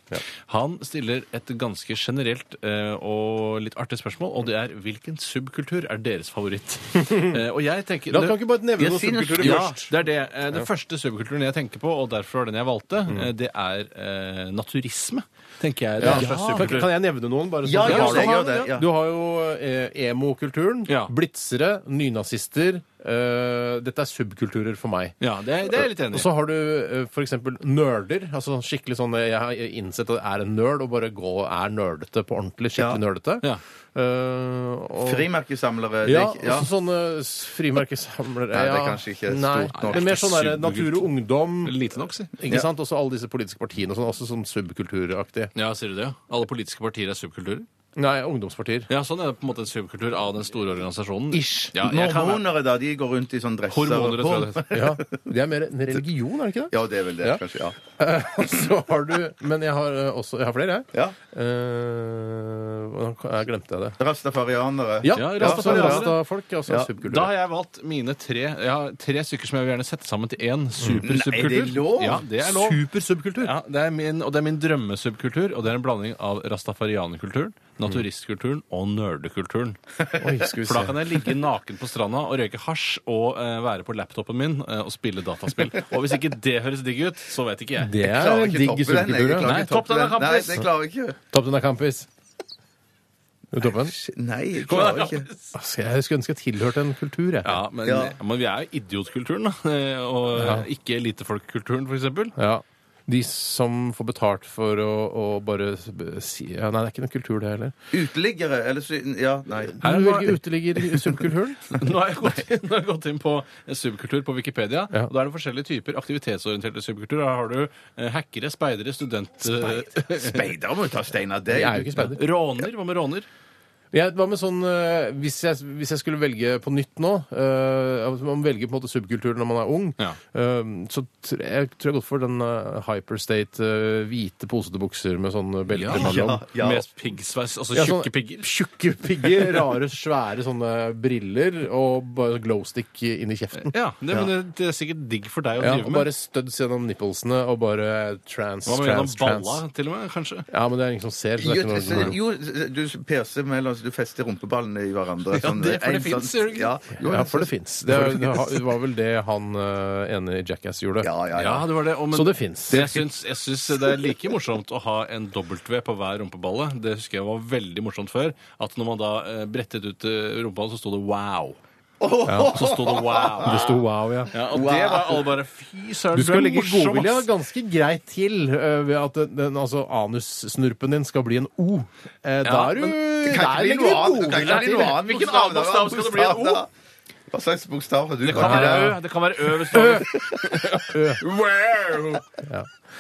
Speaker 4: Han stiller et ganske generelt eh, og litt artig spørsmål, og det er hvilken subkultur er deres
Speaker 3: *laughs*
Speaker 4: favoritt? Eh, og jeg tenker
Speaker 3: La oss kan ikke bare nevne
Speaker 5: Jeg
Speaker 3: noen
Speaker 5: sier noe
Speaker 3: subkulturer
Speaker 4: ja,
Speaker 3: først.
Speaker 4: det er det. Eh, Den første subkulturen jeg tenker på, og derfor var den jeg valgte, eh, det er eh, naturisme, tenker jeg. Det er en slags
Speaker 3: Mm. Ja,
Speaker 4: subkultur.
Speaker 3: kan jeg nevne noen? bare
Speaker 5: Ja,
Speaker 3: sånn?
Speaker 5: ja,
Speaker 3: sånn
Speaker 5: jeg gjør
Speaker 3: er
Speaker 5: det, ja.
Speaker 3: Du har jo eh, emo-kulturen,
Speaker 4: Ja.
Speaker 3: blitzere, nynazister. eh, dette er subkulturer for meg.
Speaker 4: Ja, det er, det er jeg litt enig
Speaker 3: Og
Speaker 4: i.
Speaker 3: så har du eh, for eksempel nerder. altså sånn skikkelig sånn, eh, Jeg har innsett at jeg er en nerd, og bare gå, er nerdete på ordentlig. skikkelig nerdete.
Speaker 4: Ja.
Speaker 3: Eh, og,
Speaker 5: Frimerkesamlere. det er
Speaker 3: ja,
Speaker 5: ikke-
Speaker 3: og
Speaker 5: ja.
Speaker 4: altså,
Speaker 3: så sånne s- frimerkesamlere.
Speaker 5: Nei, det er
Speaker 3: ja.
Speaker 5: kanskje ikke
Speaker 3: Nei,
Speaker 5: stort nok.
Speaker 3: Det er mer sånn der,
Speaker 4: Subkultur.
Speaker 3: natur og ungdom.
Speaker 4: Lite nok, si.
Speaker 3: Ikke sant? Også alle disse politiske partiene og sånn, også sånn subkulturaktig.
Speaker 4: Ja, sier du det? ja? Alle politiske partier er subkulturer?
Speaker 3: Nei, ungdomspartier.
Speaker 4: Ja, sånn er det på en måte en subkultur av den store organisasjonen.
Speaker 3: Ish.
Speaker 4: Ja, jeg kan,
Speaker 5: Mormonere, da. De går rundt i sånn dresser.
Speaker 4: hormoner,
Speaker 5: og-
Speaker 4: tror jeg det heter.
Speaker 3: *laughs* Ja, Det er mer en religion, er det ikke det?
Speaker 5: Ja, det er vel det,
Speaker 3: Ja.
Speaker 5: kanskje. ja.
Speaker 3: *laughs* Og så har du Men jeg har eh, også Jeg har flere, jeg.
Speaker 5: Ja.
Speaker 3: Eh, hvordan kan- jeg glemte jeg det.
Speaker 5: Rastafarianere.
Speaker 3: Ja,
Speaker 4: Ja,
Speaker 3: Rastafari-
Speaker 4: rastafari-
Speaker 3: Rastafolk er også
Speaker 5: Ja,
Speaker 3: en subkultur.
Speaker 4: Da har jeg valgt mine tre Jeg har tre stykker som jeg vil gjerne sette sammen til én supersubkultur.
Speaker 5: Mm. Nei, det er lov.
Speaker 4: Ja, det er lov.
Speaker 3: Supersubkultur.
Speaker 4: Ja, det er min, og det er min drømmesubkultur, og det er en blanding av rastafarianerkulturen, naturistkulturen og
Speaker 5: *laughs*
Speaker 4: nerdekulturen.
Speaker 3: Oi, skal vi
Speaker 4: For da kan
Speaker 3: se.
Speaker 4: jeg ligge naken på stranda og røyke hasj og eh, være på laptopen min eh, og spille dataspill. Og hvis ikke det høres digg ut, så vet ikke jeg.
Speaker 3: Det
Speaker 5: Jeg
Speaker 3: er
Speaker 5: klarer
Speaker 3: en
Speaker 5: ikke
Speaker 3: digg
Speaker 5: toppe den, jeg. Jeg
Speaker 3: subkultur.
Speaker 5: klarer
Speaker 3: ja.
Speaker 4: Nei,
Speaker 5: ikke
Speaker 4: topp
Speaker 5: toppe
Speaker 4: den, da,
Speaker 5: Nei,
Speaker 4: Campus.
Speaker 5: det klarer jeg ikke.
Speaker 3: Topp den er campis. Du topper den?
Speaker 5: Nei, jeg
Speaker 4: *laughs* Kom
Speaker 5: klarer
Speaker 4: igjen,
Speaker 5: ikke.
Speaker 3: Altså, Jeg skulle ønske jeg tilhørte en kultur, jeg.
Speaker 4: Ja, men,
Speaker 5: Ja.
Speaker 4: men vi er jo idiotkulturen, da. eh, Og eh, ikke elitefolkkulturen, for eksempel.
Speaker 3: Ja. De som får betalt for å, å bare si ja, Nei, det er ikke noen kultur, det heller.
Speaker 5: Uteliggere, eller så Ja, nei.
Speaker 3: Du
Speaker 4: Er det bare-
Speaker 3: velger uteligger i subkulturen.
Speaker 4: *laughs* Nå har jeg gått, nå har jeg gått inn på subkultur på Wikipedia.
Speaker 3: Ja.
Speaker 4: og Da er det forskjellige typer aktivitetsorienterte subkulturer. Her har du eh, hackere, speidere, student... *laughs* eh,
Speaker 5: Speidere må jo ta stein av deg.
Speaker 3: Jeg er jo ikke speider.
Speaker 4: Råner? Hva med råner?
Speaker 3: Jeg, hva med sånn, eh, hvis, jeg, hvis jeg skulle velge på nytt nå eh, at Man velger på en måte subkultur når man er ung.
Speaker 4: Ja.
Speaker 3: eh, så tr jeg tror jeg godt for den eh, hyperstate eh, hvite posete bukser med sånn belte
Speaker 4: Ja.
Speaker 3: mellom.
Speaker 5: Ja.
Speaker 4: Med piggsveis, altså
Speaker 3: Ja, sånn-
Speaker 4: tjukke pigger?
Speaker 3: Tjukke pigger, rare, svære sånne briller og bare glowstick inn i kjeften.
Speaker 4: Ja, det, men det- det er sikkert digg for deg å
Speaker 3: Ja,
Speaker 4: drive
Speaker 3: og
Speaker 4: med.
Speaker 3: bare studs gjennom nipplesene og bare trans,
Speaker 4: Hva med
Speaker 3: trans,
Speaker 4: gjennom balla,
Speaker 3: trans.
Speaker 4: til og med? kanskje?
Speaker 3: Ja, men det er ingen som ser. Så det er ikke noe
Speaker 5: Jo, du perser mellom Du fester rumpeballene i hverandre.
Speaker 4: Ja,
Speaker 5: sånn,
Speaker 4: det- for det
Speaker 5: en
Speaker 4: finnes,
Speaker 5: sånn-
Speaker 4: gjør det ikke?
Speaker 5: Ja, jo,
Speaker 3: Ja, for det fins. Det, er- det var vel det han eh, ene i Jackass gjorde.
Speaker 5: Ja, ja, ja.
Speaker 4: Ja, det var det. Og, men,
Speaker 3: Så det fins.
Speaker 4: Jeg syns, jeg syns det er like morsomt å ha en W på hver rumpeballe. Det husker jeg var veldig morsomt før. At når man da eh, brettet ut eh, rumpeballen, så sto det wow. Så sto det wow.
Speaker 3: Det sto wow, ja.
Speaker 4: Ja, og det var alle bare fy søren.
Speaker 3: Du skal
Speaker 4: er
Speaker 3: legge
Speaker 4: morsom,
Speaker 3: godvilja
Speaker 4: ass.
Speaker 3: ganske greit til eh, ved at den, den, altså, anussnurpen din skal bli en O. Eh, da er du
Speaker 5: Det kan
Speaker 3: Der
Speaker 5: ikke bli
Speaker 3: legger
Speaker 5: noe
Speaker 3: du
Speaker 5: annet. det kan
Speaker 3: godvilja
Speaker 5: ikke bli
Speaker 3: til.
Speaker 5: noe annet
Speaker 4: Hvilken
Speaker 5: bokstav,
Speaker 4: annen
Speaker 5: da.
Speaker 4: bokstav skal det bli? En O?
Speaker 5: da. Hva slags bokstav har du?
Speaker 4: Det kan være Ø. Det kan være Ø hvis du Wow.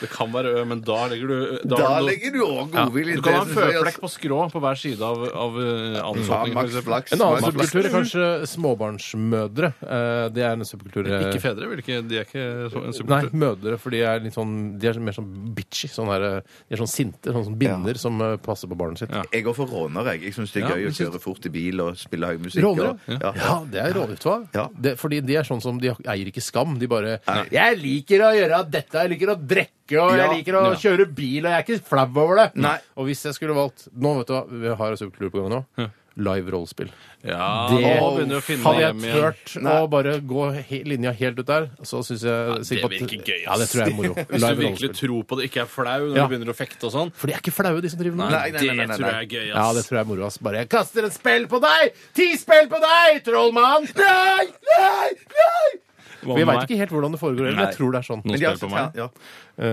Speaker 4: Det kan være Ø, men da legger du eh, Da,
Speaker 5: Da
Speaker 4: har du-
Speaker 5: legger du òg godvilje
Speaker 4: Du kan ha en
Speaker 3: altså.
Speaker 4: føflekk på skrå på hver side av, av eh,
Speaker 5: Ja,
Speaker 4: ansoppningen. for
Speaker 5: Max
Speaker 4: eksempel.
Speaker 5: Flaks.
Speaker 3: En annen
Speaker 5: Max Flaks.
Speaker 3: subkultur er kanskje småbarnsmødre. Eh, det er en subkultur eh,
Speaker 4: Ikke fedre, vil ikke, de er ikke så- en
Speaker 3: Nei,
Speaker 4: subkultur.
Speaker 3: mødre, for de er litt sånn De er mer sånn bitchy. Sånn her, eh, de er sånn sinte, sånn som binder som eh, passer på barnet sitt.
Speaker 4: Ja.
Speaker 5: Jeg går for råner, jeg. Jeg syns det er
Speaker 4: Ja,
Speaker 5: gøy å
Speaker 4: men syns-
Speaker 5: kjøre fort i bil og spille høy musikk.
Speaker 3: Rånere?
Speaker 5: og- Ja.
Speaker 3: Ja, det er rånere, vet du hva?
Speaker 5: Ja.
Speaker 3: Det, fordi de er sånn som de eier ikke skam. De bare 'Jeg liker å gjøre dette, jeg liker å drikke, og jeg
Speaker 5: Ja.
Speaker 3: liker å kjøre bil, og jeg er ikke flau over det'.
Speaker 5: Nei.
Speaker 3: Og hvis jeg skulle valgt Nå, vet du hva, vi har en superklubb på gang nå. Live rollespill.
Speaker 4: Ja,
Speaker 3: Det-
Speaker 4: nå begynner vi å finne
Speaker 3: Hadde jeg
Speaker 4: hjem igjen.
Speaker 3: turt å bare gå he linja helt ut der, så syns jeg sikkert at-
Speaker 4: virker gøy,
Speaker 3: Ja, det tror jeg er moro.
Speaker 4: *laughs*
Speaker 3: Live
Speaker 4: Hvis du virkelig
Speaker 3: rollespill.
Speaker 4: tror på det, ikke er flau når
Speaker 3: Ja.
Speaker 4: du begynner å fekte og sånn.
Speaker 3: For de er ikke flaue, de som driver med det.
Speaker 5: Nei, nei, nei, nei, nei.
Speaker 4: Det tror jeg er gøy, ass.
Speaker 3: Ja, det tror jeg er moro. ass. Bare 'jeg kaster et spill på deg'! Ti spill på deg, trollmann! Nei! Nei! Nei!
Speaker 4: Hva
Speaker 3: Vi
Speaker 4: med
Speaker 3: veit
Speaker 4: meg?
Speaker 3: ikke helt hvordan det foregår, men
Speaker 4: Nei.
Speaker 3: jeg tror det er sånn.
Speaker 4: Noen
Speaker 5: Men de har
Speaker 4: spør på
Speaker 5: sett-
Speaker 4: meg.
Speaker 5: Ja.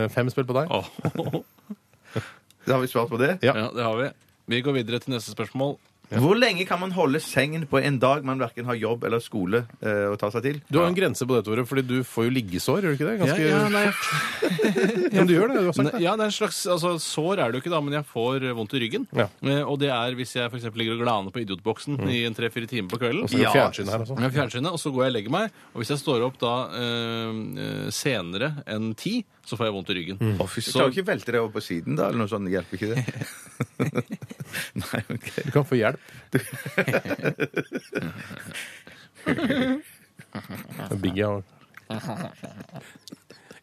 Speaker 3: Eh, Fem spill på deg.
Speaker 4: Åh.
Speaker 5: Da har vi svart på det.
Speaker 3: *laughs* Ja.
Speaker 4: Ja, det har vi. Vi går videre til neste spørsmål.
Speaker 5: Hvor lenge kan man holde sengen på en dag man verken har jobb eller skole eh, å ta seg til?
Speaker 3: Du har en grense på det, Tore, fordi du får jo liggesår, gjør du ikke det? Ganske...
Speaker 4: Ja, ja, nei,
Speaker 3: Ja, men du gjør det, du har sagt
Speaker 4: Ne-
Speaker 3: det.
Speaker 4: sånn, Ja, det er en slags, altså Sår er det jo ikke, da, men jeg får eh, vondt i ryggen.
Speaker 3: Ja. Mm.
Speaker 4: Eh, Og det er hvis jeg for eksempel ligger og glaner på Idiotboksen i en tre-fire timer på kvelden.
Speaker 3: Og så er det fjernsyn her og sånn.
Speaker 4: Ja, fjernsynet, og så går jeg og legger meg. Og hvis jeg står opp da eh, eh, senere enn ti, så får jeg vondt i ryggen.
Speaker 3: Mm.
Speaker 5: Du
Speaker 4: Så,
Speaker 5: klarer ikke å velte deg over på siden, da? Eller noe sånt? Hjelper
Speaker 4: *laughs*
Speaker 5: ikke det? Nei, ok.
Speaker 3: Du kan få
Speaker 5: *laughs*
Speaker 3: hjelp. Det er Biggie har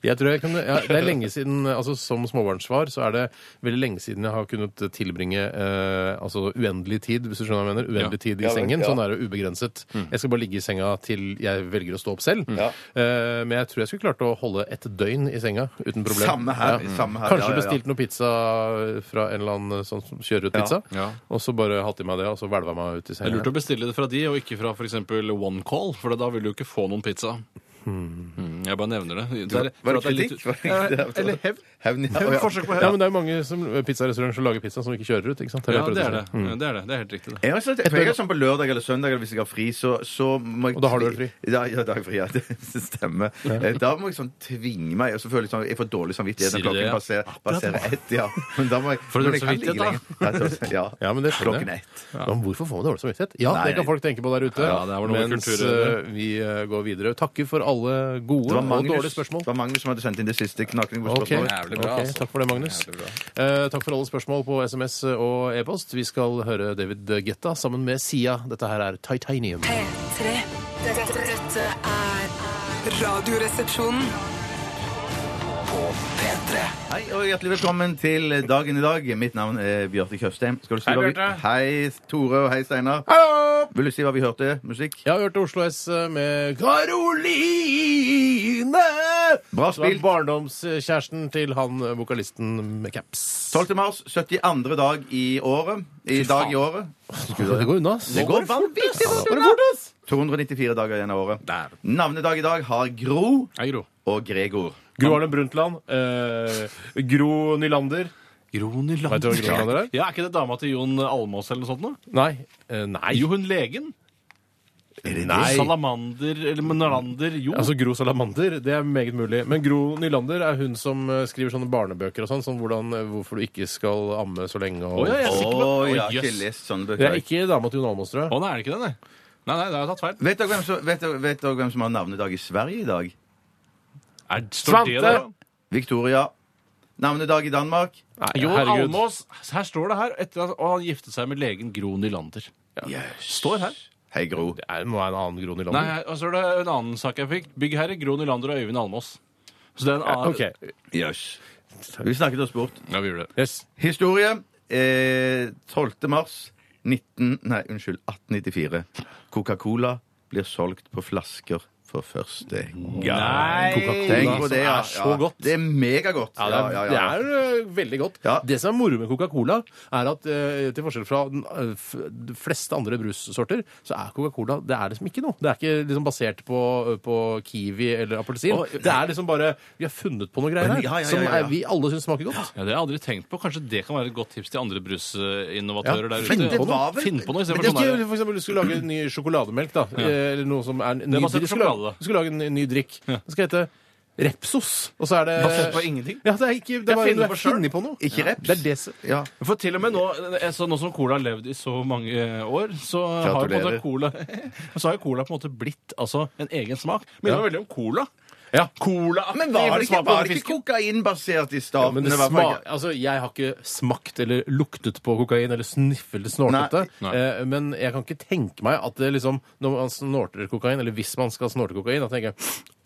Speaker 3: jeg tror jeg kunne, ja, det er lenge siden, altså Som småbarnsfar så er det veldig lenge siden jeg har kunnet tilbringe eh, altså uendelig tid hvis du skjønner hva jeg mener, uendelig tid i
Speaker 5: Ja, vel,
Speaker 3: sengen.
Speaker 5: ja. Mm.
Speaker 3: Sånn er det ubegrenset. Jeg skal bare ligge i senga til jeg velger å stå opp selv.
Speaker 5: Ja.
Speaker 3: Eh, men jeg tror jeg skulle klart å holde et døgn i senga uten problem.
Speaker 5: Samme her. Samme her.
Speaker 3: Kanskje
Speaker 5: ja, ja, ja.
Speaker 3: bestilt noe pizza fra en eller annen sånn som kjører ut pizza.
Speaker 4: Ja.
Speaker 3: Og så bare hatt i meg det, og så hvelva meg ut i
Speaker 4: det er lurt
Speaker 3: senga.
Speaker 4: å bestille det fra de, og ikke fra f.eks. OneCall, for da vil du ikke få noen pizza.
Speaker 3: Hmm.
Speaker 4: Mm, jeg bare nevner det. det er-
Speaker 5: Var det
Speaker 4: for at er litt-
Speaker 5: kritikk? Var det-
Speaker 4: Eh, Eller hevn.
Speaker 5: Hevn, ja. Å, ja.
Speaker 4: Forsøk på
Speaker 3: Ja,
Speaker 4: hevn.
Speaker 3: men det er jo mange som- eh, pizzarestauranter som lager pizza som ikke kjører ut. ikke sant?
Speaker 4: Ja,
Speaker 3: har jeg prøvd
Speaker 4: det
Speaker 3: å
Speaker 4: er det.
Speaker 3: si.
Speaker 4: Ja, det er det. Det er helt riktig. det.
Speaker 3: Eh,
Speaker 5: Jeg har også, for jeg er sånn på lørdag eller søndag eller hvis jeg har fri, så, så må jeg
Speaker 3: Og da har du vel fri?
Speaker 5: Ja, ja, da har jeg fri, ja. *laughs* Det stemmer. Eh, Da må jeg sånn tvinge meg. Og så føler jeg sånn, jeg får dårlig samvittighet
Speaker 4: Sier
Speaker 5: når
Speaker 4: du det,
Speaker 5: klokken
Speaker 4: ja?
Speaker 5: passerer,
Speaker 4: Akkurat
Speaker 5: passerer ett. Ja. Men da må jeg,
Speaker 4: Får du
Speaker 5: men
Speaker 4: dårlig
Speaker 5: jeg kan ligge
Speaker 4: samvittighet,
Speaker 5: lenge. Nei, så- Ja.
Speaker 3: *laughs* Ja, men det skjønner
Speaker 5: Klokken
Speaker 3: jeg.
Speaker 5: ett.
Speaker 3: Ja. men hvorfor får man dårlig samvittighet? Ja,
Speaker 5: Nei.
Speaker 3: det kan folk tenke på der ute.
Speaker 4: Ja, det er vel noe med
Speaker 3: mens
Speaker 4: kulturer.
Speaker 3: eh, vi eh, går videre. Takker for alle gode
Speaker 5: Det var
Speaker 3: og
Speaker 5: Magnus,
Speaker 3: dårlige
Speaker 5: det
Speaker 3: spørsmål.
Speaker 5: var Magnus som hadde sendt inn det siste knakende
Speaker 3: Ok,
Speaker 5: spørsmålet.
Speaker 4: Jævlig bra,
Speaker 3: ok,
Speaker 4: altså.
Speaker 3: Takk for det, Magnus.
Speaker 4: Jævlig bra.
Speaker 3: Eh, takk for alle spørsmål på SMS og e-post. Vi skal høre David Getta sammen med Sia. Dette her er Titanium.
Speaker 6: P3. Dette, dette er Radioresepsjonen.
Speaker 5: Hei og hjertelig velkommen til dagen i dag. Mitt navn er Bjarte Tjøstheim. Skal du si
Speaker 4: Hei,
Speaker 5: hva vi...
Speaker 4: Bjarte.
Speaker 5: Hei, Tore og hei, Steinar.
Speaker 3: Hallo!
Speaker 5: Vil du si hva vi hørte? Musikk?
Speaker 3: Jeg har hørt Oslo S eh, med Karoline!
Speaker 5: Bra
Speaker 3: Det var
Speaker 5: spilt.
Speaker 3: barndomskjæresten til han eh, vokalisten med caps.
Speaker 5: 12. mars, 72. dag i året. I dag i året.
Speaker 3: Det går unna, ass.
Speaker 5: Det går vanvittig fort unna! 294 dager igjen av året.
Speaker 4: Der.
Speaker 5: Navnedag i dag har Gro
Speaker 4: Hei, Gro.
Speaker 5: og Gregor.
Speaker 3: Gro Harlem Brundtland. Eh, Gro Nylander.
Speaker 4: Gro
Speaker 3: Vet du hva Gro Nylander er?
Speaker 4: Ja, Er ikke det dama til Jon Almås eller noe sånt? nå?
Speaker 3: Nei. Eh, nei.
Speaker 4: Jo, hun legen.
Speaker 3: nei.
Speaker 4: Salamander eller Nalander. Jo.
Speaker 3: Altså Gro Salamander, det er meget mulig. Men Gro Nylander er hun som eh, skriver sånne barnebøker og sånn, som hvordan, eh, hvorfor du ikke skal amme så lenge og
Speaker 4: Å, ja, jeg er
Speaker 5: Å,
Speaker 4: sikker på
Speaker 5: jeg
Speaker 4: Å,
Speaker 5: har ikke
Speaker 4: jøss.
Speaker 5: lest sånne
Speaker 3: Det er
Speaker 5: bøker.
Speaker 3: ikke dama til Jon Almaas, tror jeg.
Speaker 4: Å, nei, er det ikke det, nei? Nei, nei, det har jeg tatt feil.
Speaker 5: Vet dere hvem som- vet dere- vet dere hvem som har navnedag i Sverige i dag?
Speaker 4: Er,
Speaker 3: Svante!
Speaker 4: står det der, da?
Speaker 5: Victoria. Navnedag i Danmark.
Speaker 3: Nei,
Speaker 4: Jon
Speaker 3: herregud.
Speaker 4: Almås. Her står det her. Etter at, og han giftet seg med legen Gro Nylander. Står her.
Speaker 5: Hei, Gro.
Speaker 3: Det er- må være en annen Gro Nylander.
Speaker 4: Nei, her- og så er det en annen sak jeg fikk. Byggherre Gro Nylander og Øyvind Almås. Så det er en
Speaker 3: Ja,
Speaker 4: annen
Speaker 3: OK.
Speaker 5: Jøs. Vi snakket oss bort.
Speaker 4: Ja, vi gjorde det.
Speaker 3: Yes.
Speaker 5: Historie. Eh, 12. mars 19, nei, unnskyld, 1894. Coca-Cola blir solgt på flasker for første gang. Tenk på det, ja.
Speaker 3: som er så godt.
Speaker 5: Ja, det er megagodt.
Speaker 3: Ja, det er,
Speaker 5: Ja, ja, ja.
Speaker 3: Det er ø, veldig godt.
Speaker 5: Ja.
Speaker 3: Det som er moro med Coca-Cola, er at ø, til forskjell fra den, ø, f de fleste andre brussorter, så er Coca-Cola det er liksom ikke noe. Det er ikke liksom basert på, ø, på kiwi eller appelsin.
Speaker 5: Å,
Speaker 3: det er liksom bare Vi har funnet på noe greier her
Speaker 5: Ja, ja, ja,
Speaker 3: som
Speaker 5: ja, ja.
Speaker 3: er, vi alle syns smaker godt.
Speaker 4: Ja, Det har jeg aldri tenkt på. Kanskje det kan være et godt tips til andre
Speaker 3: Ja,
Speaker 4: brusinnovatører der ute.
Speaker 3: finn på
Speaker 4: Og
Speaker 5: noe.
Speaker 4: Finn på
Speaker 3: Men
Speaker 4: noe istedenfor
Speaker 3: det
Speaker 4: sånn
Speaker 3: er
Speaker 4: der-
Speaker 3: ikke, for eksempel, du skulle lage en ny sjokolademelk, da. eh, Eller noe som er en ny
Speaker 4: er
Speaker 3: drikk. Du skulle
Speaker 4: basert på sjokolade,
Speaker 3: lage-
Speaker 4: da.
Speaker 3: du skulle lage en ny drikk. Den skal hete Repsos. Og så er det
Speaker 4: Basert på ingenting?
Speaker 3: Ja, det er ikke Det
Speaker 4: Jeg
Speaker 3: er bare du
Speaker 4: finner
Speaker 3: har
Speaker 4: på selv.
Speaker 3: funnet på noe.
Speaker 5: Ikke
Speaker 3: Ja.
Speaker 5: reps.
Speaker 3: Det er det som
Speaker 5: Ja.
Speaker 4: For til og med nå, altså nå som cola har levd i så mange eh, år, så har, jo på en måte
Speaker 5: Gratulerer.
Speaker 4: cola, *laughs* så har jo cola på en måte blitt altså, en egen smak. Minner meg veldig om cola.
Speaker 3: Ja.
Speaker 4: Cola
Speaker 5: Men var det ikke,
Speaker 4: smaken
Speaker 5: var
Speaker 4: av
Speaker 5: det ikke
Speaker 4: fisken.
Speaker 5: kokainbasert i
Speaker 3: Ja,
Speaker 5: starten?
Speaker 3: men det
Speaker 5: var
Speaker 3: sma
Speaker 5: bare-
Speaker 3: altså, jeg har ikke smakt eller luktet på kokain eller sniffet eller snortet det.
Speaker 4: Nei.
Speaker 3: Eh, men jeg kan ikke tenke meg at det liksom, når man snorter kokain, eller hvis man skal snorte kokain, da tenker jeg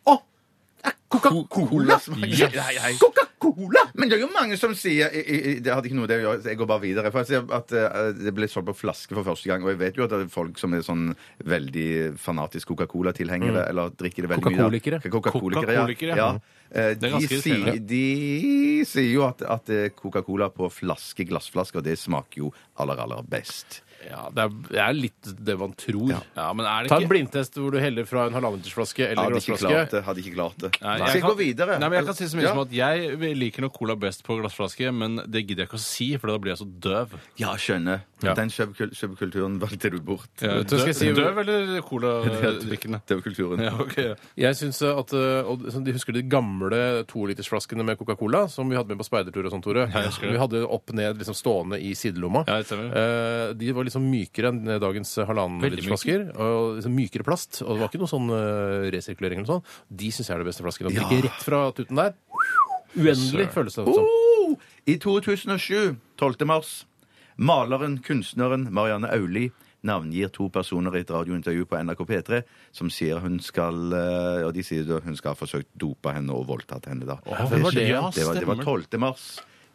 Speaker 3: Å! det er Coca-Cola!
Speaker 5: Yes. Hei, hei.
Speaker 3: Coca-Cola!
Speaker 5: Men det er jo mange som sier i, i, i- Det hadde ikke noe med det å gjøre, så jeg går bare videre. For jeg sier at eh, Det ble solgt på flaske for første gang. Og jeg vet jo at det er folk som er sånn veldig fanatisk Coca-Cola-tilhengere, eller drikker det veldig mye.
Speaker 3: Mm. Coca-Colikere.
Speaker 5: da. Coca-Colikere.
Speaker 4: Coca-Colikere,
Speaker 5: ja.
Speaker 4: ja.
Speaker 5: ja. Eh,
Speaker 4: er
Speaker 5: De,
Speaker 4: ganske
Speaker 5: sier,
Speaker 4: irriterende.
Speaker 5: de sier jo at, at eh, Coca-Cola på flaske, glassflasker, det smaker jo aller, aller best.
Speaker 3: Ja, det er, det er litt det man tror.
Speaker 4: Ja, men er det
Speaker 3: Ta en
Speaker 4: ikke...
Speaker 3: blindtest hvor du heller fra en halvannenlitersflaske eller
Speaker 5: Hadde ikke klart
Speaker 3: glassflaske.
Speaker 5: det. Hadde ikke klart det.
Speaker 4: Nei,
Speaker 5: Så jeg
Speaker 4: kan-
Speaker 5: går videre.
Speaker 4: Nei, men jeg kan si så mye
Speaker 5: Ja.
Speaker 4: som at jeg liker nok cola best på glassflaske, men det gidder jeg ikke å si, for da blir jeg så døv.
Speaker 5: Ja, skjønner.
Speaker 3: Ja.
Speaker 5: Den subkul subkulturen valgte du bort.
Speaker 4: Ja,
Speaker 3: skal jeg si-
Speaker 4: dø- Døv eller *laughs* coladrikkende?
Speaker 5: *laughs* Det var kulturen.
Speaker 4: Ja, ok.
Speaker 3: Jeg synes at, eh, og så De husker de gamle tolitersflaskene med Coca-Cola som vi hadde med på speidertur og sånn, Tore?
Speaker 4: jeg husker det.
Speaker 3: Vi hadde opp ned liksom stående i sidelomma.
Speaker 4: Ja, det stemmer.
Speaker 3: Eh, de var liksom mykere enn dagens eh, halvannen
Speaker 4: Veldig
Speaker 3: liters flasker. Og liksom mykere plast. Og det var ikke noe sånn eh, resirkulering eller noe sånt. De syns jeg er de beste flaskene. Å drikke rett fra tuten der. Uendelig føles det som.
Speaker 5: Oh! I 2007, 12. mars, maleren, kunstneren Marianne Auli navngir to personer i et radiointervju på NRK P3 som sier hun skal eh, Og de sier da hun skal ha forsøkt dopa henne og voldtatt henne, da.
Speaker 3: hvem var det?
Speaker 5: Det,
Speaker 3: Ja,
Speaker 5: var- det, var, det var 12. mars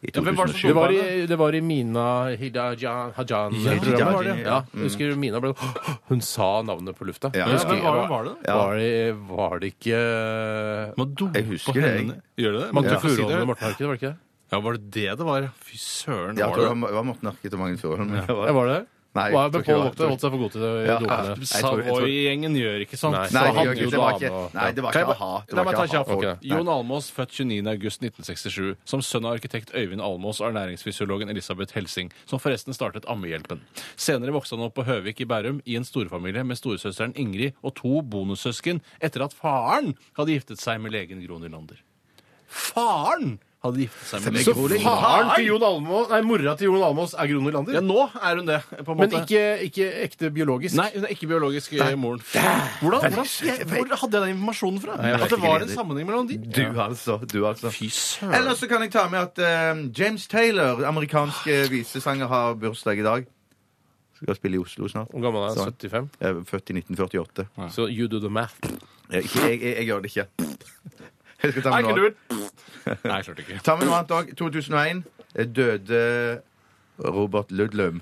Speaker 5: i
Speaker 4: Ja, hvem var det som
Speaker 5: 2007.
Speaker 3: Det var, i, det var i Mina Hidajan Hajan-programmet.
Speaker 5: Hidajan,
Speaker 3: var det?
Speaker 5: ja.
Speaker 3: Ja. Jeg husker Mina ble *gasps* Hun sa navnet på lufta.
Speaker 5: Ja.
Speaker 3: Jeg husker-
Speaker 5: Ja,
Speaker 4: men hva var det?
Speaker 3: Var det, var det ikke eh,
Speaker 4: Man doper
Speaker 5: Jeg husker det, jeg.
Speaker 4: hendene. Gjør det det? Man
Speaker 3: Magne
Speaker 4: ja.
Speaker 3: Furuholm og Morten Harket, var det ikke det?
Speaker 4: Ja, var det det det var? Fy søren,
Speaker 5: Ja, jeg
Speaker 4: var
Speaker 5: tror
Speaker 4: det
Speaker 5: det
Speaker 4: det?
Speaker 5: var- det var Morten Arket og Magnus Furuholm. men *laughs* det var-
Speaker 3: Ja, var det?
Speaker 5: Nei,
Speaker 3: Var
Speaker 5: jeg tror
Speaker 3: det Pål
Speaker 5: ikke det var-
Speaker 3: Vokter holdt seg for god til det i
Speaker 5: Ja.
Speaker 3: dopene.
Speaker 5: Jeg tror- jeg tror-
Speaker 4: Savoy-gjengen gjør ikke sånt.
Speaker 3: Nei,
Speaker 4: Så
Speaker 5: Nei,
Speaker 4: han
Speaker 5: det gjør
Speaker 4: jo
Speaker 5: ikke- det var
Speaker 4: dame
Speaker 5: ikke,
Speaker 4: og-
Speaker 5: nei, det var
Speaker 4: Kan jeg
Speaker 5: ikke
Speaker 4: bare-
Speaker 5: a-ha. Det
Speaker 4: La
Speaker 5: var
Speaker 4: meg ta
Speaker 5: ikke a-ha.
Speaker 4: kjapt.
Speaker 5: Ok.
Speaker 4: Jon Almås, født 29.8.1967, som sønn av arkitekt Øyvind Almås og ernæringsfysiologen Elisabeth Helsing, som forresten startet Ammehjelpen. Senere vokste han opp på Høvik i Bærum i en storfamilie med storesøsteren Ingrid og to bonussøsken etter at faren hadde giftet seg med legen Gro Nylander. Faren hadde giftet seg med
Speaker 3: Så
Speaker 4: legen Gro Nylander!
Speaker 3: faren til Jon Almaas Nei, mora til Jon Almaas er Gro
Speaker 4: Ja,
Speaker 3: Nylander?
Speaker 4: nå er hun det, på en
Speaker 3: Men
Speaker 4: måte.
Speaker 3: ikke, ikke ekte biologisk?
Speaker 4: Nei, hun er ikke biologisk eh, moren. Hvordan, hvordan, hvor hadde jeg den informasjonen fra?
Speaker 5: vet
Speaker 4: At det
Speaker 5: ikke
Speaker 4: var
Speaker 5: det.
Speaker 4: en sammenheng mellom de?
Speaker 5: Du, altså. Du, altså.
Speaker 4: Fy søren.
Speaker 5: Ellers så kan jeg ta med at eh, James Taylor, amerikansk eh, visesanger, har bursdag i dag. Skal spille i Oslo snart.
Speaker 3: Hvor gammel er
Speaker 5: Så-
Speaker 3: han? 75?
Speaker 5: Jeg er Født i 1948.
Speaker 3: Så you do the math.
Speaker 5: Jeg, ikke- jeg, jeg, jeg gjør det ikke. *laughs* Jeg skal ta
Speaker 4: Nei,
Speaker 5: med noe,
Speaker 4: Nei, klart ikke.
Speaker 5: ta med noe annet òg. 2001 eh, døde Robert Ludlum.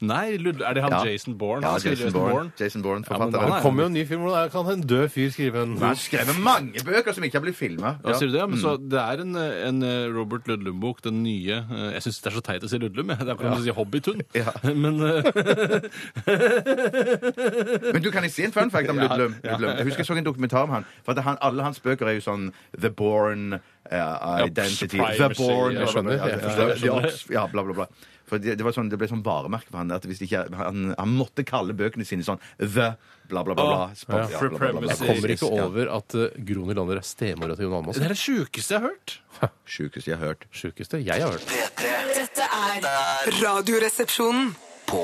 Speaker 4: Nei, Lud, er det han
Speaker 5: Ja.
Speaker 4: Jason Bourne?
Speaker 5: Ja,
Speaker 4: Han skriver
Speaker 5: Jason Bourne. Jason Bourne,
Speaker 4: men han
Speaker 5: forfatteren.
Speaker 4: er-
Speaker 5: Kom-
Speaker 3: Kommer jo en ny film hvor det er- kan en død fyr skrive en
Speaker 5: han har skrevet mange bøker som ikke har blitt filma.
Speaker 4: Ja, sier du det? Ja, men så det er en, eh, en eh, Robert Ludlum-bok, den nye eh, Jeg syns det er så teit å si Ludlum, jeg. Det er akkurat som å si Hobbithund.
Speaker 5: Ja.
Speaker 4: Men eh,
Speaker 5: Men du kan jeg si en fun fact om
Speaker 4: Ja,
Speaker 5: Ludlum?
Speaker 4: ja.
Speaker 5: Ludlum. Jeg husker jeg så en dokumentar om han. For at han, alle hans bøker er jo sånn The Born uh, Identity.
Speaker 4: Privacy,
Speaker 5: The Born
Speaker 4: jeg
Speaker 3: skjønner,
Speaker 5: Ja,
Speaker 3: jeg
Speaker 4: forstår, jeg
Speaker 5: The
Speaker 4: skjønner.
Speaker 5: Ox- ja, bla, bla, bla. For det, det, var sånn, det ble sånn varemerke for han at hvis ikke, han, han måtte kalle bøkene sine sånn The bla, bla, bla. bla, spot,
Speaker 4: ja. Premises.
Speaker 3: Jeg kommer ikke over at eh, Gro Nylander er stemora til Jon Almaas.
Speaker 4: det er det sjukeste jeg har hørt.
Speaker 5: Sjukeste jeg har hørt.
Speaker 3: Sjukeste jeg har hørt.
Speaker 2: P3
Speaker 6: Dette er Radioresepsjonen.
Speaker 2: på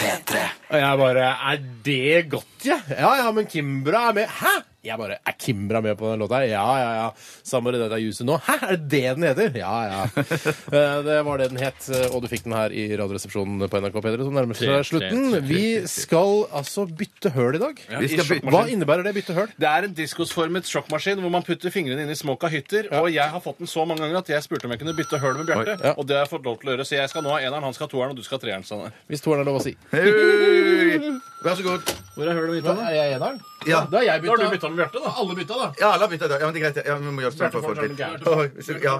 Speaker 2: P3.
Speaker 3: Og jeg bare Er det godt, ja? Ja ja, men Kimbra er med. Hæ? Jeg bare Er Kimbra med på den låta? her? Ja ja ja. Samme det der juset nå. Hæ, er det det den heter? Ja *laughs* ja. Eh, Det var det den het, eh, og du fikk den her i Radioresepsjonen på NRK P3, som nærmer
Speaker 4: Tre,
Speaker 3: seg
Speaker 4: tre,
Speaker 3: slutten.
Speaker 4: tre,
Speaker 3: Vi skal altså bytte høl i dag.
Speaker 5: Vi skal bytte-
Speaker 3: Hva innebærer det, bytte høl?
Speaker 4: Det er en diskosformet sjokkmaskin hvor man putter fingrene inn i smokk av hytter. Og jeg har fått den så mange ganger at jeg spurte om jeg kunne bytte høl med Bjarte.
Speaker 3: ja.
Speaker 4: Og det har jeg fått lov til å gjøre, så jeg skal nå ha eneren, han skal ha toeren, og du skal ha treeren. Sanne.
Speaker 3: Hvis toeren er lov å si.
Speaker 5: Hei! Vær så god.
Speaker 4: Hvor er hølet mitt? Da?
Speaker 3: Er jeg eneren?
Speaker 5: Ja.
Speaker 3: Da har jeg
Speaker 4: da har du
Speaker 3: bytta.
Speaker 4: bytta med Bjarte, da.
Speaker 3: Alle bytta, da.
Speaker 5: Ja, la bytte da. Ja, men det er greit. Ja, vi må gjøre sånn for å få det til. Oi, så- Ja.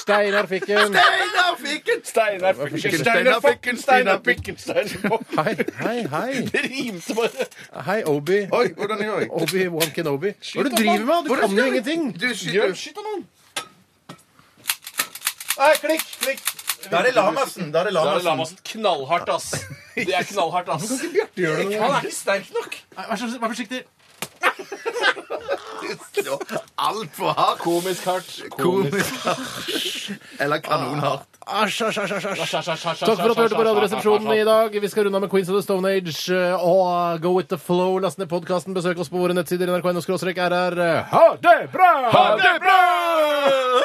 Speaker 3: Steinar fikk en.
Speaker 5: Steinar fikk en!
Speaker 4: Steinar
Speaker 5: fikk-
Speaker 4: Fikken,
Speaker 5: Steinar
Speaker 4: Steinar Fikken, Steinar
Speaker 5: Steinar
Speaker 4: Fikken, Steinar
Speaker 3: *laughs*
Speaker 4: Fikken.
Speaker 3: Hei, hei, hei.
Speaker 4: Det rimte bare.
Speaker 3: Hei, Obi.
Speaker 5: Oi, hvordan gjør jeg?
Speaker 3: Obi-Wan Kenobi. Hva er det du
Speaker 4: da,
Speaker 3: driver med? Du
Speaker 5: Hvordan
Speaker 3: kan jo
Speaker 5: skal vi-
Speaker 3: ingenting.
Speaker 5: Du skyter.
Speaker 4: Gjør skyt da, mann.
Speaker 5: Nei, klikk, klikk. Da er det Lamassen. Da er det
Speaker 4: Da er det
Speaker 5: Lamassen.
Speaker 4: Lamassen. Knallhardt, ass. Det er knallhardt,
Speaker 3: *laughs*
Speaker 4: ass. Han er ikke sterk nok.
Speaker 3: Vær så- vær forsiktig.
Speaker 5: Altfor hardt.
Speaker 4: Komisk hardt.
Speaker 5: Eller kanonhardt.
Speaker 3: Asj, asj, asj, asj, asj. Takk
Speaker 4: Takk
Speaker 3: for at du hørte på Radioresepsjonen i dag. Vi skal runde av med Queens of the Stone Age eh, og Go with the flow. Last ned podkasten, besøk oss på våre nettsider nrk.no-rr. Ha det bra! Ha det bra!